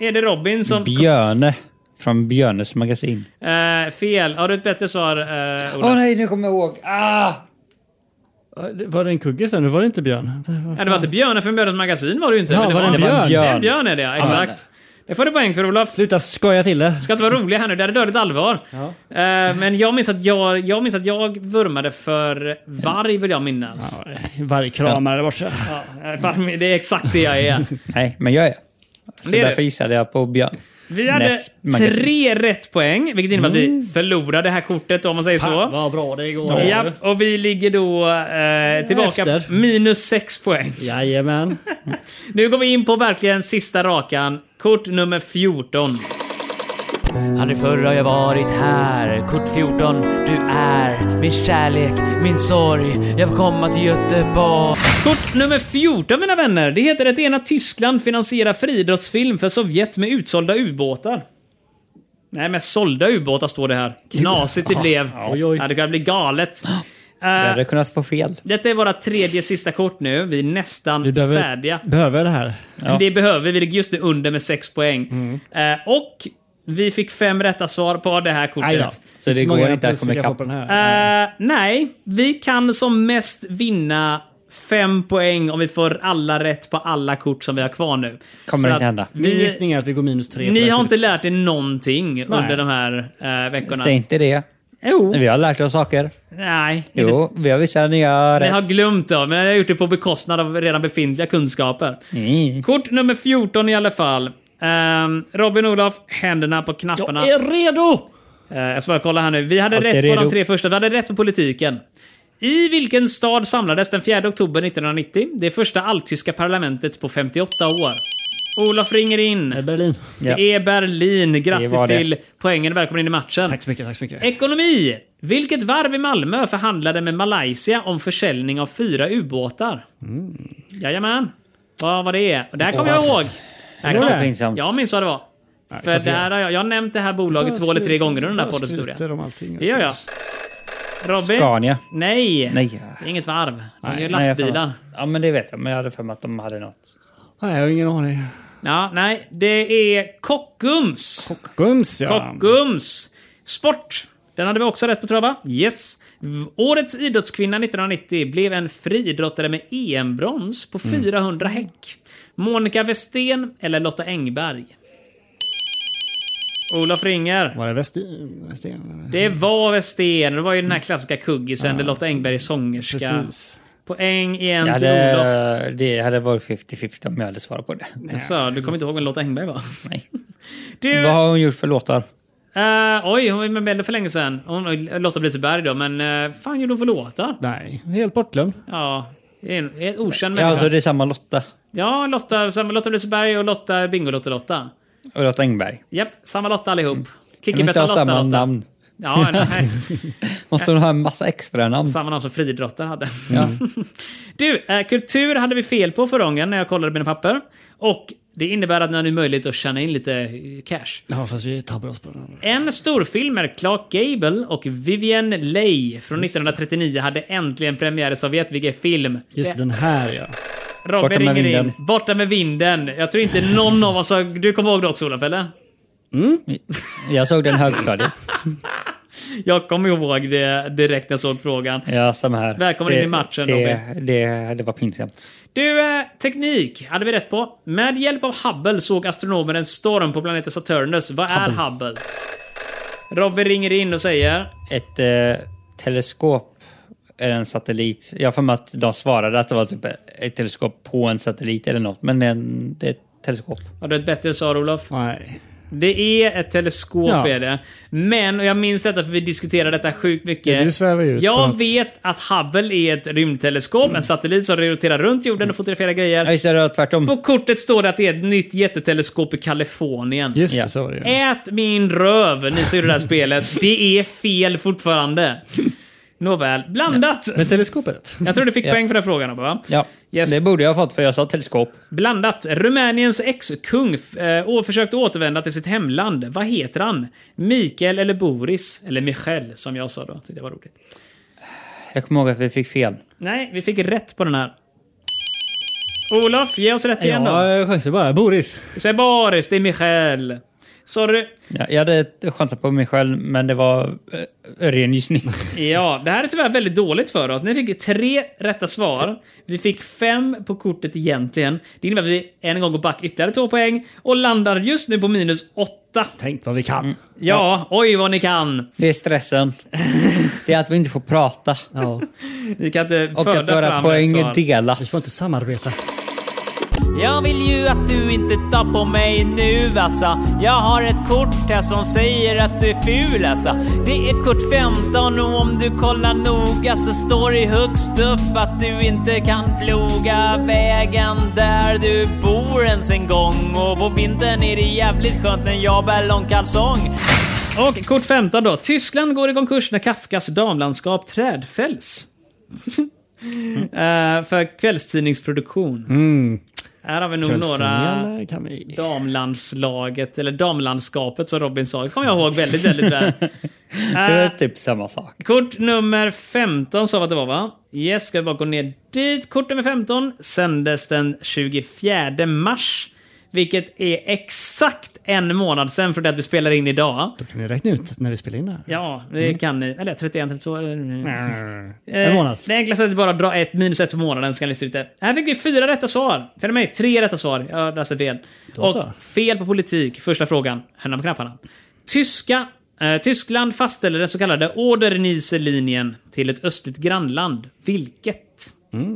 Speaker 2: är det Robin som...
Speaker 4: Björne. Från Björnes magasin.
Speaker 2: Eh, fel. Har du ett bättre svar, eh, Ola?
Speaker 4: Åh nej, nu kommer jag ihåg! Ah!
Speaker 3: Var det en kugge sen? Nu var det inte björn.
Speaker 2: Nej, det var inte björnen från Björnens magasin var det ju inte.
Speaker 3: Ja,
Speaker 2: men
Speaker 3: var det en
Speaker 2: en
Speaker 3: björn?
Speaker 2: En björn är det ja, exakt. Det får du poäng för Olof.
Speaker 3: Sluta skoja till det.
Speaker 2: Ska inte vara rolig här nu, det här är dödligt allvar. Eh, men jag minns, att jag, jag minns att jag vurmade för varg vill jag minnas.
Speaker 3: Vargkramare där borta.
Speaker 2: Eh, varg- Det är exakt det jag är.
Speaker 4: Nej, men jag är. Så
Speaker 2: Det är
Speaker 4: därför
Speaker 2: du.
Speaker 4: gissade jag på Björn.
Speaker 2: Vi hade
Speaker 4: Näst magasin.
Speaker 2: tre rätt poäng, vilket innebär att vi förlorade det här kortet om man säger
Speaker 3: Mm. Fan,
Speaker 2: så.
Speaker 3: vad bra det går.
Speaker 2: Ja, och vi ligger då eh, tillbaka
Speaker 3: Efter.
Speaker 2: minus sex poäng.
Speaker 3: Jajamän.
Speaker 2: Nu går vi in på verkligen sista rakan. Kort nummer 14.
Speaker 6: Aldrig förr har jag varit här. Kort 14, du är min kärlek, min sorg. Jag vill komma till Göteborg.
Speaker 2: Kort nummer 14 mina vänner. Det heter ett enat Tyskland finansierar friidrottsfilm för Sovjet med utsålda ubåtar. Nej, med sålda ubåtar står det här. Knasigt det blev.
Speaker 3: Oj, oj.
Speaker 2: Ja, det kan bli galet.
Speaker 4: Jag hade kunnat få fel.
Speaker 2: Detta är våra tredje sista kort nu. Vi är nästan
Speaker 3: Vi behöver-
Speaker 2: färdiga.
Speaker 3: Behöver jag det här? Mm.
Speaker 2: Det behöver vi. Vi ligger just nu under med 6 poäng. Eh, och vi fick fem rätta svar på det här kortet.
Speaker 4: Så det
Speaker 3: Inte
Speaker 4: går
Speaker 3: många
Speaker 4: inte att komma
Speaker 3: suga
Speaker 4: ikapp.
Speaker 3: på den här.
Speaker 2: Eh, nej, vi kan som mest vinna fem poäng om vi får alla rätt på alla kort som vi har kvar nu.
Speaker 4: Kommer inte
Speaker 2: att
Speaker 4: hända.
Speaker 3: Min
Speaker 2: Vi,
Speaker 3: gissning är att vi går minus tre. på
Speaker 2: ni
Speaker 3: det här
Speaker 2: har inte
Speaker 3: kortet.
Speaker 2: lärt er någonting under de här eh, veckorna.
Speaker 4: Säg inte det.
Speaker 2: Jo.
Speaker 4: Vi har lärt oss saker.
Speaker 2: Nej.
Speaker 4: Jo, vi har vissa nya
Speaker 2: Ni har
Speaker 4: rätt.
Speaker 2: glömt det, men jag har gjort det på bekostnad av redan befintliga kunskaper.
Speaker 4: Mm.
Speaker 2: Kort nummer 14 i alla fall. Ehm, Robin Olof, händerna på knapparna.
Speaker 3: Jag är redo!
Speaker 2: Eh, Jag ska bara kolla här nu. Vi hade
Speaker 4: Okej,
Speaker 2: rätt på de
Speaker 4: redo.
Speaker 2: tre första. Vi hade rätt på politiken. I vilken stad samlades den 4 oktober 1990 det första alltyska parlamentet på 58 år? Olof ringer in.
Speaker 3: Är det Berlin.
Speaker 2: Det är Berlin.
Speaker 4: Det
Speaker 2: Grattis
Speaker 4: var det.
Speaker 2: till poängen. Välkommen in i matchen.
Speaker 3: Tack så mycket, tack så mycket.
Speaker 2: Ekonomi. Vilket varv i Malmö förhandlade med Malaysia om försäljning av fyra ubåtar?
Speaker 4: Mm.
Speaker 2: Jajamän. Vad var det? Och det här kommer jag ihåg. Det här
Speaker 4: Det var
Speaker 2: kommer jag-
Speaker 4: pinsamt.
Speaker 2: Jag minns vad det var. För
Speaker 3: klart det
Speaker 2: det här har jag, jag har nämnt det här bolaget två eller tre gånger under den här poddens historia.
Speaker 3: Skryter om allting.
Speaker 2: Det gör jag. Robin?
Speaker 4: Scania.
Speaker 2: Nej.
Speaker 4: Nej.
Speaker 2: Det är inget varv. Det är
Speaker 3: Nej,
Speaker 2: ju
Speaker 4: Nej, jag
Speaker 2: lastbilar.
Speaker 4: har för mig- Ja, men det vet jag. Men jag hade för mig att de hade något.
Speaker 3: Nej, jag har ingen aning.
Speaker 2: ja, nej, det är Kockums.
Speaker 3: Gums ja.
Speaker 2: Kockums. Sport. Den hade vi också rätt på tror jag va? Yes. V- Årets idrottskvinna 1990 blev en friidrottare med EM-brons på 400 häck. Monica Westén eller Lotta Engberg? Olof ringer.
Speaker 3: Var det Westin? Westin?
Speaker 2: Det var Westén. Det var ju den här klassiska kuggisen där Lotta Engberg är sångerska.
Speaker 3: Precis.
Speaker 2: Poäng igen
Speaker 4: Jag
Speaker 2: till Olof.
Speaker 4: hade, det hade varit 50-50 om jag hade svarat på det.
Speaker 2: Alltså, du kommer inte ihåg vem Lotta Engberg var?
Speaker 4: Nej.
Speaker 2: Du,
Speaker 4: Vad har hon gjort för låtar?
Speaker 2: eh, oj, hon var med Belle för länge eh, sedan. Hon, Lotta Blitzerberg då, men uh, fan gjorde hon för låtar?
Speaker 3: Nej, helt bortglömd.
Speaker 2: Ja. Det är en, en okänd
Speaker 4: Ja,
Speaker 2: människa.
Speaker 4: alltså det är samma Lotta.
Speaker 2: Ja, Lotta, samma Lotta Liseberg och Lotta Bingolotto-Lotta.
Speaker 4: Och Lotta Engberg.
Speaker 2: Japp, samma Lotta allihop.
Speaker 4: Kan vi Mm. inte
Speaker 2: Kickebetta
Speaker 4: ha
Speaker 2: Lotta,
Speaker 4: samma
Speaker 2: Lotta.
Speaker 4: namn?
Speaker 2: Ja, nej.
Speaker 4: Måste hon ha en massa extra namn?
Speaker 2: Samma namn som friidrottare hade.
Speaker 4: Mm.
Speaker 2: Du, eh, kultur hade vi fel på förra gången när jag kollade mina papper. Och det innebär att ni har nu möjlighet att tjäna in lite eh, cash.
Speaker 3: Ja, fast vi tabbar oss på den andra.
Speaker 2: En storfilm med Clark Gable och Vivian Leigh från 1939 hade äntligen premiär i Sovjet. Vilken film!
Speaker 3: Just
Speaker 2: Det-
Speaker 3: den här ja.
Speaker 2: Robin
Speaker 4: Borta med
Speaker 2: ringer in.
Speaker 4: vinden.
Speaker 2: Borta med vinden. Jag tror inte någon av oss har... Du kommer ihåg det också Olof, eller?
Speaker 4: Jag såg den högstadiet.
Speaker 2: Jag kommer ihåg det direkt när jag såg frågan.
Speaker 4: Ja, samma här.
Speaker 2: Välkommen in i matchen,
Speaker 4: det, det, det var pinsamt.
Speaker 2: Du, eh, teknik hade vi rätt på. Med hjälp av Hubble såg astronomer en storm på planeten Saturnus. Vad är Hubble? Robin ringer in och säger...
Speaker 4: Ett eh, teleskop är en satellit. Jag har för mig att de svarade att det var typ ett teleskop på en satellit eller något. Men en, det är ett teleskop.
Speaker 2: Har du ett bättre svar Olof?
Speaker 3: Nej.
Speaker 2: Det är ett teleskop
Speaker 3: Ja.
Speaker 2: är det. Men, och jag minns detta för vi diskuterade detta sjukt mycket.
Speaker 3: Ja, du svävar ju ut på
Speaker 2: Jag
Speaker 3: något.
Speaker 2: vet att Hubble är ett rymdteleskop, en satellit som roterar runt jorden och fotograferar grejer.
Speaker 4: Ja, just det, det var tvärtom.
Speaker 2: På kortet står det att det är ett nytt jätteteleskop i Kalifornien.
Speaker 3: Just
Speaker 4: Ja.
Speaker 3: det, så var det ju.
Speaker 2: Ät min röv, ni som gjorde det här spelet. Det är fel fortfarande. Nåväl, blandat.
Speaker 3: Men teleskopet?
Speaker 2: Jag tror du fick
Speaker 4: Ja.
Speaker 2: poäng för den frågan, Abba, va?
Speaker 4: Ja,
Speaker 2: Yes.
Speaker 4: det borde jag ha fått för jag sa teleskop.
Speaker 2: Blandat. Rumäniens ex-kung f- eh, å- försökte återvända till sitt hemland. Vad heter han? Mikael eller Boris? Eller Michel, som jag sa då. Tyckte det var roligt.
Speaker 4: Jag kommer ihåg att vi fick fel.
Speaker 2: Nej, vi fick rätt på den här. Olof, ge oss rätt igen då.
Speaker 3: Ja, jag chansar bara. Boris.
Speaker 2: Säg Boris, det är Michel. Sorry.
Speaker 4: Ja, jag hade chansat på mig själv, men det var eh, ren gissning.
Speaker 2: Ja, det här är tyvärr väldigt dåligt för oss. Ni fick tre rätta svar. Vi fick fem på kortet egentligen. Det innebär att vi en gång går back ytterligare två poäng och landar just nu på minus åtta.
Speaker 3: Tänk vad vi kan.
Speaker 2: Ja, oj vad ni kan.
Speaker 4: Det är stressen. Det är att vi inte får prata.
Speaker 3: Ja.
Speaker 2: Ni kan inte
Speaker 4: Och att
Speaker 2: föda
Speaker 4: våra
Speaker 2: fram
Speaker 4: poäng
Speaker 2: rätt svar.
Speaker 3: Vi
Speaker 4: delas.
Speaker 3: får inte samarbeta.
Speaker 6: Jag vill ju att du inte tar på mig nu alltså. Jag har ett kort här som säger att du är ful alltså. Det är kort 15 och om du kollar noga så står det högst upp att du inte kan ploga vägen där du bor ens en gång. Och på vintern är det jävligt skönt när jag bär långkalsong.
Speaker 2: Och kort 15 då. Tyskland går i konkurs när Kafkas damlandskap trädfälls. Eh, för kvällstidningsproduktion. Här har vi nog några...
Speaker 3: Kvällstidningar kan vi...
Speaker 2: damlandslaget, eller damlandskapet som Robin sa. Det kommer jag ihåg väldigt, väldigt väl.
Speaker 4: Det är
Speaker 2: Eh,
Speaker 4: typ samma sak.
Speaker 2: kort nummer 15 sa vi att det var va? Yes, ska vi bara gå ner dit. Kort nummer 15 sändes den 24 mars. Vilket är exakt en månad sen från det att vi spelar in idag.
Speaker 3: Då kan vi räkna ut när vi spelar in det här.
Speaker 2: Ja, det kan ni. Eller 31, 32... eller-
Speaker 3: Mm. En månad.
Speaker 2: Eh, Det enklaste är att bara dra ett minus ett på månaden så kan ni lista ut det. Här fick vi fyra rätta svar. Följ mig, tre rätta svar. Jag läste fel.
Speaker 3: Då
Speaker 2: Och
Speaker 3: så.
Speaker 2: fel på politik, första frågan. Händerna på knapparna. Tyska, eh, Tyskland fastställde den så kallade Oder-Neisse-linjen till ett östligt grannland. Vilket?
Speaker 3: Mm.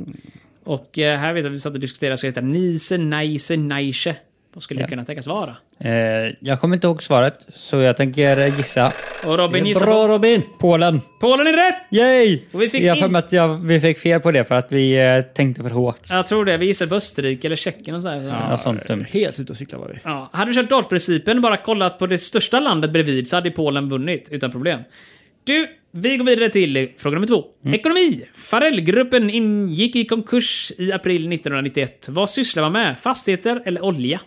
Speaker 2: Och eh, här vet jag att vi satt och diskuterade, ska det heta Neisse, Neisse, Neisse? Vad skulle det kunna tänkas vara?
Speaker 4: Eh, jag kommer inte ihåg svaret, så jag tänker gissa.
Speaker 2: Och Robin gissar
Speaker 4: Bra
Speaker 2: på...
Speaker 4: Robin! Polen.
Speaker 2: Polen är rätt!
Speaker 4: Yay!
Speaker 2: Och vi fick
Speaker 4: jag har för
Speaker 2: in-
Speaker 4: mig att jag, vi fick fel på det för att vi eh, tänkte för hårt.
Speaker 2: Jag tror det. Vi gissade på Österrike eller Tjeckien och sådär.
Speaker 4: Ja, sånt typ. dumt.
Speaker 3: Helt ute och cyklar var vi.
Speaker 2: Ja, hade du kört dartprincipen och bara kollat på det största landet bredvid så hade ju Polen vunnit utan problem. Du, vi går vidare till fråga nummer två.
Speaker 4: Mm.
Speaker 2: Ekonomi! Farellgruppen ingick i konkurs i april 1991. Vad sysslar man med? Fastigheter eller olja?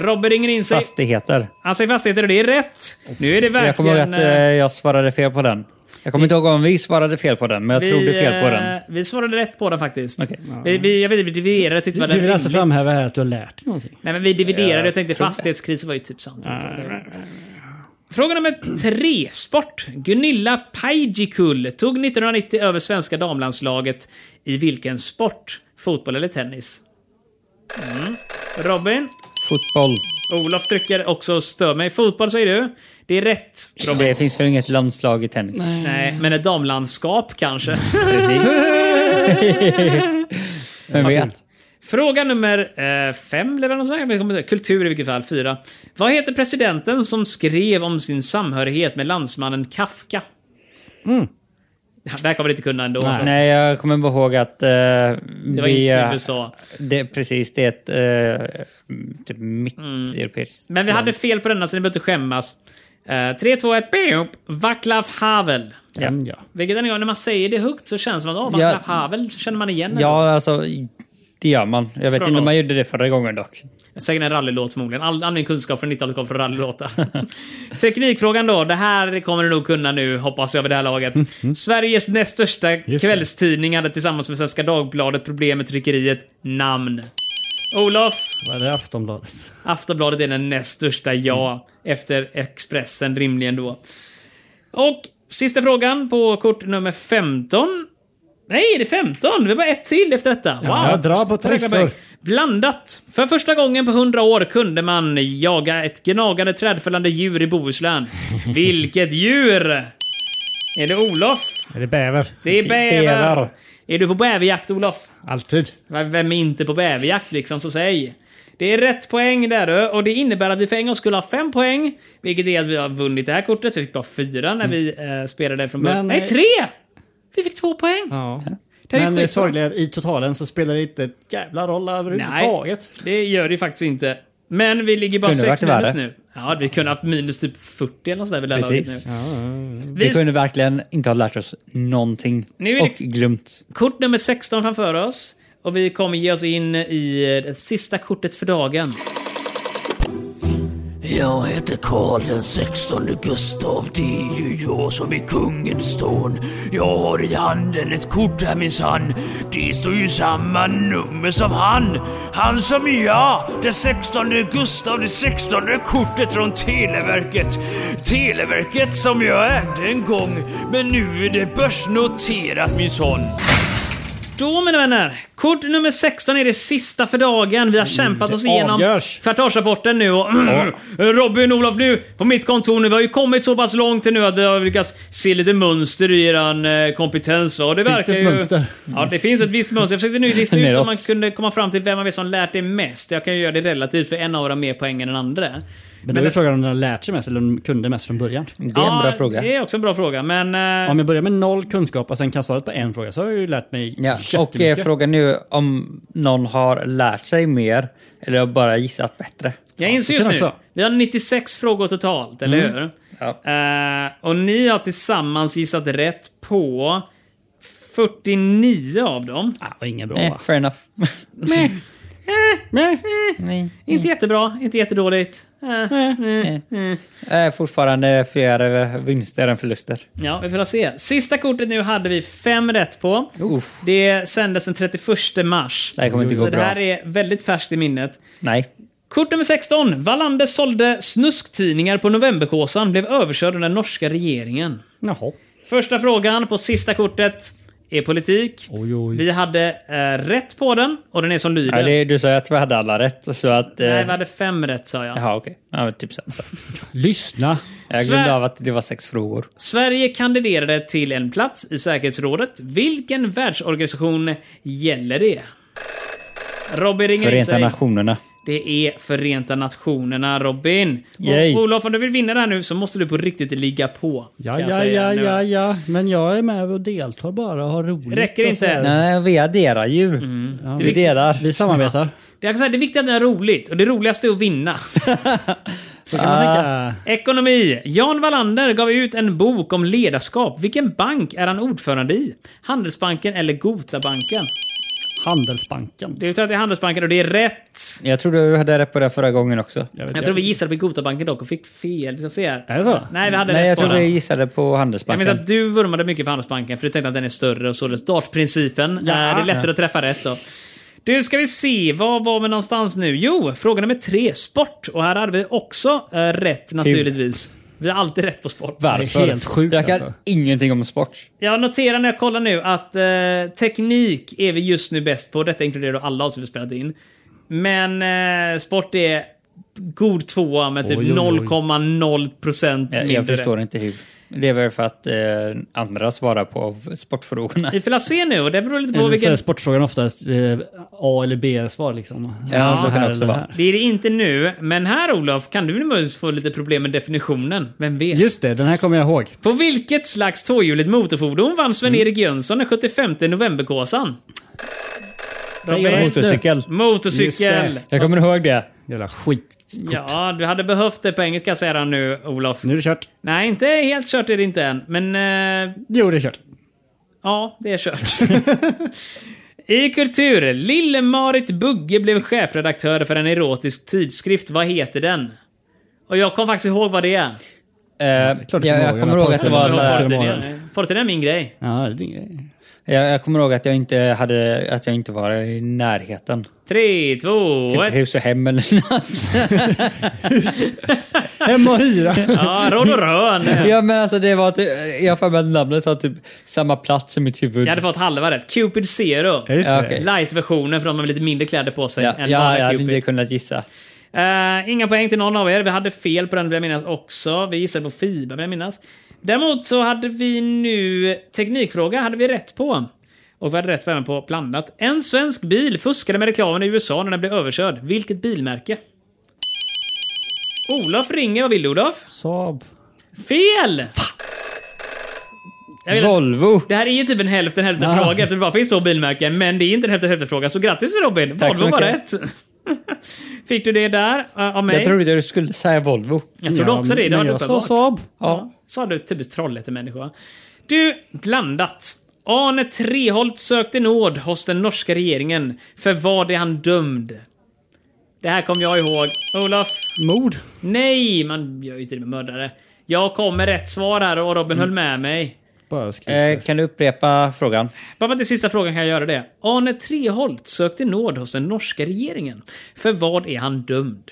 Speaker 2: Robin ringer in sig.
Speaker 4: Fastigheter.
Speaker 2: Han säger fastigheter och det är rätt. Nu är det
Speaker 4: Jag kommer ihåg
Speaker 2: verkligen...
Speaker 4: att eh, jag svarade fel på den. Jag kommer inte ihåg om vi svarade fel på den, men jag
Speaker 2: vi,
Speaker 4: trodde fel på den.
Speaker 2: eh, vi svarade rätt på den faktiskt. vi, vi, jag vet inte, vi dividerade tyckte det var
Speaker 3: Du vill alltså
Speaker 2: rimligt.
Speaker 3: framhäva här att du har lärt dig någonting?
Speaker 2: Nej men vi dividerade och tänkte fastighetskrisen var ju typ sant. Fråga nummer tre. Sport. Gunilla Pajkikull tog 1990 över svenska damlandslaget i vilken sport? Fotboll eller tennis? Mm. Robin.
Speaker 4: Fotboll.
Speaker 2: Olof trycker också och stör mig. Fotboll säger du. Det är rätt.
Speaker 4: Det finns väl inget landslag i tennis?
Speaker 2: Nej, men ett damlandskap kanske.
Speaker 4: Precis. Vem vet?
Speaker 2: Fråga nummer eh, fem, eller något sånt. här. Jag kommer inte ihåg. Kultur i vilket fall. Fyra. Vad heter presidenten som skrev om sin samhörighet med landsmannen Kafka? Det här kommer inte kunna ändå. alltså.
Speaker 4: Mm. Nej, jag kommer bara ihåg att eh,
Speaker 2: Det var
Speaker 4: vi...
Speaker 2: inte
Speaker 4: eh,
Speaker 2: USA.
Speaker 4: det, precis, det är ett eh, typ mitt-europeiskt...
Speaker 2: Mm. Men vi hade fel på denna så ni behöver inte skämmas. Uh, 3, 2, 1. Beop. Vaclav Havel.
Speaker 4: Ja.
Speaker 3: Mm, ja.
Speaker 2: Vilket en gång när man säger det högt så känns det som att oh,
Speaker 4: Ja.
Speaker 2: Vaclav Havel känner man igen.
Speaker 4: Ja, alltså... Det gör man. Jag vet
Speaker 2: Från
Speaker 4: inte om man
Speaker 2: något.
Speaker 4: gjorde det förra gången dock.
Speaker 2: Säkert en rallylåt förmodligen. All, all min kunskap från 90-talet kom från rallylåtar. Teknikfrågan då. Det här kommer du nog kunna nu, hoppas jag, vid det här laget. Sveriges näst största
Speaker 3: det.
Speaker 2: kvällstidning hade tillsammans med Svenska Dagbladet problem med tryckeriet namn. Olof,
Speaker 3: Vad är det? Aftonbladet?
Speaker 2: Aftonbladet är den näst största
Speaker 3: Mm.
Speaker 2: ja, efter Expressen rimligen då. Och sista frågan på kort nummer 15. Nej, det är 15! Det var bara ett till efter detta. Wow!
Speaker 3: jag drar på trissor.
Speaker 2: Blandat. För första gången på 100 år kunde man jaga ett gnagande trädfällande djur i Bohuslän. Vilket djur? Är det Olof?
Speaker 3: Är det bäver?
Speaker 2: Det är bäver. Är du på bäverjakt, Olof?
Speaker 3: Alltid.
Speaker 2: Va- Vem är inte på bäverjakt liksom, så säg. Det är rätt poäng där du, och det innebär att vi för en gång skulle ha fem poäng. Vilket är att vi har vunnit det här kortet. Vi fick bara fyra när vi eh, spelade från början.
Speaker 3: Men,
Speaker 2: Nej,
Speaker 3: eh,
Speaker 2: tre! Vi fick två poäng.
Speaker 3: Ja.
Speaker 2: Det här är
Speaker 3: Men det
Speaker 2: skitbra.
Speaker 3: sorgliga är att i totalen så spelar det inte ett jävla roll överhuvudtaget.
Speaker 2: Det gör det faktiskt inte. Men vi ligger bara
Speaker 4: Kunde
Speaker 2: sex
Speaker 4: varit värre.
Speaker 2: minus nu. Ja, vi kunde haft minus typ 40 eller något sånt där vid det här laget
Speaker 4: Precis.
Speaker 2: nu.
Speaker 4: Vi
Speaker 2: Vi,
Speaker 4: kunde verkligen inte ha lärt oss någonting.
Speaker 2: Nu är det-
Speaker 4: Och glömt.
Speaker 2: Kort nummer 16 framför oss. Och vi kommer ge oss in i eh, det sista kortet för dagen.
Speaker 7: Jag heter Karl den sextonde Gustav, det är ju jag som är kungen son. Jag har i handen ett kort här minsann. Det står ju samma nummer som han. Han som är jag, den sextonde Gustav, det sextonde kortet från Televerket. Televerket som jag ägde en gång, men nu är det börsnoterat minsann.
Speaker 2: Då mina vänner, kort nummer 16 är det sista för dagen.
Speaker 4: Mm,
Speaker 2: Vi har kämpat oss igenom
Speaker 3: avgörs.
Speaker 2: kvartalsrapporten nu och Robin och Olof nu på mitt kontor nu. Vi har ju kommit så pass långt nu att vi har lyckats se lite mönster i eran eh, kompetens. va? Och det
Speaker 3: Finns det
Speaker 2: verkar
Speaker 3: ett
Speaker 2: ju...
Speaker 3: mönster?
Speaker 2: Ja, det finns ett visst mönster. Jag försökte nu lista ut om
Speaker 4: Neråt.
Speaker 2: man kunde komma fram till vem av er som lärt er mest. Jag kan ju göra det relativt för en av er har mer poäng än den andra.
Speaker 3: Men då är ju frågan om den har lärt sig mest eller om den kunde mest från början.
Speaker 4: Det är en bra fråga.
Speaker 2: Det är också en bra fråga, men... eh,
Speaker 3: Om jag börjar med noll kunskap och sen kan svaret på en fråga så har jag ju lärt mig
Speaker 4: Ja. Och eh,
Speaker 3: jättemycket.
Speaker 4: frågan är ju om någon har lärt sig mer eller har bara gissat bättre.
Speaker 2: Jag inser
Speaker 3: det
Speaker 2: just
Speaker 3: kan
Speaker 2: nu,
Speaker 3: jag också.
Speaker 2: vi har 96 frågor totalt, eller hur?
Speaker 4: Mm. Ja.
Speaker 2: Eh, och ni har tillsammans gissat rätt på 49 av dem.
Speaker 3: Ah, vad inga bra
Speaker 4: Eh,
Speaker 3: va?
Speaker 4: fair enough.
Speaker 2: Eh.
Speaker 3: Nej.
Speaker 4: Nej.
Speaker 2: Inte jättebra, inte jättedåligt. Eh, eh.
Speaker 4: Eh, fortfarande fler eh, vinster än förluster.
Speaker 2: Ja, vi får se. Sista kortet nu hade vi fem rätt på. Det sändes den 31 mars.
Speaker 4: Det här kommer inte
Speaker 2: Så
Speaker 4: gå
Speaker 2: det här
Speaker 4: bra.
Speaker 2: är väldigt färskt i minnet.
Speaker 4: Nej.
Speaker 2: Kort nummer 16. Wallander sålde snusktidningar på novemberkåsan, blev överkörd av den norska regeringen.
Speaker 3: Jaha.
Speaker 2: Första frågan på sista kortet är politik.
Speaker 3: Oj, oj.
Speaker 2: Vi hade eh, rätt på den och den är som lyder.
Speaker 4: Ja, det, du sa ju att vi hade alla rätt, så att... Eh,
Speaker 2: Nej, vi hade fem rätt sa jag.
Speaker 4: Jaha, okej. Ja, men typ så. så.
Speaker 3: Lyssna.
Speaker 4: Jag glömde
Speaker 2: Sve-
Speaker 4: av att det var sex frågor.
Speaker 2: Sverige kandiderade till en plats i säkerhetsrådet. Vilken världsorganisation gäller det? Robin ringer in
Speaker 4: Förenta
Speaker 2: sig.
Speaker 4: Nationerna.
Speaker 2: Det är Förenta Nationerna, Robin.
Speaker 4: Yay.
Speaker 2: Och Olof, om du vill vinna det här nu så måste du på riktigt ligga på.
Speaker 3: Ja,
Speaker 2: kan jag
Speaker 3: ja,
Speaker 2: säga
Speaker 3: ja,
Speaker 2: nu.
Speaker 3: ja, ja. Men jag är med och deltar bara och har roligt.
Speaker 2: Räcker
Speaker 3: och
Speaker 2: inte.
Speaker 3: så här.
Speaker 4: Nej, vi adderar ju. Mm. Vi delar.
Speaker 3: Vi samarbetar.
Speaker 2: Det, är alltså, det är viktigt att ni har roligt och det roligaste är att vinna. Ah.
Speaker 3: Så kan man tänka.
Speaker 2: Ekonomi. Jan Wallander gav ut en bok om ledarskap. Vilken bank är han ordförande i? Handelsbanken eller Gotabanken?
Speaker 3: Handelsbanken.
Speaker 2: Det är ju tur att det är Handelsbanken och det är rätt.
Speaker 4: Jag tror du hade rätt på det förra gången också.
Speaker 3: vet
Speaker 2: Jag tror vi gissade på Gotabanken dock och fick fel. Vi ska se här.
Speaker 3: Är det så?
Speaker 2: Nej, vi hade
Speaker 4: Nej, jag
Speaker 2: rätt
Speaker 4: tror
Speaker 2: på
Speaker 4: vi
Speaker 2: den.
Speaker 4: gissade på
Speaker 2: Jag
Speaker 4: Handelsbanken.
Speaker 2: vet att du vurmade mycket för Handelsbanken för du tänkte att den är större och således dartprincipen. Ja. Det är lättare att träffa rätt då. Du, ska vi se. Var var vi någonstans nu? Jo, fråga nummer tre. Sport. Och här hade vi också eh, rätt naturligtvis. Vi har alltid rätt på sport.
Speaker 4: Varför?
Speaker 3: Det är helt sjukt,
Speaker 4: Jag kan
Speaker 3: alltså.
Speaker 4: ingenting om sport.
Speaker 2: Jag noterar när jag kollar nu att eh, teknik är vi just nu bäst på. Detta inkluderar då alla som vi spelat in. Men eh, sport är god tvåa med typ
Speaker 3: Oj, oj, oj.
Speaker 2: 0,0% mindre
Speaker 4: Jag, jag förstår
Speaker 2: rätt.
Speaker 4: inte hur. Det är väl för att eh, andra svarar på sportfrågorna.
Speaker 2: Vi får la se nu och det beror lite på
Speaker 3: Eller så är
Speaker 2: vilken...
Speaker 3: sportfrågan oftast eh, A eller B-svar liksom.
Speaker 4: Ja, så kan det också
Speaker 3: eller
Speaker 4: vara.
Speaker 2: Det är det inte nu, men här Olof kan du nu få lite problem med definitionen. Vem vet?
Speaker 3: Just det, den här kommer jag ihåg.
Speaker 2: På vilket slags tvåhjuligt motorfordon vann
Speaker 3: Mm.
Speaker 2: Sven-Erik Jönsson den 75 novemberkåsan?
Speaker 4: Motorcykel.
Speaker 3: Just det.
Speaker 2: Motorcykel!
Speaker 4: Jag kommer ihåg det.
Speaker 3: Jävla skit.
Speaker 2: Ja, du hade behövt det på engelska säger han nu, Olof.
Speaker 3: Nu är det kört.
Speaker 2: Nej, inte helt kört är det inte än, men... eh,
Speaker 3: Jo, det är kört.
Speaker 2: Ja, det är kört. I kultur, Lille-Marit Bugge blev chefredaktör för en erotisk tidskrift. Vad heter den? Och jag kommer faktiskt ihåg vad det är.
Speaker 4: Eh,
Speaker 3: klart du kommer ihåg
Speaker 4: jag, jag kommer
Speaker 3: den.
Speaker 4: ihåg att det var
Speaker 3: Porrtidningar.
Speaker 4: så här,
Speaker 3: Porrtidningar.
Speaker 2: Porrtidningar är min grej.
Speaker 3: Ja, det är ingen
Speaker 4: jag, jag kommer ihåg att jag inte hade, att jag inte var i närheten.
Speaker 2: Tre, två,
Speaker 4: Typ
Speaker 2: ett.
Speaker 4: hus och hem eller något.
Speaker 3: Hem och hyra.
Speaker 2: Ja, råd och rön.
Speaker 4: Ja men alltså det var typ, jag har för mig att namnet har typ samma plats i mitt huvud.
Speaker 2: Jag hade fått halva rätt. Cupid Zero.
Speaker 3: Ja, just det.
Speaker 4: Ja, okej.
Speaker 2: Light-versionen för de med lite mindre kläder på sig
Speaker 4: Ja,
Speaker 2: än
Speaker 4: ja,
Speaker 2: bara
Speaker 4: jag hade
Speaker 2: Cupid.
Speaker 4: inte kunnat gissa.
Speaker 2: Eh, inga poäng till någon av er. Vi hade fel på den vill jag minnas också. Vi gissade på Fiba vill jag minnas. Däremot så hade vi nu teknikfråga hade vi rätt på. Och vi hade rätt på även på blandat. En svensk bil fuskade med reklamen i USA när den blev överkörd. Vilket bilmärke? Olof ringer. Vad vill du Olof?
Speaker 3: Saab.
Speaker 2: Fel! Jag vill-
Speaker 4: Volvo!
Speaker 2: Det här är ju typ en hälften hälften
Speaker 3: Ja.
Speaker 2: fråga eftersom det bara finns två bilmärken. Men det är inte en hälften hälften fråga. Så grattis Robin!
Speaker 4: Tack så
Speaker 2: Volvo var rätt.
Speaker 4: mycket.
Speaker 2: Fick du det där eh, av mig?
Speaker 4: Jag trodde du skulle säga Volvo.
Speaker 2: Jag trodde också det. Det var
Speaker 3: men
Speaker 2: det
Speaker 3: jag sa
Speaker 2: uppenbart.
Speaker 3: Saab.
Speaker 2: Ja. Sa du typ typiskt Trollhättemänniska. Du, blandat. Arne Treholt sökte nåd hos den norska regeringen. För vad är han dömd? Det här kommer jag ihåg. Olof?
Speaker 3: Mord.
Speaker 2: Nej, man gör ju inte det med mördare. Jag kom med rätt svar här och
Speaker 4: Mm.
Speaker 2: Robin höll med mig.
Speaker 3: Bara skriker.
Speaker 4: Eh, kan du upprepa frågan?
Speaker 2: Bara för att det är sista frågan kan jag göra det. Arne Treholt sökte nåd hos den norska regeringen. För vad är han dömd?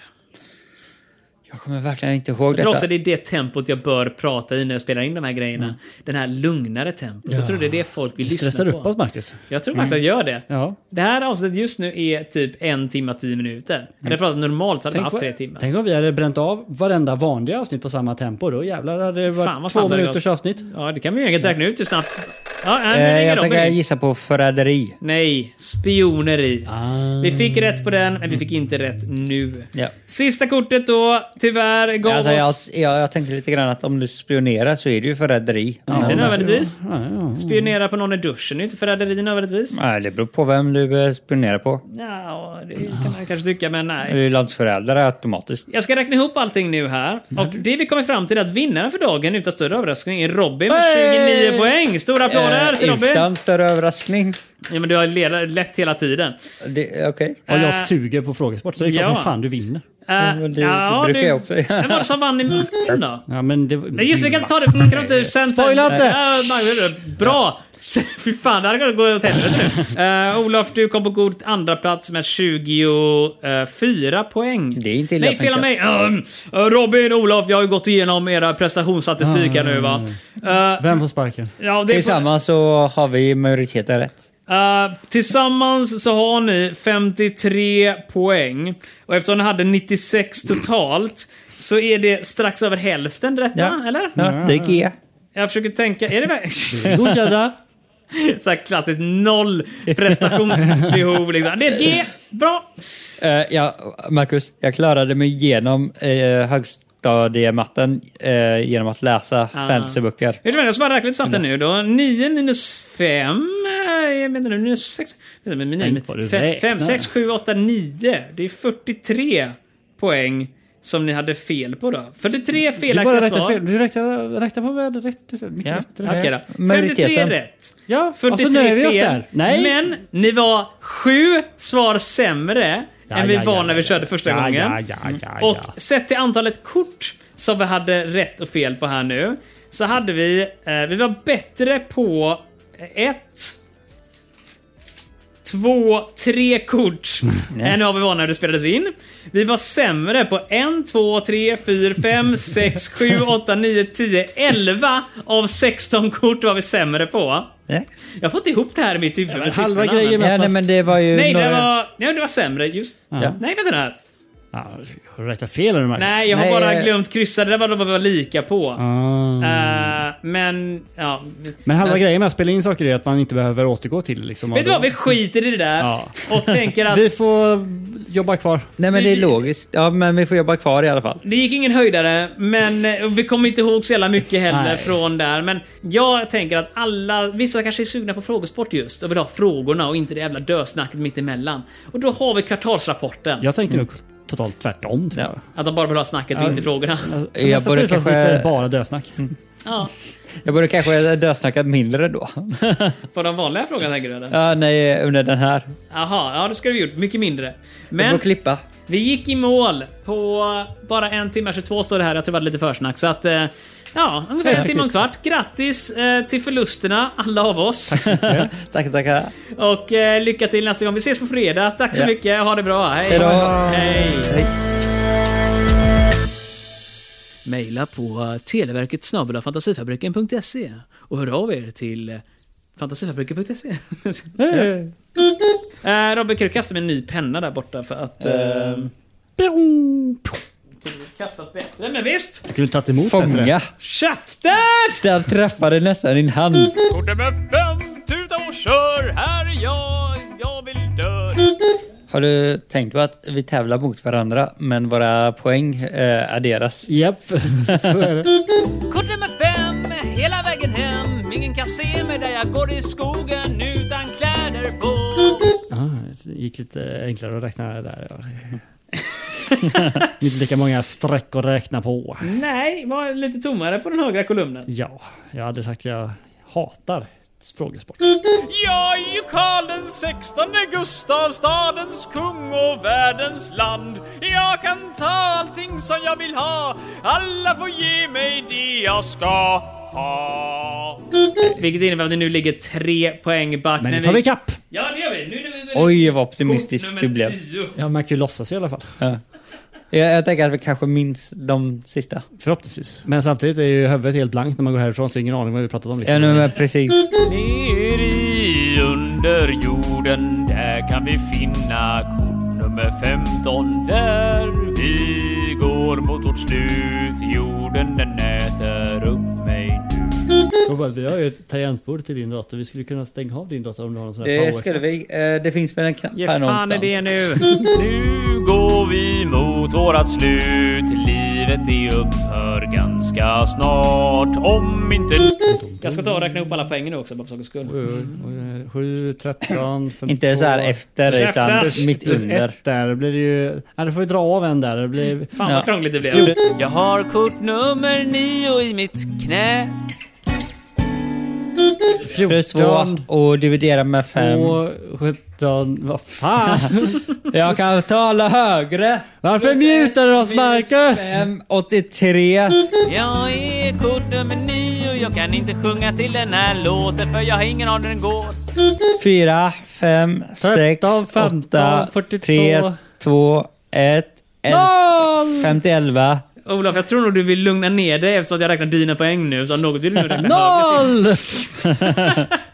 Speaker 4: Jag kommer verkligen inte ihåg
Speaker 2: Jag tror också
Speaker 4: detta.
Speaker 2: att det är det tempot jag bör prata i när jag spelar in de här grejerna. Den här lugnare tempot. Jag tror det är det folk vill
Speaker 3: Mm. Du stressar
Speaker 2: lyssna
Speaker 3: upp
Speaker 2: på.
Speaker 3: oss, Marcus.
Speaker 2: Jag tror faktiskt att jag gör det.
Speaker 3: Ja.
Speaker 2: Det här avsnittet just nu är typ en timme och tio minuter. Hade jag pratat normalt så hade jag haft
Speaker 3: vad-
Speaker 2: tre timmar.
Speaker 3: Mm. tänk om vi hade bränt av varenda vanliga avsnitt på samma tempo. Då jävlar hade det
Speaker 2: Fan, vad
Speaker 3: varit två
Speaker 2: snabbt det hade
Speaker 3: minuters
Speaker 2: gått.
Speaker 3: avsnitt.
Speaker 2: Ja, det kan vi ju enkelt räkna ut hur snabbt... Ja, nej,
Speaker 4: Eh,
Speaker 2: men ringer
Speaker 4: jag
Speaker 2: Robin.
Speaker 4: tänker gissa på förräderi.
Speaker 2: Nej, spioneri.
Speaker 3: Ah.
Speaker 2: Vi fick rätt på den,
Speaker 3: Mm.
Speaker 2: men vi fick inte rätt nu.
Speaker 4: Ja.
Speaker 2: Sista kortet då, tyvärr, gav
Speaker 4: Alltså, jag,
Speaker 2: oss...
Speaker 4: jag, jag tänker lite grann att om du spionerar så är det ju förräderi.
Speaker 2: Inte
Speaker 4: Men-
Speaker 2: nödvändigtvis.
Speaker 3: Ja, ja.
Speaker 2: Spionera på någon i duschen är ju inte förräderi nödvändigtvis.
Speaker 4: Nej, det beror på vem du eh, spionerar på.
Speaker 2: Ja, det kan man kanske tycka, men nej.
Speaker 4: Du är ju landsförrädare automatiskt.
Speaker 2: Jag ska räkna ihop allting nu här. Och det vi kommer fram till är att vinnaren för dagen utan större överraskning är Robin med 29 poäng. Stora applåder till
Speaker 4: Eh,
Speaker 2: Robin!
Speaker 4: utan större överraskning.
Speaker 2: Ja, men du har ledat- lett hela tiden.
Speaker 4: Det- Okej.
Speaker 3: Och jag suger på frågesport, så det är klart
Speaker 2: Ja.
Speaker 3: som fan du vinner.
Speaker 2: Eh,
Speaker 4: men det- det brukar jag också göra.
Speaker 2: Vem var det som vann i matchen då?
Speaker 3: Ja, men det...
Speaker 2: Nej just det, vi kan ta det på kreativ sen. sen.
Speaker 3: Mm. Spoila inte!
Speaker 2: Ja, Magnus, Bra! Fy fan, det här kommer gå åt helvete nu. Eh, Olof, du kom på god andra plats med 24 poäng.
Speaker 4: Det är inte illa
Speaker 2: Nej, fel av mig.
Speaker 4: tänkt.
Speaker 2: Eh, Robin, Olof, jag har ju gått igenom era prestationsstatistik här nu
Speaker 3: Mm.
Speaker 2: va. Eh,
Speaker 3: Vem får sparken?
Speaker 2: Ja, det är-
Speaker 4: Tillsammans så har vi majoriteten rätt.
Speaker 2: Eh, tillsammans så har ni 53 poäng. Och eftersom ni hade 96 totalt så är det strax över hälften rätt va? Eller?
Speaker 4: Ja, det är G.
Speaker 2: Jag försöker tänka, är det verkligen
Speaker 3: Godkända!
Speaker 2: så här klassiskt noll prestationsbehov liksom. Det är ett G, bra.
Speaker 4: Eh, ja, Marcus, jag klarade mig igenom eh, högstadiematten eh, genom att läsa fantasyböcker.
Speaker 2: Hur som helst, jag ska bara räkna lite snabbt här nu då. 9 minus 5... Jag menar nu minus 6...
Speaker 3: Tänk vad du
Speaker 2: 5,
Speaker 3: räknar.
Speaker 2: 6, 7, 8, 9. Det är 43 poäng som ni hade fel på då. 43
Speaker 3: Du bara
Speaker 2: felaktiga
Speaker 3: räknat
Speaker 2: svar.
Speaker 3: fel. Du räknar, räknar på vad rätt är. Mycket
Speaker 4: Ja.
Speaker 3: rätt.
Speaker 2: Okej då.
Speaker 4: Majoriteten.
Speaker 2: 53 rätt.
Speaker 3: Ja, och så
Speaker 2: 43
Speaker 3: nöjer vi oss
Speaker 2: fel.
Speaker 3: där. Nej.
Speaker 2: Men ni var sju svar sämre
Speaker 3: Ja,
Speaker 2: än vi
Speaker 3: ja,
Speaker 2: var
Speaker 3: ja,
Speaker 2: när vi
Speaker 3: ja,
Speaker 2: körde första
Speaker 3: ja,
Speaker 2: gången. Mm.
Speaker 3: ja, ja, ja,
Speaker 2: Och
Speaker 3: ja.
Speaker 2: sett till antalet kort som vi hade rätt och fel på här nu, så hade vi... Eh, vi var bättre på eh, ett, två, tre kort än vad vi var när det spelades in. Vi var sämre på en, två, tre, fyra, fem, sex, sju, åtta, nio, tio, elva av 16 kort var vi sämre på.
Speaker 4: Nej.
Speaker 2: Jag får inte ihop det här i mitt huvud med
Speaker 3: halva
Speaker 2: siffrorna,
Speaker 3: grejen
Speaker 2: men-
Speaker 3: med-
Speaker 4: Ja, nej, men det var ju
Speaker 2: Nej, det
Speaker 4: några-
Speaker 2: var, nej, det var sämre. Just... Nej, vänta nu här.
Speaker 3: Ja, har du räknat fel eller Marcus?
Speaker 2: Nej, jag har
Speaker 4: Nej,
Speaker 2: bara
Speaker 4: eh.
Speaker 2: glömt kryssa. Det där var de var lika på.
Speaker 3: Ah.
Speaker 2: Eh, men, ja.
Speaker 3: Men halva grejen med att spela in saker är att man inte behöver återgå till det, liksom.
Speaker 2: Vet du vad? Vi skiter i det där
Speaker 3: Ja.
Speaker 2: och tänker att
Speaker 3: Vi får jobba kvar.
Speaker 4: Nej men det är logiskt. Ja men vi får jobba kvar i alla fall.
Speaker 2: det gick ingen höjdare, men eh, vi kommer inte ihåg så jävla mycket heller
Speaker 3: Nej.
Speaker 2: från där. Men jag tänker att alla, vissa kanske är sugna på frågesport just och vill ha frågorna och inte det jävla dösnacket mittemellan. Och då har vi kvartalsrapporten.
Speaker 3: Jag tänker nog totalt tvärtom. tror jag.
Speaker 2: Att de bara vill ha snacket och
Speaker 3: Ja.
Speaker 2: inte frågorna.
Speaker 3: Alltså,
Speaker 4: Jag
Speaker 3: så nästa
Speaker 4: borde
Speaker 3: tisdagsnitt
Speaker 4: kanske-
Speaker 3: är det bara dösnack.
Speaker 2: Ja.
Speaker 4: Jag borde kanske dösnacka mindre då.
Speaker 2: På de vanliga frågorna tänker du eller?
Speaker 4: Ja, nej, under den här.
Speaker 2: Jaha, ja det skulle vi gjort. Mycket mindre.
Speaker 4: Men...
Speaker 2: Men
Speaker 4: Jag får klippa.
Speaker 2: vi gick i mål på bara en timme 22 står det här. Jag tror det var lite försnack. Så att, eh, ja, ungefär en timme och en kvart. Grattis eh, till förlusterna, alla av oss.
Speaker 4: Tack, tackar.
Speaker 2: Och eh, lycka till nästa gång. Vi ses på fredag. Tack så
Speaker 4: Ja.
Speaker 2: mycket. Ha det bra. Hej.
Speaker 4: Hejdå.
Speaker 2: Hej.
Speaker 4: Hej.
Speaker 2: Maila på televerket fantasifabriken.se och hör av er till fantasifabriken.se. eh, Robin, kan du kasta mig en ny penna där borta för att... Eh, kastat bättre, men visst!
Speaker 3: Jag kunde tagit emot bättre.
Speaker 4: Fånga.
Speaker 2: Käften!
Speaker 4: Den träffade nästan din hand.
Speaker 5: Kort nummer fem, tuta och kör, här är jag, jag vill dö.
Speaker 4: Har du tänkt på att vi tävlar mot varandra men våra poäng eh, adderas?
Speaker 3: Japp, så är det.
Speaker 6: Kort nummer fem, hela vägen hem. Ingen kan se mig där jag går i skogen utan kläder på.
Speaker 3: Ah, det gick lite enklare att räkna där. ja. Inte lika många streck att räkna på.
Speaker 2: Nej, var lite tommare på den högra kolumnen.
Speaker 3: Ja, jag hade sagt att jag hatar frågesport.
Speaker 5: Jag är ju Karl den sextonde, Gustav stadens kung och världens land. Jag kan ta allting som jag vill ha, alla får ge mig det jag ska ha.
Speaker 2: Vilket innebär att vi nu ligger tre poäng back.
Speaker 3: Men nu tar vi kapp.
Speaker 2: Ja, det gör vi. Nu, nu, nu,
Speaker 4: Oj vad
Speaker 2: Kort
Speaker 4: optimistisk
Speaker 2: nummer
Speaker 4: du blev.
Speaker 2: tio.
Speaker 3: Ja, man kan ju låtsas i alla fall.
Speaker 4: Jag, jag tänker att vi kanske minns de sista.
Speaker 3: Förhoppningsvis. Men samtidigt är ju huvudet helt blankt när man går härifrån så jag har ingen aning vad vi pratat om. Liksom.
Speaker 4: Ja, nu, men precis.
Speaker 5: Ner i underjorden, där kan vi finna kort nummer 15. Där vi går mot vårt slut, jorden den äter upp mig nu.
Speaker 3: Robert, vi har ju ett tangentbord till din dator. Vi skulle kunna stänga av din dator om du har någon sån här power.
Speaker 4: Det skulle vi. Eh, det finns väl en knapp
Speaker 2: Ge
Speaker 4: här
Speaker 2: fan i
Speaker 4: någonstans.
Speaker 2: det nu.
Speaker 5: Nu går vi mot vårat slut, livet det upphör ganska snart. Om inte...
Speaker 2: Jag ska ta och räkna upp alla poängen nu också bara för sakens skull.
Speaker 3: Oj, oj, oj. 7, 13, 52.
Speaker 4: Inte så här efter utan
Speaker 2: Käften.
Speaker 4: mitt
Speaker 3: Plus
Speaker 4: under.
Speaker 3: ett där, det blir det ju... Ja, du får ju dra av en där. Det blir...
Speaker 2: Fan
Speaker 4: Ja.
Speaker 2: vad krångligt det blev.
Speaker 6: Jag har kort nummer nio i mitt knä.
Speaker 4: Plus
Speaker 3: 14,
Speaker 4: två och dividera med fem.
Speaker 3: 2, 17... Vad fan!
Speaker 4: Jag kan tala högre.
Speaker 3: Varför mutar du oss Marcus?
Speaker 4: 5, 83.
Speaker 6: Jag är kort nummer nio. Jag kan inte sjunga till den här låten för jag har ingen aning hur den går.
Speaker 4: 4, 5, 6,
Speaker 3: 13, 15,
Speaker 4: 8, 3,
Speaker 3: 42.
Speaker 4: 2, 1, 5 till 11.
Speaker 2: Olof, jag tror nog du vill lugna ner dig eftersom att jag räknar dina poäng nu. Så något vill du lugna ner dig.
Speaker 3: Noll!